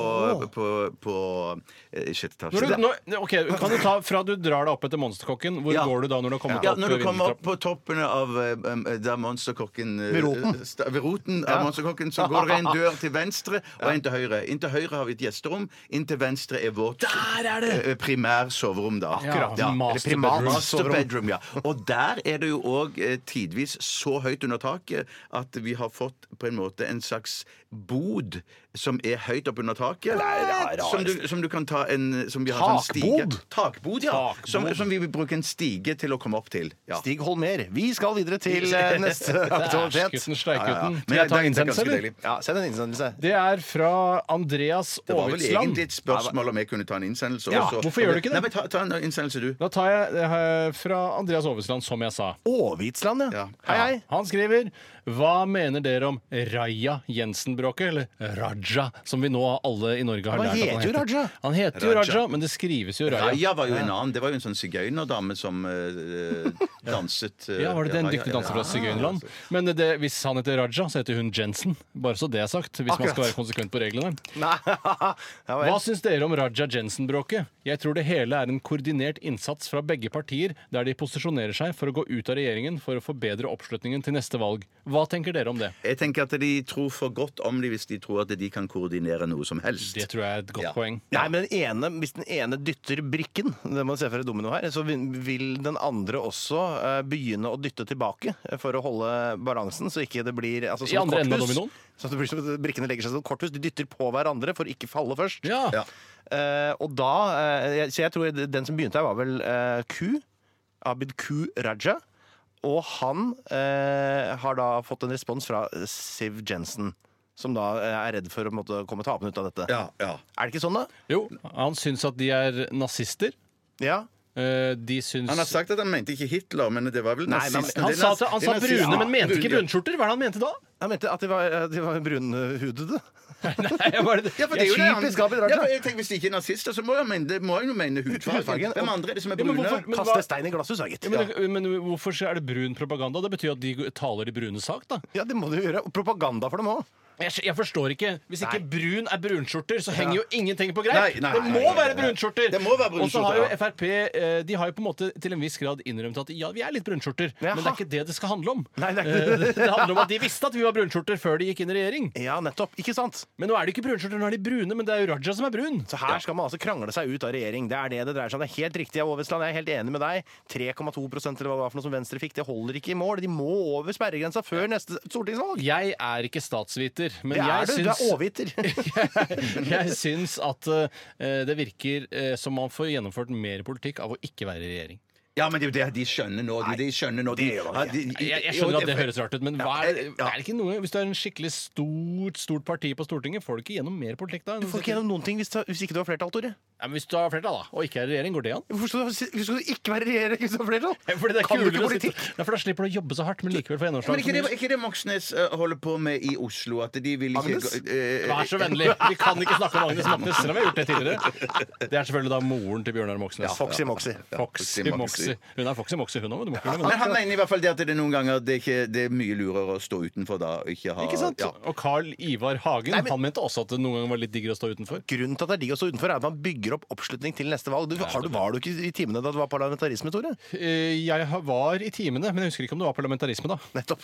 [SPEAKER 5] på, på, eh, i sjette etasje.
[SPEAKER 6] Når du, når, ok, kan du ta Fra du drar deg opp etter Monsterkokken, hvor
[SPEAKER 5] Ja.
[SPEAKER 6] går du da når du har kommet
[SPEAKER 5] Ja,
[SPEAKER 6] opp?
[SPEAKER 5] når du kommer opp
[SPEAKER 6] vindeltrappen?
[SPEAKER 5] på toppen av eh, em, der monsterkokken eh,
[SPEAKER 4] Ved roten.
[SPEAKER 5] sta- Ved roten av monsterkokken, så går det en dør til venstre og en til høyre. Inntil høyre har vi et gjesterom, inntil venstre er vårt eh, primær soverom, da.
[SPEAKER 6] Akkurat. Master
[SPEAKER 5] Eller primat-
[SPEAKER 6] bedroom.
[SPEAKER 5] Master bedroom, ja. Og der er det jo òg eh, tidvis så høyt under taket at vi har fått på en måte en slags bod som er høyt opp under taket. Som du, som du kan ta en som vi har sånn stige-
[SPEAKER 4] Takbod?
[SPEAKER 5] Takbod, ja.
[SPEAKER 6] Takbod.
[SPEAKER 5] Som, som vi vil bruke en stige til å komme opp til. Ja.
[SPEAKER 4] Stig Holmer, vi skal videre til eh, neste aktualitet.
[SPEAKER 6] Dæskutten, steikutten.
[SPEAKER 5] Men
[SPEAKER 6] Skal jeg ta
[SPEAKER 5] det er
[SPEAKER 6] innsendelse,
[SPEAKER 5] ganske
[SPEAKER 6] eller?
[SPEAKER 5] deilig.
[SPEAKER 4] Ja, Send en innsendelse.
[SPEAKER 6] Det er fra Andreas
[SPEAKER 5] Det var vel
[SPEAKER 6] Aavitsland.
[SPEAKER 5] egentlig et spørsmål om jeg kunne ta en innsendelse
[SPEAKER 6] Ja,
[SPEAKER 5] også.
[SPEAKER 6] hvorfor gjør du ikke det?
[SPEAKER 5] Nei, men ta, ta en innsendelse, du.
[SPEAKER 6] Da tar jeg eh, fra Andreas Aavitsland, som jeg sa.
[SPEAKER 4] Aavitsland, ja.
[SPEAKER 5] Ja.
[SPEAKER 4] Hei, hei.
[SPEAKER 6] Han skriver Hva mener dere om Raja Jensen-bråket, eller Raja, som vi nå alle i Norge har
[SPEAKER 4] Han
[SPEAKER 6] lært at
[SPEAKER 4] heter jo Raja.
[SPEAKER 6] Han heter jo
[SPEAKER 5] Raja.
[SPEAKER 6] Raja, men det skrives jo Raja.
[SPEAKER 5] Raja var jo en annen. Det var jo en sånn sigøynerdame som eh, danset eh,
[SPEAKER 6] Ja, var det det? En
[SPEAKER 5] Raja,
[SPEAKER 6] dyktig danser fra
[SPEAKER 5] ja. altså.
[SPEAKER 6] Sigøynerland. Men det, hvis han heter Raja, så heter hun Jensen. Bare så det er sagt. Hvis man skal
[SPEAKER 4] Akkurat.
[SPEAKER 6] være konsekvent på reglene.
[SPEAKER 4] Nei. Ja, vel.
[SPEAKER 6] Hva syns dere om Raja Jensen-bråket? Jeg tror det hele er en koordinert innsats fra begge partier, der de posisjonerer seg for å gå ut av regjeringen for å forbedre oppslutningen til neste valg. Hva tenker dere om det?
[SPEAKER 5] Jeg tenker at de tror for godt om det hvis de tror at de kan koordinere noe som helst.
[SPEAKER 6] Det tror jeg er et godt
[SPEAKER 5] Ja.
[SPEAKER 6] poeng.
[SPEAKER 4] Nei, men den ene, Hvis den ene dytter brikken, det må du se for deg domino her, så vil vil den andre også eh, begynne å dytte tilbake eh, for å holde balansen, så ikke det blir altså,
[SPEAKER 6] I
[SPEAKER 4] et
[SPEAKER 6] andre enden av
[SPEAKER 4] korthus.
[SPEAKER 6] dominoen?
[SPEAKER 4] Så det blir som at brikkene legger seg som et korthus. De dytter på hverandre for å ikke falle først.
[SPEAKER 6] Ja.
[SPEAKER 5] Ja.
[SPEAKER 4] Eh, og da eh, jeg- Så jeg tror det- den som begynte her, var vel eh, Q. Abid Q. Raja. Og han eh, har da fått en respons fra eh, Siv Jensen, som da eh, er redd for å måtte komme tapende ut av dette.
[SPEAKER 5] Ja, ja.
[SPEAKER 4] Er det ikke sånn, da?
[SPEAKER 6] Jo, han syns at de er nazister.
[SPEAKER 4] Ja.
[SPEAKER 6] Eh, De syns
[SPEAKER 5] Han har sagt at han mente ikke Hitler, men det var vel
[SPEAKER 4] Nei, men
[SPEAKER 5] nazisten.
[SPEAKER 6] Han
[SPEAKER 5] Det er
[SPEAKER 6] sa,
[SPEAKER 5] naz-
[SPEAKER 6] at, han
[SPEAKER 5] det er
[SPEAKER 6] sa brune,
[SPEAKER 5] nazisten.
[SPEAKER 6] men mente ikke
[SPEAKER 5] Brune, ja.
[SPEAKER 6] brunskjorter. Hva er det han mente da?
[SPEAKER 4] Jeg mente at de var, at de var brunhudede.
[SPEAKER 6] Nei, jeg bare,
[SPEAKER 5] Ja, for det er jo det. han-
[SPEAKER 4] Typisk Abid Raja.
[SPEAKER 5] Ja, for jeg tenker, hvis de ikke er nazister, så må, jeg mene, det må jeg jo mene hudfargen.
[SPEAKER 4] Hudfargen.
[SPEAKER 5] Hvem andre er det som er
[SPEAKER 6] Ja, men
[SPEAKER 5] brune?
[SPEAKER 6] hvorfor- men hva-
[SPEAKER 4] Altså, Kaste stein i glasshus, da, gitt.
[SPEAKER 6] Ja, men, det- men hvorfor er det brun propaganda? Det betyr jo at de taler de brune sak, da.
[SPEAKER 4] Ja, det må du gjøre. Og propaganda for dem òg.
[SPEAKER 6] Jeg, skj- jeg forstår ikke. Hvis ikke brun er brunskjorter, så henger jo ingenting på greip.
[SPEAKER 5] Nei, nei,
[SPEAKER 6] det
[SPEAKER 5] nei,
[SPEAKER 6] må
[SPEAKER 5] nei, nei,
[SPEAKER 6] være
[SPEAKER 5] nei.
[SPEAKER 6] brunskjorter!
[SPEAKER 5] Det må være
[SPEAKER 6] Og så har jo
[SPEAKER 5] brunskjorter, ja.
[SPEAKER 6] Frp eh, De har jo på en måte til en viss grad innrømt at ja, vi er litt brunskjorter,
[SPEAKER 4] Jaha.
[SPEAKER 6] men det er ikke det det skal handle om.
[SPEAKER 4] Nei, det er
[SPEAKER 6] Eh,
[SPEAKER 4] ikke
[SPEAKER 6] det handler om at de visste at vi var brunskjorter før de gikk inn i regjering.
[SPEAKER 4] Ja, nettopp. Ikke sant?
[SPEAKER 6] Men nå er det ikke brunskjorter, nå er de brune, men det er jo Raja som er brun.
[SPEAKER 4] Så her skal man altså krangle seg ut av regjering. Det er det det dreier seg om. Det er helt riktig, Aavitsland. Jeg er helt enig med deg. 3,2 eller hva det var for noe som Venstre fikk, det holder ikke i mål. De må over sperregrensa før neste stortingsvalg.
[SPEAKER 6] Jeg er ikke statsviter, men
[SPEAKER 4] Det er
[SPEAKER 6] jeg
[SPEAKER 4] du. Du
[SPEAKER 6] syns
[SPEAKER 4] er overviter.
[SPEAKER 6] jeg syns at eh, det virker eh, som man får gjennomført mer politikk av å ikke være i regjering.
[SPEAKER 5] Ja, men det er jo det de skjønner nå. De, de skjønner nå. De,
[SPEAKER 4] det gjør man
[SPEAKER 5] ja, de-
[SPEAKER 6] Jeg, jeg skjønner at det høres rart ut, men hva er,
[SPEAKER 5] Ja, ja.
[SPEAKER 6] er det ikke noe Hvis du er en skikkelig stort stort parti på Stortinget, får du ikke gjennom mer politikk da? enn-
[SPEAKER 4] Du får ikke gjennom noen ting hvis, du- hvis ikke du har flertall, Tore.
[SPEAKER 6] Ja, men hvis du har flertall, da, og ikke er i regjering, går det an?
[SPEAKER 4] Hvorfor skal du, hvorfor skal du ikke være i regjering hvis du har flertall?
[SPEAKER 6] Fordi det er
[SPEAKER 4] kan du ikke
[SPEAKER 6] kulere å sitte-
[SPEAKER 4] politikk?
[SPEAKER 6] Nei, for da slipper du å jobbe så hardt, men likevel får
[SPEAKER 5] Men ikke det,
[SPEAKER 6] gjennomslag.
[SPEAKER 5] ikke det Moxnes eh, holder på med i Oslo? At de vil ikke
[SPEAKER 4] Agnes?
[SPEAKER 5] gå- eh,
[SPEAKER 6] Vær så vennlig! Vi kan ikke snakke om Agnes Moxnes, selv om vi har gjort det tidligere. Det er selvfølgelig da moren til Bjørnar Moxnes.
[SPEAKER 4] Foxy Moxy.
[SPEAKER 6] Foxy Moxy. Hun er Foxy Moxy, hun òg.
[SPEAKER 5] Men han mener i hvert fall det at det er noen ganger det er, ikke, det er mye lurere å stå utenfor da. og Ikke, ha,
[SPEAKER 6] Ikke sant?
[SPEAKER 5] Ja.
[SPEAKER 6] Og Carl Ivar Hagen
[SPEAKER 4] men-
[SPEAKER 6] han mente også at det noen ganger var litt diggere å stå utenfor.
[SPEAKER 4] Grunnen til at det er digg å stå utenfor, er at man bygger opp oppslutning til neste valg. Du, har du, var du ikke i timene da det var parlamentarisme, Tore?
[SPEAKER 6] Eh, Jeg ha- var i timene, men jeg husker ikke om det var parlamentarisme, da.
[SPEAKER 4] Nettopp.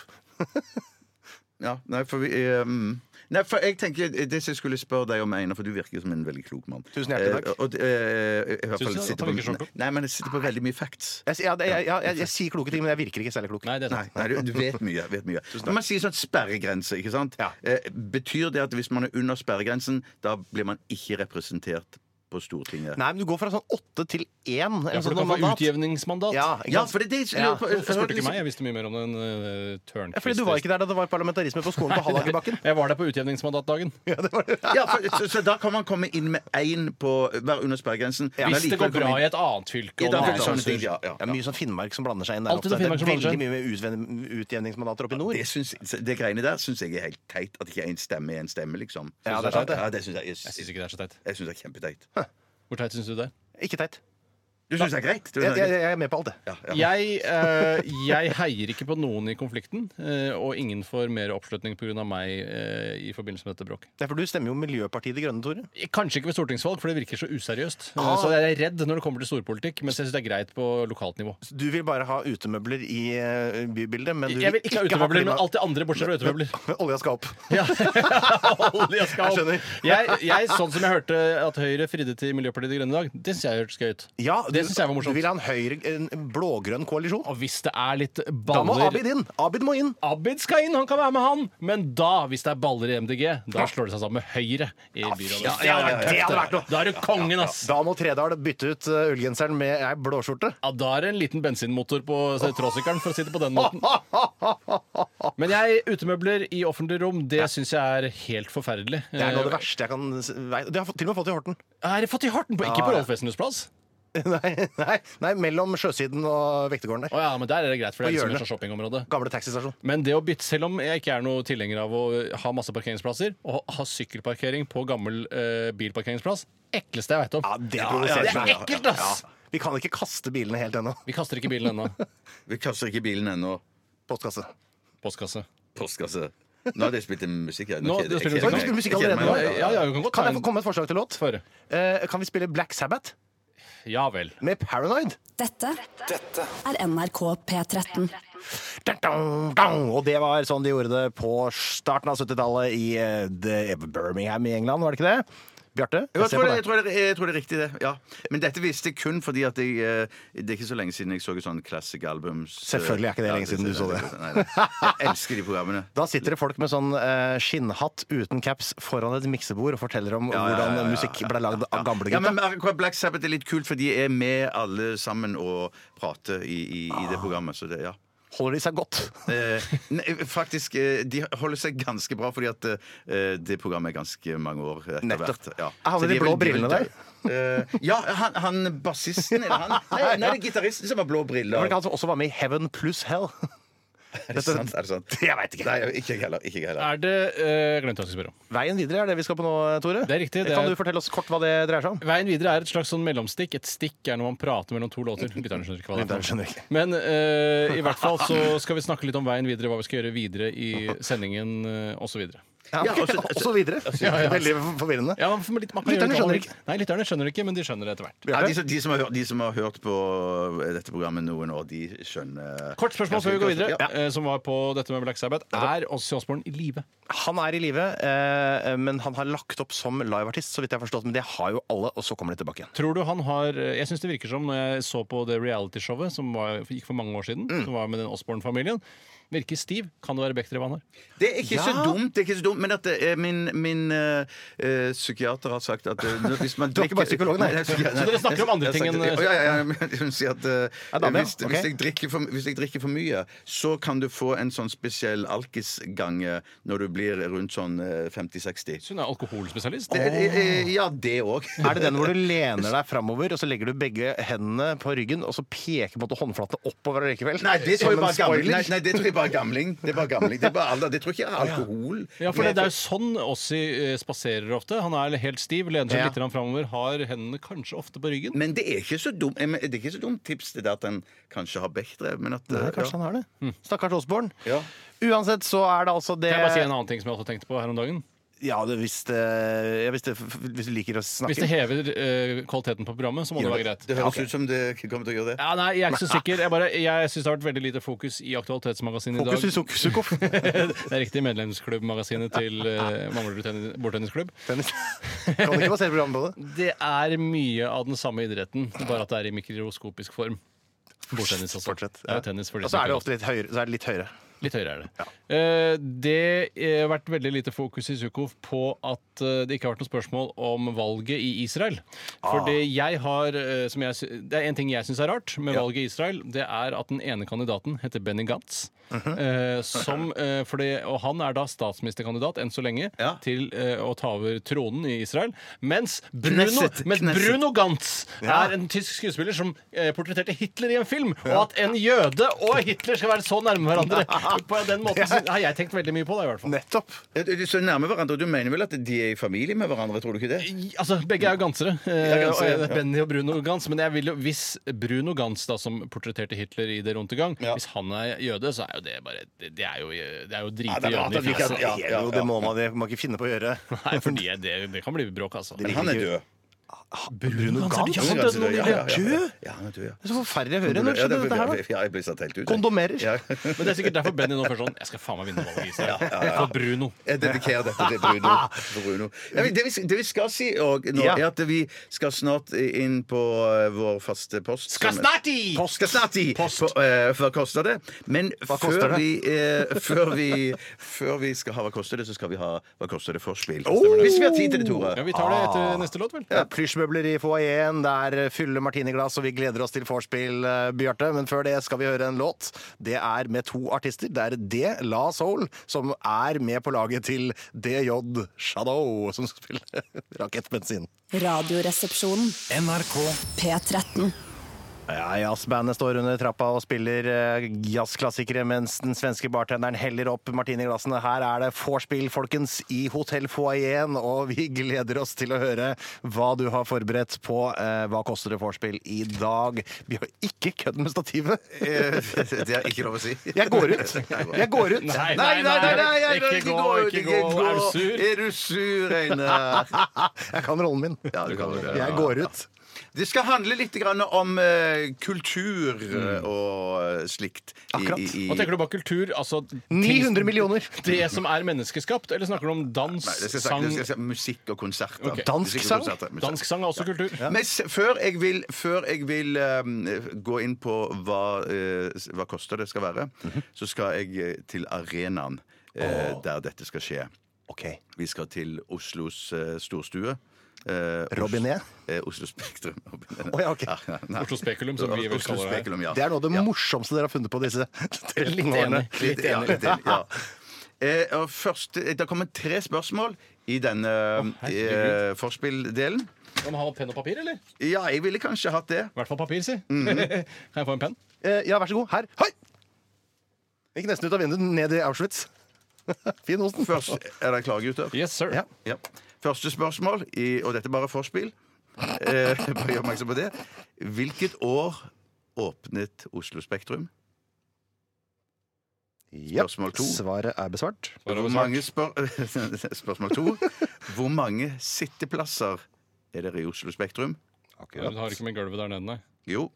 [SPEAKER 5] Ja, nei, for vi, eh, mm. nei, for jeg tenker eh, Det som jeg skulle spørre deg om, Einar, for du virker som en veldig klok mann
[SPEAKER 4] Tusen hjertelig takk.
[SPEAKER 5] Eh, og, eh, i hvert fall
[SPEAKER 6] Tusen takk,
[SPEAKER 5] sitter
[SPEAKER 6] han virker så
[SPEAKER 5] på,
[SPEAKER 6] klok.
[SPEAKER 5] nei, men jeg sitter på veldig mye facts.
[SPEAKER 4] Jeg, sier- ja, det- jeg, jeg, jeg, jeg sier kloke ting, men jeg virker ikke særlig klok.
[SPEAKER 6] Nei, det er
[SPEAKER 5] Nei,
[SPEAKER 6] sant.
[SPEAKER 5] nei, du, du vet mye. vet mye Når man sier sånn sperregrense, ikke sant?
[SPEAKER 4] Ja.
[SPEAKER 5] Eh, betyr det at hvis man er under sperregrensen, da blir man ikke representert på Stortinget.
[SPEAKER 4] Nei, men du går fra sånn åtte til én.
[SPEAKER 6] Ja,
[SPEAKER 4] eller
[SPEAKER 6] for
[SPEAKER 4] sånn
[SPEAKER 6] du kan få
[SPEAKER 4] mandat.
[SPEAKER 6] utjevningsmandat.
[SPEAKER 4] Ja, ikke
[SPEAKER 5] Ja,
[SPEAKER 4] sant?
[SPEAKER 5] for det er det jeg
[SPEAKER 4] Ja.
[SPEAKER 5] lurer på.
[SPEAKER 6] Hvorfor spurte du ikke meg? Jeg visste mye mer om den uh,
[SPEAKER 4] Ja, fordi du var ikke der da det var parlamentarisme på skolen på Hallakerbakken.
[SPEAKER 6] Jeg var der på utjevningsmandatdagen.
[SPEAKER 5] Ja, for, så, så da kan man komme inn med én på hver under sperregrensen. men
[SPEAKER 6] Hvis det går
[SPEAKER 5] allikevel
[SPEAKER 6] bra
[SPEAKER 5] komme
[SPEAKER 6] i et annet fylke.
[SPEAKER 5] inn-
[SPEAKER 6] og
[SPEAKER 5] i dag
[SPEAKER 6] en
[SPEAKER 5] er det
[SPEAKER 6] annen
[SPEAKER 5] sånne ting,
[SPEAKER 6] sur.
[SPEAKER 5] ja, ja,
[SPEAKER 4] Det er
[SPEAKER 5] ja.
[SPEAKER 4] mye sånn Finnmark som blander seg inn der
[SPEAKER 6] Alltid
[SPEAKER 4] oppe.
[SPEAKER 6] noe
[SPEAKER 4] Det
[SPEAKER 6] Finnmark som
[SPEAKER 4] er veldig
[SPEAKER 6] blander seg
[SPEAKER 4] mye med utven- utjevningsmandater oppe i nord.
[SPEAKER 5] Det, syns, det greiene der syns jeg er helt teit. At ikke én stemme er en stemme, liksom.
[SPEAKER 4] Ja, det er sant, det.
[SPEAKER 5] Ja, det syns jeg, jeg,
[SPEAKER 6] Jeg
[SPEAKER 5] syns-
[SPEAKER 6] syns ikke det er så teit.
[SPEAKER 5] jeg syns det er kjempeteit.
[SPEAKER 6] Hvor teit syns du det er?
[SPEAKER 4] Ikke teit.
[SPEAKER 5] Du syns det er greit? Du
[SPEAKER 4] Jeg,
[SPEAKER 5] syns det
[SPEAKER 4] jeg,
[SPEAKER 5] er greit?
[SPEAKER 4] jeg er med på alt, det.
[SPEAKER 5] Ja, ja.
[SPEAKER 6] Jeg, eh, jeg heier ikke på noen i konflikten, eh, og ingen får mer oppslutning pga. meg eh, i forbindelse med dette bråket.
[SPEAKER 4] Det er for du stemmer jo Miljøpartiet De Grønne, Tore.
[SPEAKER 6] Kanskje ikke ved stortingsvalg, for det virker så useriøst. Eh, Så jeg er redd når det kommer til storpolitikk, mens jeg syns det er greit på lokalt nivå.
[SPEAKER 4] Du vil bare ha utemøbler i eh, bybildet, men du
[SPEAKER 6] Jeg vil ikke ha utemøbler, men
[SPEAKER 4] klima-
[SPEAKER 6] alt det andre bortsett fra utemøbler.
[SPEAKER 4] Olja skal opp.
[SPEAKER 6] Ja. Olja
[SPEAKER 4] Jeg
[SPEAKER 6] skal opp.
[SPEAKER 4] skjønner.
[SPEAKER 6] Jeg, jeg, sånn som jeg hørte at Høyre fridde til Miljøpartiet De Grønne i dag, det syns jeg hørtes gøy ut.
[SPEAKER 4] Ja, du-
[SPEAKER 6] Det synes jeg var morsomt.
[SPEAKER 4] Du vil ha en høyre, en blå-grønn koalisjon.
[SPEAKER 6] Og hvis det er litt
[SPEAKER 4] Da må
[SPEAKER 6] baller
[SPEAKER 4] Abid inn! Abid må inn!
[SPEAKER 6] Abid skal inn, han kan være med han. Men da, hvis det er baller i MDG, da slår det seg sammen med Høyre i
[SPEAKER 4] ja, ja,
[SPEAKER 6] byrådet.
[SPEAKER 4] ja, det hadde vært noe.
[SPEAKER 6] Da er du kongen, ass.
[SPEAKER 4] Da må Tredal bytte ut eh, ullgenseren med ei blåskjorte.
[SPEAKER 6] Ja, da er det en liten bensinmotor på tråsykkelen, for å si det på den måten. Men jeg, utemøbler i offentlige rom, det syns jeg er helt forferdelig. Eh,
[SPEAKER 4] Det er noe av det verste jeg kan s- vei- Det har jeg fått- til og med fått i Horten.
[SPEAKER 6] Er det fått i harten på? Ikke på Rolf Wesenlunds plass?
[SPEAKER 4] Nei, nei, nei, mellom sjøsiden og vektegården der.
[SPEAKER 6] Å ja, men der er det greit, for
[SPEAKER 4] På
[SPEAKER 6] det er liksom et
[SPEAKER 4] hjørnet.
[SPEAKER 6] slags shoppingområde.
[SPEAKER 4] Gamle taxistasjon.
[SPEAKER 6] Men det å bytte, selv om jeg ikke er noe tilhenger av å ha masse parkeringsplasser, å ha sykkelparkering på gammel eh, bilparkeringsplass, ekleste jeg veit om.
[SPEAKER 4] Ja, det
[SPEAKER 5] ja,
[SPEAKER 4] provoserer
[SPEAKER 5] det er
[SPEAKER 4] meg.
[SPEAKER 6] ekkelt, ass.
[SPEAKER 4] Vi kan ikke kaste bilene helt ennå.
[SPEAKER 6] Vi kaster ikke bilen ennå.
[SPEAKER 5] Vi kaster ikke bilen ennå.
[SPEAKER 4] Postkasse.
[SPEAKER 6] Postkasse.
[SPEAKER 5] Postkasse. Nå har de spilt en musikk her.
[SPEAKER 6] Nå,
[SPEAKER 5] kjeder-
[SPEAKER 6] det spiller
[SPEAKER 5] jeg kjeder meg.
[SPEAKER 6] musikk.
[SPEAKER 4] Nå spiller musikk
[SPEAKER 5] Jeg kjeder
[SPEAKER 4] allerede
[SPEAKER 5] meg.
[SPEAKER 4] nå.
[SPEAKER 6] Ja, ja, vi kan godt
[SPEAKER 4] Kan
[SPEAKER 6] ta
[SPEAKER 4] jeg få
[SPEAKER 6] en
[SPEAKER 4] komme med et forslag til låt?
[SPEAKER 6] Få høre.
[SPEAKER 4] Eh, kan vi spille Black Sabbath
[SPEAKER 6] Ja vel.
[SPEAKER 4] med Paranoid?
[SPEAKER 1] Dette er NRK P13.
[SPEAKER 4] Da, da, da. Og det var sånn de gjorde det på starten av 70-tallet i eh, The Birmingham i England, var det ikke det? Bjarte?
[SPEAKER 5] Jo, Jeg
[SPEAKER 4] ser på
[SPEAKER 5] tror, det,
[SPEAKER 4] deg.
[SPEAKER 5] jeg, tror det, jeg tror det er riktig, det. ja Men dette visste jeg kun fordi at jeg, eh, det er ikke så lenge siden jeg så et sånn classic album. så-
[SPEAKER 4] Selvfølgelig er ikke det
[SPEAKER 5] Ja,
[SPEAKER 4] lenge siden du så det.
[SPEAKER 5] Nei, nei. Jeg elsker de programmene.
[SPEAKER 4] Da sitter det folk med sånn eh, skinnhatt uten caps foran et miksebord og forteller om
[SPEAKER 5] ja, ja, ja,
[SPEAKER 4] hvordan
[SPEAKER 5] ja.
[SPEAKER 4] musikk ble lagd av gamle
[SPEAKER 5] Ja, men
[SPEAKER 4] gutter.
[SPEAKER 5] akkurat Black Sabbath er litt kult, for de er med alle sammen og prater i, i, i
[SPEAKER 4] Ah.
[SPEAKER 5] det programmet. Så det, ja
[SPEAKER 4] Holder de seg godt?
[SPEAKER 5] Eh, nei, faktisk, eh, de holder seg ganske bra, fordi at eh, det programmet er ganske mange år etter
[SPEAKER 4] Nettopp.
[SPEAKER 5] hvert. Ja.
[SPEAKER 4] Er han
[SPEAKER 5] Så
[SPEAKER 4] i de
[SPEAKER 5] er
[SPEAKER 4] blå
[SPEAKER 5] vel-
[SPEAKER 4] brillene der?
[SPEAKER 5] Eh, ja, han, han bassisten eller han Nei, nei det er gitaristen som har blå briller.
[SPEAKER 4] Var det ikke han som også var med i Heaven pluss Hell?
[SPEAKER 5] Er det sant? Er det sant?
[SPEAKER 4] Jeg vet ikke.
[SPEAKER 5] Nei, ikke jeg heller. Ikke jeg heller.
[SPEAKER 6] Er det uh, Glemte hva jeg skulle spørre om.
[SPEAKER 4] Veien videre er det vi skal på nå, Tore.
[SPEAKER 6] Det er riktig, det
[SPEAKER 4] kan
[SPEAKER 6] er-
[SPEAKER 4] du fortelle oss kort hva det dreier seg om?
[SPEAKER 6] Veien videre er et slags sånn mellomstikk. Et stikk er når man prater mellom to låter. Lytterne skjønner ikke hva det
[SPEAKER 4] Lytterne
[SPEAKER 6] er.
[SPEAKER 4] skjønner ikke.
[SPEAKER 6] Men eh, i hvert fall så skal vi snakke litt om veien videre, hva vi skal gjøre videre i sendingen eh, og osv.
[SPEAKER 4] Ja,
[SPEAKER 5] Ja,
[SPEAKER 4] ok.
[SPEAKER 5] altså-
[SPEAKER 4] og så videre. Veldig forvirrende.
[SPEAKER 6] Ja, for litt- man kan
[SPEAKER 4] Lytterne
[SPEAKER 6] gjøre hva
[SPEAKER 4] skjønner
[SPEAKER 6] man vil.
[SPEAKER 4] ikke.
[SPEAKER 6] Nei, lytterne skjønner ikke, men de skjønner det etter hvert.
[SPEAKER 5] Ja, de, som, de, som har, hørt- de som har hørt på eh, dette programmet noen år, de skjønner
[SPEAKER 6] Kort spørsmål før vi går videre,
[SPEAKER 5] Ja.
[SPEAKER 6] eh, som var på dette med Black Sabbath. Er Ozzy Osbourne i live?
[SPEAKER 4] Han er i live, eh, men han har lagt opp som liveartist, så vidt jeg har forstått. Men det har jo alle, og så kommer de tilbake igjen.
[SPEAKER 6] Tror du han har eh, Jeg syns det virker som når jeg så på det realityshowet som var, gikk for mange år siden, som var med den Osborne-familien. Virker stiv. Kan det være Bechdrev han har?
[SPEAKER 5] Det er ikke så dumt, det er ikke så dumt men at eh, min, min eh, eh, psykiater har sagt at eh, hvis man
[SPEAKER 4] Du er ikke bare psykolog, nei.
[SPEAKER 5] Så
[SPEAKER 6] dere snakker om andre ting enn-
[SPEAKER 5] Ja, ja, ja, men hun sier at eh,
[SPEAKER 4] Ja, da, men,
[SPEAKER 5] hvis,
[SPEAKER 4] ok.
[SPEAKER 5] hvis, jeg drikker for, hvis jeg drikker for mye, så kan du få en sånn spesiell alkisgange når du blir rundt sånn eh, 50-60.
[SPEAKER 6] Så hun er alkoholspesialist.
[SPEAKER 5] Eh, eh, Ja, det òg.
[SPEAKER 4] Er det den hvor du lener deg framover, og så legger du begge hendene på ryggen, og så peker på en måte håndflatene oppover likevel?
[SPEAKER 5] Nei, det tror
[SPEAKER 4] Som
[SPEAKER 5] jeg
[SPEAKER 4] en
[SPEAKER 5] bare er gamling.
[SPEAKER 4] spoiler.
[SPEAKER 5] Nei, nei, det tror jeg bare er gamling. Det er bare gamling. Det er bare alder. Det tror ikke jeg er alkohol.
[SPEAKER 6] Ja, for det, det er jo sånn Ossi eh, spaserer ofte. Han er helt stiv, lener seg
[SPEAKER 4] Ja.
[SPEAKER 6] litt grann framover, har hendene kanskje ofte på ryggen.
[SPEAKER 5] Men det er ikke så dumt Det er ikke så dumt tips det der at en kanskje har Bechdrev, men at eh,
[SPEAKER 4] Nei, kanskje han har det. Stakkars Osborn.
[SPEAKER 5] Ja.
[SPEAKER 4] Uansett så er det altså det
[SPEAKER 6] Mm. Kan jeg bare si en annen ting som jeg også tenkte på her om dagen?
[SPEAKER 4] Ja, det, hvis, det, ja, hvis, det, hvis du liker å snakke
[SPEAKER 6] Hvis det hever eh, kvaliteten på programmet, så må det
[SPEAKER 4] Gjør
[SPEAKER 6] være greit.
[SPEAKER 5] Det høres ut som det kommer til å gjøre det.
[SPEAKER 6] Ja, nei, jeg er ikke så sikker. Jeg, bare, jeg syns det har vært veldig lite fokus i Aktualitetsmagasinet i dag.
[SPEAKER 4] Fokus i suk- sukkoff.
[SPEAKER 6] Det er riktig medlemsklubbmagasinet til uh, Manglerud tenni- bordtennisklubb.
[SPEAKER 4] Tennis. Kan du ikke basere programmet på det?
[SPEAKER 6] Det er mye av den samme idretten, bare at det er i mikroskopisk form. Bordtennis også.
[SPEAKER 4] Fortsett.
[SPEAKER 6] Det er jo tennis for de
[SPEAKER 4] Og så
[SPEAKER 6] som
[SPEAKER 4] er det
[SPEAKER 6] ikke-
[SPEAKER 4] ofte litt høyere. Så er det litt høyere.
[SPEAKER 6] Litt høyere er det. Eh, Det eh, har vært veldig lite fokus i Sukhof på at eh, det ikke har vært noe spørsmål om valget i Israel. For det
[SPEAKER 5] Ah.
[SPEAKER 6] jeg har eh, som jeg, sy- Det er en ting jeg syns er rart med valget i Israel, det er at den ene kandidaten heter Benny Gantz.
[SPEAKER 5] Mhm.
[SPEAKER 6] eh, som, eh, for det, og han er da statsministerkandidat enn så lenge
[SPEAKER 5] Ja.
[SPEAKER 6] til eh, å ta over tronen i Israel. Mens Bruno,
[SPEAKER 5] Knesset,
[SPEAKER 6] mens
[SPEAKER 5] Knesset.
[SPEAKER 6] Bruno Gantz
[SPEAKER 4] Ja.
[SPEAKER 6] er en tysk skuespiller som eh, portretterte Hitler i en film. Og at en jøde og Hitler skal være så nærme hverandre på den måten sy- har jeg tenkt veldig mye på. Da, i hvert fall.
[SPEAKER 4] Nettopp.
[SPEAKER 5] Ja, du- du Så nærme hverandre. Du mener vel at de er i familie med hverandre? Tror du ikke det?
[SPEAKER 6] I- Altså, Begge er jo gansere. Eh,
[SPEAKER 5] er gansere,
[SPEAKER 6] og, eh,
[SPEAKER 5] ja.
[SPEAKER 6] Benny og Bruno Gans. Men jeg vil jo, hvis Bruno Gans, da, som portretterte Hitler i Der Runtegang,
[SPEAKER 5] Ja.
[SPEAKER 6] hvis han er jøde, så er jo det bare Det, det er jo, det er jo
[SPEAKER 5] Ja,
[SPEAKER 6] å
[SPEAKER 5] det er
[SPEAKER 6] drite
[SPEAKER 5] bra at han
[SPEAKER 6] jødene i
[SPEAKER 5] ikke er-
[SPEAKER 6] fjeset.
[SPEAKER 5] ja,
[SPEAKER 4] Det er
[SPEAKER 5] ja,
[SPEAKER 4] jo-
[SPEAKER 5] ja.
[SPEAKER 4] Det må man, det må man ikke finne på å gjøre.
[SPEAKER 6] Nei, fordi det, det kan bli bråk, altså.
[SPEAKER 5] Men han er død.
[SPEAKER 4] Bruno
[SPEAKER 6] Gantz?
[SPEAKER 4] Gantz?
[SPEAKER 5] Han
[SPEAKER 4] Han
[SPEAKER 5] er
[SPEAKER 4] døde nå
[SPEAKER 5] død,
[SPEAKER 4] nylig.
[SPEAKER 5] ja, ja, ja, ja.
[SPEAKER 4] Død?
[SPEAKER 5] Ja, han er død, ja.
[SPEAKER 4] Det er så forferdelig å høre. Når
[SPEAKER 5] Ja,
[SPEAKER 4] skjedde
[SPEAKER 5] det-
[SPEAKER 4] dette her, da?
[SPEAKER 5] Ja, jeg ble satt helt ut.
[SPEAKER 4] Kondomerer.
[SPEAKER 5] Ja.
[SPEAKER 6] Men det er sikkert derfor Benny nå først sånn Jeg skal faen meg vinne valget i Israel. For Bruno.
[SPEAKER 5] Jeg dedikerer dette til Bruno. Bruno. Ja, men det, vi, det vi skal si og, nå,
[SPEAKER 4] Ja.
[SPEAKER 5] er at vi skal snart inn på eh, vår faste post.
[SPEAKER 6] Skal
[SPEAKER 5] som-
[SPEAKER 6] snart i!
[SPEAKER 5] Post. Skal snart i!
[SPEAKER 6] Post.
[SPEAKER 5] For, eh, for hva koster det? Men
[SPEAKER 4] koster
[SPEAKER 5] før,
[SPEAKER 4] det?
[SPEAKER 5] Vi, eh, før, vi, før vi skal ha Hva koster det, så skal vi ha Hva koster det-forspill.
[SPEAKER 4] Oh!
[SPEAKER 5] Hvis vi har tid til det, Tore.
[SPEAKER 6] Ja, Vi tar det
[SPEAKER 5] Ah.
[SPEAKER 6] etter neste låt, vel?
[SPEAKER 4] Det er plysjmøbler i foajeen, eh, det er fylle martiniglass, og vi gleder oss til vorspiel, eh, Bjarte. Men før det skal vi høre en låt. Det er med to artister. Det er D. La Soul, som er med på laget til DJ Shadow, som spiller Rakettbensin.
[SPEAKER 1] Radioresepsjonen. P13.
[SPEAKER 4] Ja, Jazzbandet står under trappa og spiller eh, jazzklassikere, mens den svenske bartenderen heller opp martiniglassene. Her er det vorspiel, folkens, i Hotell Foajeen, og vi gleder oss til å høre hva du har forberedt på eh, Hva koster det vorspiel i dag. Vi har ikke kødd med stativet.
[SPEAKER 5] Eh, Det er ikke lov å si.
[SPEAKER 4] Jeg går ut. Jeg går ut.
[SPEAKER 6] Nei,
[SPEAKER 5] Nei, nei, nei! nei, nei,
[SPEAKER 6] Ikke gå, ikke gå. Er du sur?
[SPEAKER 5] Er du sur, Einar?
[SPEAKER 4] Jeg kan rollen min.
[SPEAKER 5] Ja, du kan vel det.
[SPEAKER 4] Jeg går ut.
[SPEAKER 5] Det skal handle litt grann om eh, kultur eh, og slikt. i-
[SPEAKER 4] Akkurat.
[SPEAKER 5] i- i-
[SPEAKER 6] Mm. Hva tenker du på kultur? Altså ting-
[SPEAKER 4] 900 millioner.
[SPEAKER 6] Det som er menneskeskapt? Eller snakker du om dans,
[SPEAKER 5] Nei, det skal jeg si-
[SPEAKER 6] sang
[SPEAKER 5] det skal jeg si, musikk og konserter.
[SPEAKER 6] Ok.
[SPEAKER 4] Dansk
[SPEAKER 5] Musikk og
[SPEAKER 4] sang?
[SPEAKER 5] konserter, musikk.
[SPEAKER 6] Dansk sang er også kultur.
[SPEAKER 5] Men s- før jeg vil, før jeg vil ehm, gå inn på hva, eh, s- hva koster det skal være,
[SPEAKER 6] Mhm.
[SPEAKER 5] så skal jeg eh, til arenaen eh, der dette skal skje.
[SPEAKER 4] OK.
[SPEAKER 5] Vi skal til Oslos eh, storstue. Eh, Os-
[SPEAKER 4] Robinet?
[SPEAKER 6] E.
[SPEAKER 5] eh, Oslo Spektrum. Robinet.
[SPEAKER 4] Å, ja, ok.
[SPEAKER 5] nei.
[SPEAKER 6] Oslo Spekulum, som vi vel
[SPEAKER 5] Oslo
[SPEAKER 6] kaller det her.
[SPEAKER 5] Spekulum, ja.
[SPEAKER 4] Det er noe av det morsomste dere har funnet på disse tre årene.
[SPEAKER 6] enig.
[SPEAKER 5] Litt, ja, litt enig. Ja. Eh, og først, eh, det kommer tre spørsmål i denne eh,
[SPEAKER 6] herregud.
[SPEAKER 5] forspill-delen.
[SPEAKER 6] Skal man ha penn og papir, eller? I
[SPEAKER 5] Ja, jeg ville kanskje hatt det.
[SPEAKER 6] hvert fall papir, si. kan jeg få en penn?
[SPEAKER 4] Eh, Ja, vær så god. Her. Hei! Gikk nesten ut av vinduet, ned i Auschwitz. fin osten.
[SPEAKER 5] Først, er dere klare, gutter?
[SPEAKER 6] Yes, sir.
[SPEAKER 4] Ja.
[SPEAKER 5] Ja. Første spørsmål, i, og dette er bare forspill. Eh, bare gjør oppmerksom på det. Hvilket år åpnet Oslo Spektrum?
[SPEAKER 4] Ja.
[SPEAKER 5] Spørsmål to.
[SPEAKER 4] Svaret er besvart.
[SPEAKER 5] Hvor mange spør spørsmål to. Hvor mange sitteplasser er det i Oslo Spektrum?
[SPEAKER 6] Du
[SPEAKER 5] sånn.
[SPEAKER 6] har ikke med gulvet der nede, nei.
[SPEAKER 5] Jo.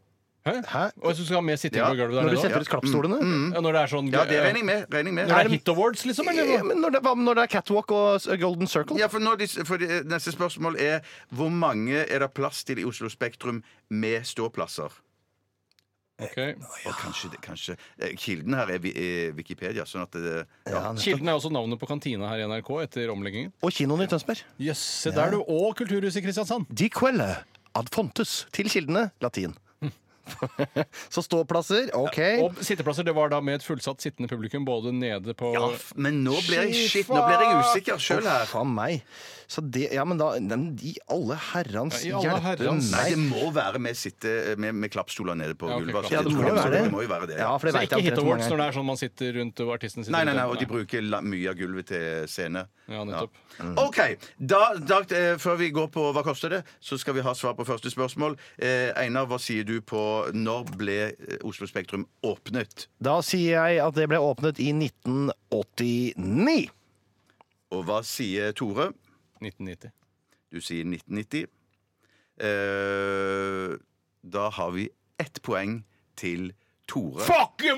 [SPEAKER 6] Hæ?
[SPEAKER 4] Hæ?
[SPEAKER 6] Og jeg synes du skal ha med sitting
[SPEAKER 5] Ja. Mm,
[SPEAKER 6] på gulvet der
[SPEAKER 4] Når du
[SPEAKER 6] nede også?
[SPEAKER 4] setter ut klappstolene?
[SPEAKER 6] Ja, når det er sånn
[SPEAKER 5] Ja, det regner jeg med. Regner jeg med.
[SPEAKER 6] Når det er Hit Awards, liksom? Eller?
[SPEAKER 4] Ja, men når det, hva når det er catwalk og s- eh, golden circle?
[SPEAKER 5] Ja, for, nå, de- for de, Neste spørsmål er hvor mange er det plass til i Oslo Spektrum med ståplasser?
[SPEAKER 6] Ok.
[SPEAKER 5] Og kanskje, det- kanskje eh, Kilden her er, vi- er Wikipedia, sånn at det ja.
[SPEAKER 6] Kilden er også navnet på kantina her i NRK etter omleggingen.
[SPEAKER 4] Og kinoen i Tønsberg.
[SPEAKER 6] Jøss, se der du. Og Kulturhuset i Kristiansand.
[SPEAKER 4] De quelle ad fontes. Til kildene latin. Så ståplasser, OK.
[SPEAKER 6] Og sitteplasser, det var da med et fullsatt sittende publikum både nede på
[SPEAKER 5] ja, f- Men nå blir jeg shit, nå blir jeg usikker sjøl her.
[SPEAKER 4] Faen meg. Så det Ja, men da men I alle herrans
[SPEAKER 6] Ja, i alle
[SPEAKER 4] hjelpe
[SPEAKER 6] herrans.
[SPEAKER 5] Nei, det
[SPEAKER 4] meg.
[SPEAKER 5] må være med, sitte, eh, med, med klappstoler nede på
[SPEAKER 6] Ja, ok,
[SPEAKER 5] gulvet. altså.
[SPEAKER 6] klapp- Ja,
[SPEAKER 4] det må jo
[SPEAKER 5] Klappstoler,
[SPEAKER 4] være det.
[SPEAKER 5] må jo være det.
[SPEAKER 4] Ja,
[SPEAKER 5] Ja.
[SPEAKER 4] for det
[SPEAKER 6] Så
[SPEAKER 4] vet
[SPEAKER 6] ikke
[SPEAKER 4] jeg
[SPEAKER 6] Hit
[SPEAKER 4] omtrent hvor
[SPEAKER 6] Awards
[SPEAKER 4] mange
[SPEAKER 6] når det er sånn man sitter rundt og artisten sitter
[SPEAKER 5] Nei, nei, nei,
[SPEAKER 6] rundt
[SPEAKER 5] og de
[SPEAKER 6] der.
[SPEAKER 5] bruker la, mye av gulvet til scene.
[SPEAKER 6] Ja, nettopp.
[SPEAKER 5] OK. Da, da, eh, før vi går på Hva koster det?, så skal vi ha svar på første spørsmål. Eh, Einar, hva sier du på når ble eh, Oslo Spektrum åpnet?
[SPEAKER 4] Da sier jeg at det ble åpnet i 1989.
[SPEAKER 5] Og hva sier Tore?
[SPEAKER 6] 1990.
[SPEAKER 5] Du sier 1990. Eh, da har vi ett poeng til Tore.
[SPEAKER 6] Fuck you,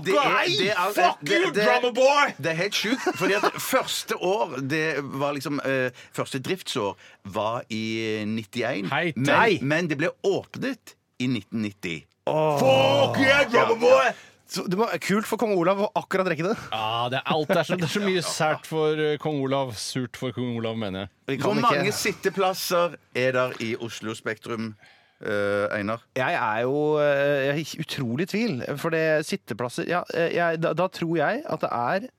[SPEAKER 5] Men det er- det er-
[SPEAKER 6] Fuck
[SPEAKER 5] det-
[SPEAKER 6] you,
[SPEAKER 5] det-
[SPEAKER 6] drummer boy!
[SPEAKER 5] Det er helt sjukt, fordi at første år det var liksom eh, Første driftsår var i 91.
[SPEAKER 6] Hei,
[SPEAKER 5] men,
[SPEAKER 6] nei.
[SPEAKER 5] men det ble åpnet i 1990.
[SPEAKER 6] Fuck you, drummer boy!
[SPEAKER 4] Så det var kult for kong Olav å akkurat rekke det.
[SPEAKER 6] Ja, det er alt. Det er så, det er så mye sært for eh, kong Olav. Surt for kong Olav, mener jeg.
[SPEAKER 4] Vi kan
[SPEAKER 5] Hvor
[SPEAKER 4] ikke-
[SPEAKER 5] mange sitteplasser er der i Oslo Spektrum, eh, Einar?
[SPEAKER 4] Jeg er jo eh, jeg er i utrolig tvil, for det sitteplasser ja, eh, jeg, da, da tror jeg at det er eh,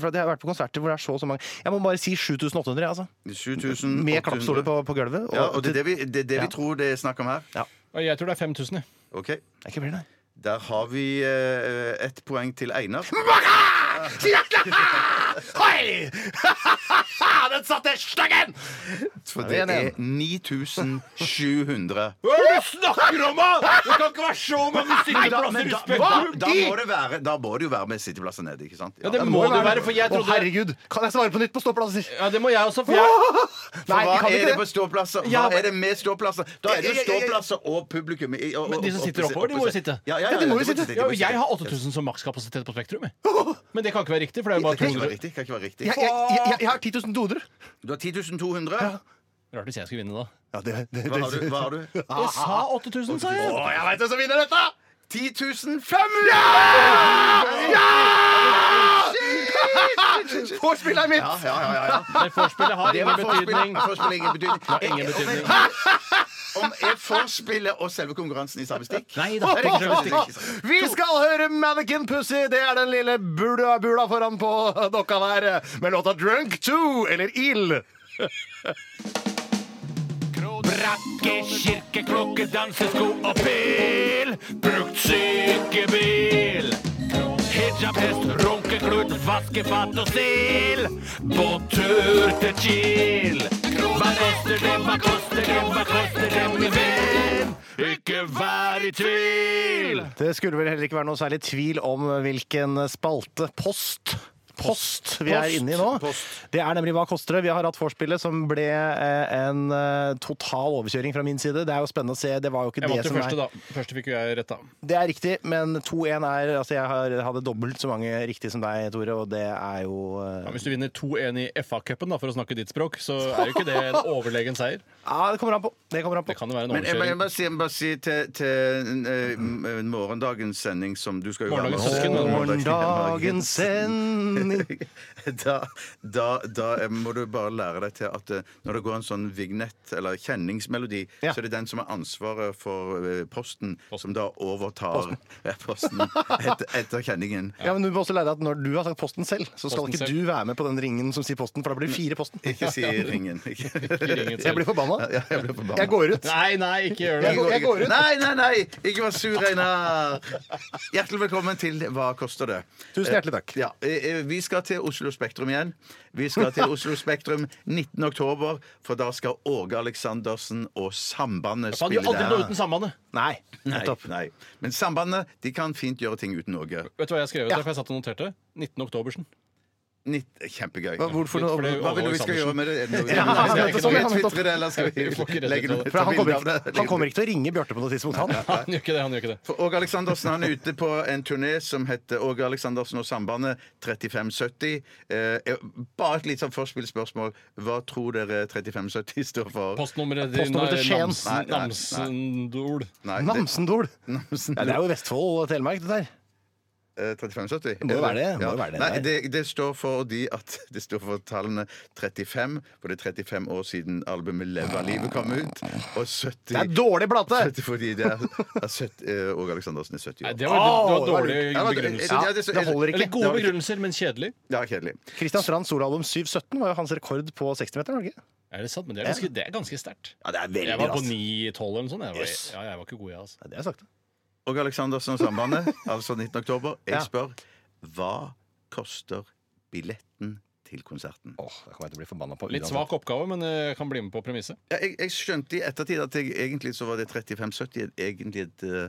[SPEAKER 4] for at Jeg har vært på konserter hvor det er så og så mange Jeg må bare si 7800, jeg, altså.
[SPEAKER 5] 7000?
[SPEAKER 4] Med klappstoler på, på gulvet.
[SPEAKER 5] Ja, og det er det vi, det er det vi
[SPEAKER 4] Ja.
[SPEAKER 5] tror det er snakk om her.
[SPEAKER 6] Og Jeg tror det er 5000, jeg.
[SPEAKER 5] Ok,
[SPEAKER 4] Det er ikke mer, nei.
[SPEAKER 5] Der har vi eh, ett poeng til Einar.
[SPEAKER 4] Hei! Den satt i styggen!
[SPEAKER 5] For det er 9700.
[SPEAKER 4] Hva er det du snakker om, da?! Det kan ikke være så mange
[SPEAKER 5] Da, men da, da,
[SPEAKER 4] Hva?
[SPEAKER 5] da, må det være, da må det jo være med sitteplasser nede, ikke sant?
[SPEAKER 6] Ja, det må det jo være, for jeg
[SPEAKER 4] Å,
[SPEAKER 6] trodde
[SPEAKER 4] herregud! Kan jeg svare på nytt på ståplasser?
[SPEAKER 6] Ja, det må jeg også. For jeg,
[SPEAKER 5] For
[SPEAKER 4] Nei,
[SPEAKER 5] hva
[SPEAKER 4] vi kan
[SPEAKER 5] er
[SPEAKER 4] ikke
[SPEAKER 5] det
[SPEAKER 4] det.
[SPEAKER 5] på ståplasser? Hva
[SPEAKER 6] Ja, men-
[SPEAKER 5] er det med ståplasser? Da er det
[SPEAKER 4] Ja,
[SPEAKER 5] jo
[SPEAKER 4] ja, ja, ja.
[SPEAKER 5] ståplasser og publikum. i- og-
[SPEAKER 6] Men de som
[SPEAKER 5] og-
[SPEAKER 6] sitter
[SPEAKER 5] oppe-
[SPEAKER 6] oppover, de må jo
[SPEAKER 5] oppe-
[SPEAKER 6] sitte.
[SPEAKER 5] Ja, ja,
[SPEAKER 4] Ja, de må jo sitte.
[SPEAKER 5] de
[SPEAKER 6] ja,
[SPEAKER 5] må
[SPEAKER 6] og
[SPEAKER 5] sitte.
[SPEAKER 6] jeg har 8000 som makskapasitet på Spektrum. jeg. Men det kan ikke være riktig, for det er
[SPEAKER 5] Det
[SPEAKER 6] jo bare
[SPEAKER 5] kan ikke
[SPEAKER 6] 200.
[SPEAKER 5] være riktig. det kan ikke være riktig.
[SPEAKER 4] Jeg, jeg, jeg, jeg, jeg har 10 200.
[SPEAKER 5] Du har 10 200.
[SPEAKER 6] Rart hvis jeg skulle vinne, da.
[SPEAKER 4] Ja, det, det,
[SPEAKER 5] Hva har du? Hva har du?
[SPEAKER 6] Jeg sa
[SPEAKER 5] ah,
[SPEAKER 6] 8000, sa jeg!
[SPEAKER 4] Å, jeg veit hvem som vinner dette!
[SPEAKER 5] 10 500!
[SPEAKER 4] Vorspielet mitt!
[SPEAKER 5] Ja, ja, ja, ja, ja.
[SPEAKER 6] Men forspillet har
[SPEAKER 5] Det
[SPEAKER 6] ingen
[SPEAKER 5] var forspillet.
[SPEAKER 6] betydning.
[SPEAKER 5] Forspillet ingen betydning.
[SPEAKER 6] har ingen betydning.
[SPEAKER 5] Om er forspillet og selve konkurransen i samme stikk?
[SPEAKER 6] Nei da.
[SPEAKER 5] Det er ikke sant, det er ikke sant.
[SPEAKER 4] Vi skal høre Mannequin Pussy. Det er den lille bula, bula foran på dokka der eh, med låta 'Drunk 2', eller 'Ild'.
[SPEAKER 7] Brakke, kirke, klokke, dansesko og pil. Brukt sykebil. Hijab, hest, runkeklut, vaskefat og stil. Båttur til Kiel. Hva koster det, hva koster det, hva koster det, min venn? Ikke vær i tvil.
[SPEAKER 4] Det skulle vel heller ikke være noe særlig tvil om hvilken spalte post Post vi er
[SPEAKER 6] Post.
[SPEAKER 4] inne i nå.
[SPEAKER 5] Post.
[SPEAKER 4] Det er nemlig Hva koster det? Vi har hatt vorspielet som ble eh, en eh, total overkjøring fra min side. Det er jo spennende å se. Det var jo ikke
[SPEAKER 6] Jeg
[SPEAKER 4] det
[SPEAKER 6] vant jo
[SPEAKER 4] som
[SPEAKER 6] første,
[SPEAKER 4] er
[SPEAKER 6] da. Første fikk jo jeg rett, da.
[SPEAKER 4] Det er riktig, men 2-1 er Altså, jeg har, hadde dobbelt så mange riktig som deg, Tore, og det er jo eh,
[SPEAKER 6] Ja, hvis du vinner 2-1 i FA-cupen, da, for å snakke ditt språk, så er jo ikke det en overlegen seier.
[SPEAKER 4] Ja, det kommer an på. Det kommer an på.
[SPEAKER 6] Det kan jo være en
[SPEAKER 5] Men jeg må jeg må bare
[SPEAKER 6] overkjøring.
[SPEAKER 5] si, jeg må bare si til, til eh, m- eh, morgendagens sending som du skal jo
[SPEAKER 6] Morgendagens
[SPEAKER 5] være med på.
[SPEAKER 6] søsken.
[SPEAKER 4] Morgendagens sending
[SPEAKER 5] da, da, da eh, må du bare lære deg til at eh, når det går en sånn vignett eller kjenningsmelodi,
[SPEAKER 4] Ja.
[SPEAKER 5] så er det den som har ansvaret for eh, posten, som da overtar eh, posten etter, etter kjenningen.
[SPEAKER 4] Ja, men du må også lære deg at når du har sagt Posten selv, så skal
[SPEAKER 6] Posten
[SPEAKER 4] ikke
[SPEAKER 6] selv.
[SPEAKER 4] du være med på den ringen som sier Posten, for da blir det fire Posten.
[SPEAKER 5] Ikke si ringen. Ikke.
[SPEAKER 6] Ringen
[SPEAKER 4] Jeg
[SPEAKER 6] selv.
[SPEAKER 4] blir forbanna.
[SPEAKER 5] Ja, jeg ble forbanna.
[SPEAKER 4] Jeg går ut.
[SPEAKER 6] Nei, nei, ikke gjør det.
[SPEAKER 4] Jeg går- jeg går ut.
[SPEAKER 5] Nei, nei, nei! Ikke vær sur, Einar. Hjertelig velkommen til Hva koster det?
[SPEAKER 4] Tusen hjertelig takk.
[SPEAKER 5] Ja, eh, eh, Vi skal til Oslo Spektrum igjen. Vi skal til Oslo Spektrum 19. oktober, for da skal Åge Aleksandersen og Sambandet
[SPEAKER 6] Faen,
[SPEAKER 5] spille
[SPEAKER 6] du gjør aldri noe
[SPEAKER 5] der.
[SPEAKER 6] uten sambandet.
[SPEAKER 4] Nei.
[SPEAKER 5] Nei,
[SPEAKER 4] Nettopp.
[SPEAKER 5] nei. Men Sambandet de kan fint gjøre ting uten Åge.
[SPEAKER 6] Vet du hva jeg har skrevet? der, for jeg satt og noterte. 19. oktobersen.
[SPEAKER 5] Nitt- Kjempegøy.
[SPEAKER 4] Hva- Hvorfor
[SPEAKER 6] Litt
[SPEAKER 4] noe?
[SPEAKER 6] for det-
[SPEAKER 5] Hva vil du vi skal gjøre med det? Er det noe-
[SPEAKER 4] Ja,
[SPEAKER 5] Skal vi-
[SPEAKER 4] nettopp,
[SPEAKER 5] Skal vi
[SPEAKER 4] nettopp.
[SPEAKER 5] twitre det, eller skal
[SPEAKER 6] Vi får ikke
[SPEAKER 5] vi
[SPEAKER 6] rett
[SPEAKER 5] legge
[SPEAKER 6] ut av
[SPEAKER 5] det
[SPEAKER 6] det.
[SPEAKER 4] For han kommer, ikke, han kommer ikke til å ringe Bjarte på noe tidspunkt, han.
[SPEAKER 6] Han gjør ikke det. han gjør ikke det.
[SPEAKER 5] For Åge Aleksandersen han er ute på en turné som heter Åge Aleksandersen og Sambandet 3570. Eh, eh, bare et litt sånn forspillspørsmål. Hva tror dere 3570 står for?
[SPEAKER 6] Postnummeret din
[SPEAKER 4] Postnummeret til
[SPEAKER 6] er
[SPEAKER 4] Skien.
[SPEAKER 5] Nei,
[SPEAKER 6] Namsen-
[SPEAKER 5] nei, nei.
[SPEAKER 6] Namsendol.
[SPEAKER 5] Nei, det-
[SPEAKER 4] Namsendol.
[SPEAKER 5] Namsen.
[SPEAKER 4] Ja, det er jo Vestfold og Telemark, det der.
[SPEAKER 5] Eh, 3570?
[SPEAKER 4] Må jo være det, må jo
[SPEAKER 5] Ja.
[SPEAKER 4] være det.
[SPEAKER 5] Nei, det, det står for de at Det står for tallene 35, for det er 35 år siden albumet Leva livet kom ut, og 70
[SPEAKER 4] Det er dårlig plate!
[SPEAKER 5] 70 fordi det er, er 70, eh, Åge Aleksandersen er 70
[SPEAKER 6] Nei,
[SPEAKER 5] år.
[SPEAKER 6] det var, det
[SPEAKER 4] Åh,
[SPEAKER 6] var
[SPEAKER 4] det var
[SPEAKER 6] dårlige
[SPEAKER 5] Ja, men-
[SPEAKER 6] begrunnelser.
[SPEAKER 5] ja, så-
[SPEAKER 4] Det holder
[SPEAKER 6] Eller
[SPEAKER 4] ikke.
[SPEAKER 6] gode begrunnelser, men kjedelig.
[SPEAKER 5] Ja, kjedelig.
[SPEAKER 4] Kristian Strands soloalbum 717 var jo hans rekord på 60-meter, var det ikke?
[SPEAKER 6] Er det sant? Men det er ganske, det er ganske sterkt.
[SPEAKER 4] Ja, det er
[SPEAKER 6] Jeg var på 9-12 eller noe sånt. Jeg var,
[SPEAKER 4] Yes.
[SPEAKER 6] ja, jeg var ikke god, jeg, altså.
[SPEAKER 4] Det er sagt, det.
[SPEAKER 5] Åge Aleksandersen og Sambandet, altså 19. oktober.
[SPEAKER 4] Ja.
[SPEAKER 5] Jeg spør hva koster billetten til konserten?
[SPEAKER 4] Åh, da kommer jeg til å bli forbanna på
[SPEAKER 6] Litt
[SPEAKER 4] uansett.
[SPEAKER 6] svak oppgave, men eh, jeg kan bli med på premisset.
[SPEAKER 5] Ja, Jeg, jeg skjønte i ettertid at jeg, egentlig så var det 35,70 egentlig et eh,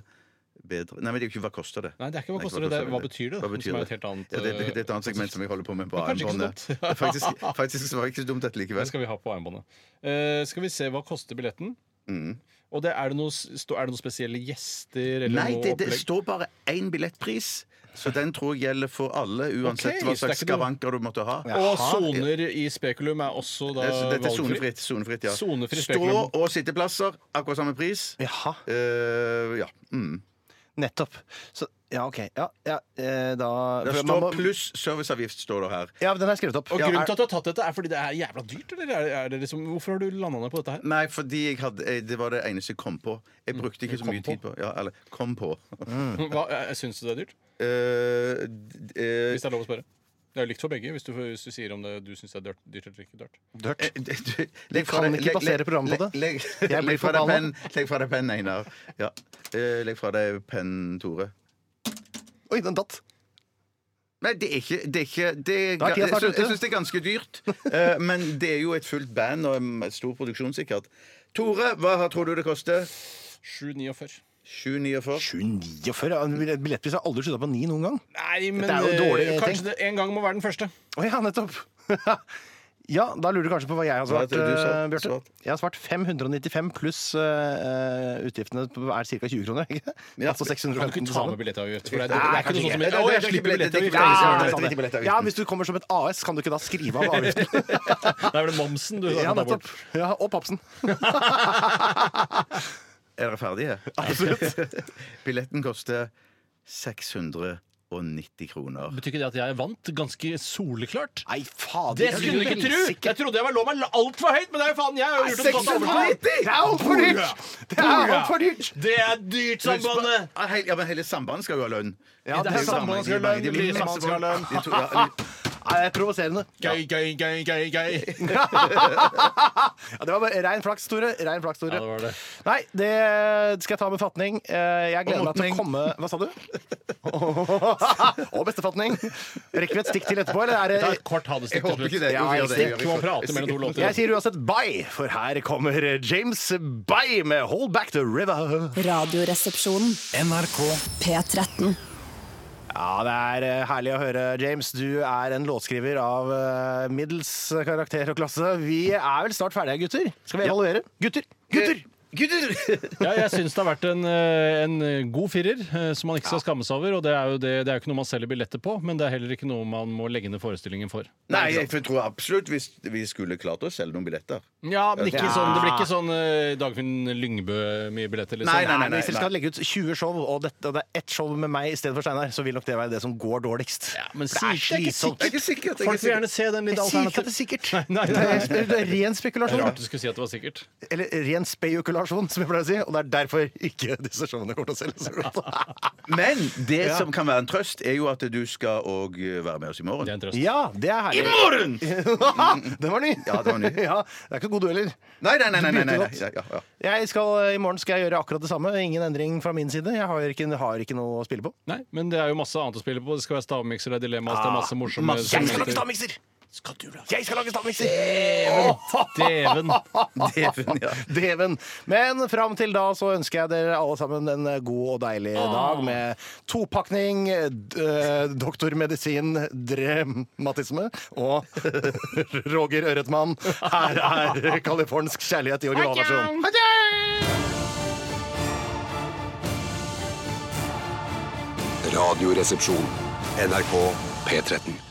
[SPEAKER 5] bedre Nei, men det er jo ikke hva koster det?
[SPEAKER 6] Nei, det er ikke hva koster det. det er- Hva betyr det?
[SPEAKER 5] Hva betyr
[SPEAKER 6] som er
[SPEAKER 5] det?
[SPEAKER 6] et helt annet,
[SPEAKER 5] Ja, det, det, det er et annet segment som jeg holder på med på
[SPEAKER 6] Eh, kanskje ikke så
[SPEAKER 5] armbåndet.
[SPEAKER 6] dumt.
[SPEAKER 5] Det er Faktisk, faktisk så var det ikke så dumt dette
[SPEAKER 6] Det
[SPEAKER 5] likevel.
[SPEAKER 6] skal vi ha på armbåndet. Eh, skal vi se hva koster billetten?
[SPEAKER 5] Mm.
[SPEAKER 6] Og det, er, det noe, sto- er det noen spesielle gjester? Eller
[SPEAKER 5] Nei,
[SPEAKER 6] noe
[SPEAKER 5] det, det
[SPEAKER 6] opplegg?
[SPEAKER 5] står bare én billettpris. Så den tror jeg gjelder for alle, uansett hva
[SPEAKER 6] Ok, så det er
[SPEAKER 5] slags
[SPEAKER 6] ikke noe-
[SPEAKER 5] skavanker du måtte ha.
[SPEAKER 6] Og soner i spekulum er også da
[SPEAKER 5] Det er- Dette er
[SPEAKER 6] valgfri.
[SPEAKER 5] sonefritt. sonefritt ja.
[SPEAKER 6] Sonefri
[SPEAKER 5] Stå-
[SPEAKER 6] spekulum.
[SPEAKER 5] og sitteplasser, akkurat samme pris.
[SPEAKER 4] Jaha.
[SPEAKER 5] Eh, ja. Mm.
[SPEAKER 4] Nettopp. Så ja, OK. Ja, ja eh, da
[SPEAKER 5] Det
[SPEAKER 4] for man
[SPEAKER 5] står
[SPEAKER 4] må-
[SPEAKER 5] pluss serviceavgift, står det her.
[SPEAKER 4] Ja, den er skrevet opp.
[SPEAKER 6] Og
[SPEAKER 4] Ja,
[SPEAKER 6] grunnen
[SPEAKER 4] er-
[SPEAKER 6] til at du har tatt dette, er fordi det er jævla dyrt? Eller er, er det liksom, hvorfor har du landa ned på dette her?
[SPEAKER 5] Nei, fordi jeg hadde, eh, det var det eneste jeg kom på. Jeg brukte ikke så
[SPEAKER 6] Kom
[SPEAKER 5] mye
[SPEAKER 6] på.
[SPEAKER 5] tid på Ja, eller kom på.
[SPEAKER 6] Hva, Syns du det er dyrt?
[SPEAKER 5] Eh, d- eh,
[SPEAKER 6] Hvis det er lov å spørre. Det er likt for begge, hvis du, hvis du sier om det du syns det er dyrt, dyrt eller ikke dyrt.
[SPEAKER 5] eh, d- du- legg
[SPEAKER 4] kan
[SPEAKER 5] fra deg-
[SPEAKER 4] ikke
[SPEAKER 5] legg-
[SPEAKER 4] basere
[SPEAKER 5] legg-
[SPEAKER 4] programmet på det.
[SPEAKER 5] legg-
[SPEAKER 4] Jeg blir
[SPEAKER 5] Legg fra deg
[SPEAKER 4] forbanna.
[SPEAKER 5] penn, legg fra deg penn, Einar. Ja. Eh, Legg fra deg penn, Tore.
[SPEAKER 4] eh, Oi, den datt.
[SPEAKER 5] Nei, det er ikke, det er ikke det er,
[SPEAKER 4] Da er tida
[SPEAKER 5] Jeg,
[SPEAKER 4] snart
[SPEAKER 5] syns- jeg
[SPEAKER 4] ute.
[SPEAKER 5] syns det er ganske dyrt. Eh, men det er jo et fullt band og en stor produksjon, sikkert. Tore, hva tror du det koster?
[SPEAKER 6] 7,49.
[SPEAKER 5] 749?
[SPEAKER 4] 749? ja, en Billettpris har aldri slutta på 9 noen gang.
[SPEAKER 6] Nei, men
[SPEAKER 4] Dette er jo
[SPEAKER 6] eh,
[SPEAKER 4] dårlig tenkt.
[SPEAKER 6] kanskje det en gang må være den første.
[SPEAKER 4] Å ja, nettopp. ja, da lurer du kanskje på hva jeg har
[SPEAKER 5] Hva er
[SPEAKER 4] svart,
[SPEAKER 5] det du sa?
[SPEAKER 4] eh, Bjarte.
[SPEAKER 5] Svart.
[SPEAKER 4] Jeg har svart 595 pluss eh, utgiftene på- er ca. 20 kroner. ikke det?
[SPEAKER 5] Ja.
[SPEAKER 4] Altså
[SPEAKER 6] Kan du
[SPEAKER 4] 615 til
[SPEAKER 6] ikke ta
[SPEAKER 4] sammen.
[SPEAKER 6] med billettavgift? For det er, det
[SPEAKER 4] Nei,
[SPEAKER 6] er ikke
[SPEAKER 4] kanskje
[SPEAKER 6] noe sånn som
[SPEAKER 5] ikke. Det
[SPEAKER 6] Å,
[SPEAKER 5] er
[SPEAKER 6] jeg
[SPEAKER 5] ikke
[SPEAKER 6] slipper
[SPEAKER 5] billett- det er ikke billett-
[SPEAKER 6] billettavgift!
[SPEAKER 5] det
[SPEAKER 6] Ja,
[SPEAKER 4] Ja,
[SPEAKER 5] er
[SPEAKER 6] det er sant,
[SPEAKER 5] ikke
[SPEAKER 6] det.
[SPEAKER 5] billettavgiften.
[SPEAKER 4] ja, hvis du kommer som et AS, kan du ikke da skrive av avgiften?
[SPEAKER 6] Da er det momsen du da,
[SPEAKER 4] ja,
[SPEAKER 6] kan ta bort.
[SPEAKER 4] nettopp. Ja, og papsen.
[SPEAKER 5] Er dere ferdige? Absolutt. Billetten koster 690 kroner.
[SPEAKER 6] Betyr ikke det at jeg vant ganske soleklart?
[SPEAKER 4] Nei, fader.
[SPEAKER 6] Det skulle du ikke tro! Jeg trodde jeg var lå meg altfor høyt, men det er jo faen jeg har jo gjort et godt arbeid.
[SPEAKER 4] 690! Det er altfor dyrt! Det er altfor dyrt!
[SPEAKER 6] Det er dyrt, sambandet!
[SPEAKER 5] Ja, hel- Ah, Ja, men hele sambandet skal jo ha lønn.
[SPEAKER 4] Ja, det
[SPEAKER 6] er
[SPEAKER 4] er
[SPEAKER 6] sambandet skal
[SPEAKER 5] mange-
[SPEAKER 6] ha lønn,
[SPEAKER 5] de- de-
[SPEAKER 6] blir
[SPEAKER 5] masse
[SPEAKER 6] sambandet skal ha
[SPEAKER 5] folk.
[SPEAKER 6] lønn.
[SPEAKER 5] De to- ja, de-
[SPEAKER 4] Nei, provoserende.
[SPEAKER 6] Gøy, gøy, gøy, gøy, gøy.
[SPEAKER 4] Ja, det var bare rein flaks, Tore. Rein flaks, Tore.
[SPEAKER 6] Ja, det var det.
[SPEAKER 4] Nei, det skal jeg ta med fatning. Eh, Jeg gleder meg til å
[SPEAKER 5] motning.
[SPEAKER 4] komme Hva sa du? Og bestefatning. Rekker vi et stikk til etterpå, eller
[SPEAKER 6] Ta
[SPEAKER 4] er
[SPEAKER 6] et kort
[SPEAKER 5] Jeg
[SPEAKER 6] hadestikk
[SPEAKER 5] håper
[SPEAKER 6] til
[SPEAKER 5] ikke
[SPEAKER 6] slutt.
[SPEAKER 5] det. Jo, vi gjør det.
[SPEAKER 6] Stikk, må prate mellom to
[SPEAKER 4] det Jeg
[SPEAKER 6] låter.
[SPEAKER 4] sier uansett bye, for her kommer James Bye med 'Hold Back The River'.
[SPEAKER 1] Radioresepsjonen. NRK P13.
[SPEAKER 4] Ja, det er eh, herlig å høre, James. Du er en låtskriver av eh, middels karakter og klasse. Vi er vel snart ferdige, gutter? Skal vi evaluere? Eh, Sånn Gutter! Gutter!
[SPEAKER 6] Ja, jeg syns det har vært en, eh, en god firer, eh, som man ikke skal skamme seg over. Og det er, jo det, det er jo ikke noe man selger billetter på, men det er heller ikke noe man må legge ned forestillingen for.
[SPEAKER 5] Nei, jeg tror absolutt vi, vi skulle klart å selge noen billetter.
[SPEAKER 6] Ja, men ikke
[SPEAKER 4] Ja.
[SPEAKER 6] sånn, Det blir ikke sånn eh, Dagfinn Lyngbø-mye billetter, liksom.
[SPEAKER 5] Nei, nei, nei,
[SPEAKER 4] Men Hvis dere skal
[SPEAKER 5] nei.
[SPEAKER 4] legge ut 20 show, og det, og det er ett show med meg i stedet for Steinar, så vil nok det være det som går dårligst.
[SPEAKER 6] Ja, men
[SPEAKER 4] For
[SPEAKER 6] sikkert- det er ikke
[SPEAKER 5] Det er ikke sikkert. det er ikke
[SPEAKER 6] Folk vil
[SPEAKER 5] sikkert.
[SPEAKER 6] gjerne se den litt
[SPEAKER 4] Jeg sier ikke at
[SPEAKER 6] alternativ.
[SPEAKER 4] det er sikkert.
[SPEAKER 6] Nei,
[SPEAKER 4] Det er,
[SPEAKER 6] nei, nei.
[SPEAKER 4] det er ren
[SPEAKER 6] Det er Rart
[SPEAKER 4] spekulasjon.
[SPEAKER 6] du skulle si at det var sikkert.
[SPEAKER 4] Eller ren spekulasjon, som jeg pleier å si. Og det er derfor ikke disse showene kommer til å selge så godt.
[SPEAKER 5] Men det som kan være en trøst, er jo at du skal òg være med oss i
[SPEAKER 6] Det er
[SPEAKER 5] morgen.
[SPEAKER 6] en trøst.
[SPEAKER 4] Ja, det er herlig.
[SPEAKER 5] morgen!
[SPEAKER 4] Den var ny!
[SPEAKER 5] Ja, den var ny.
[SPEAKER 4] Ja, det er ikke så god du heller.
[SPEAKER 5] Nei, nei, nei. nei, nei,
[SPEAKER 4] Du begynte
[SPEAKER 5] nei, nei.
[SPEAKER 4] godt.
[SPEAKER 5] Ja, ja, ja.
[SPEAKER 4] Jeg skal, eh, I morgen skal jeg gjøre akkurat det samme. Ingen endring fra min side. Jeg har ikke, har ikke noe å spille på.
[SPEAKER 6] Nei, men det er jo masse annet å spille på. Det skal være stavmikser, det er dilemmas,
[SPEAKER 4] Ah,
[SPEAKER 6] det er masse morsomme
[SPEAKER 4] Jeg skal lage
[SPEAKER 6] segmenter.
[SPEAKER 4] stavmikser! Jeg skal lage stavmikser!
[SPEAKER 6] Dæven!
[SPEAKER 5] Deven, ja.
[SPEAKER 4] Deven. Men fram til da så ønsker jeg dere alle sammen en eh, god og deilig dag med topakning, d- eh, doktormedisin, drematisme og Roger Ørretmann. Her er californsk kjærlighet i originalversjon.
[SPEAKER 2] Radioresepsjon. NRK P13.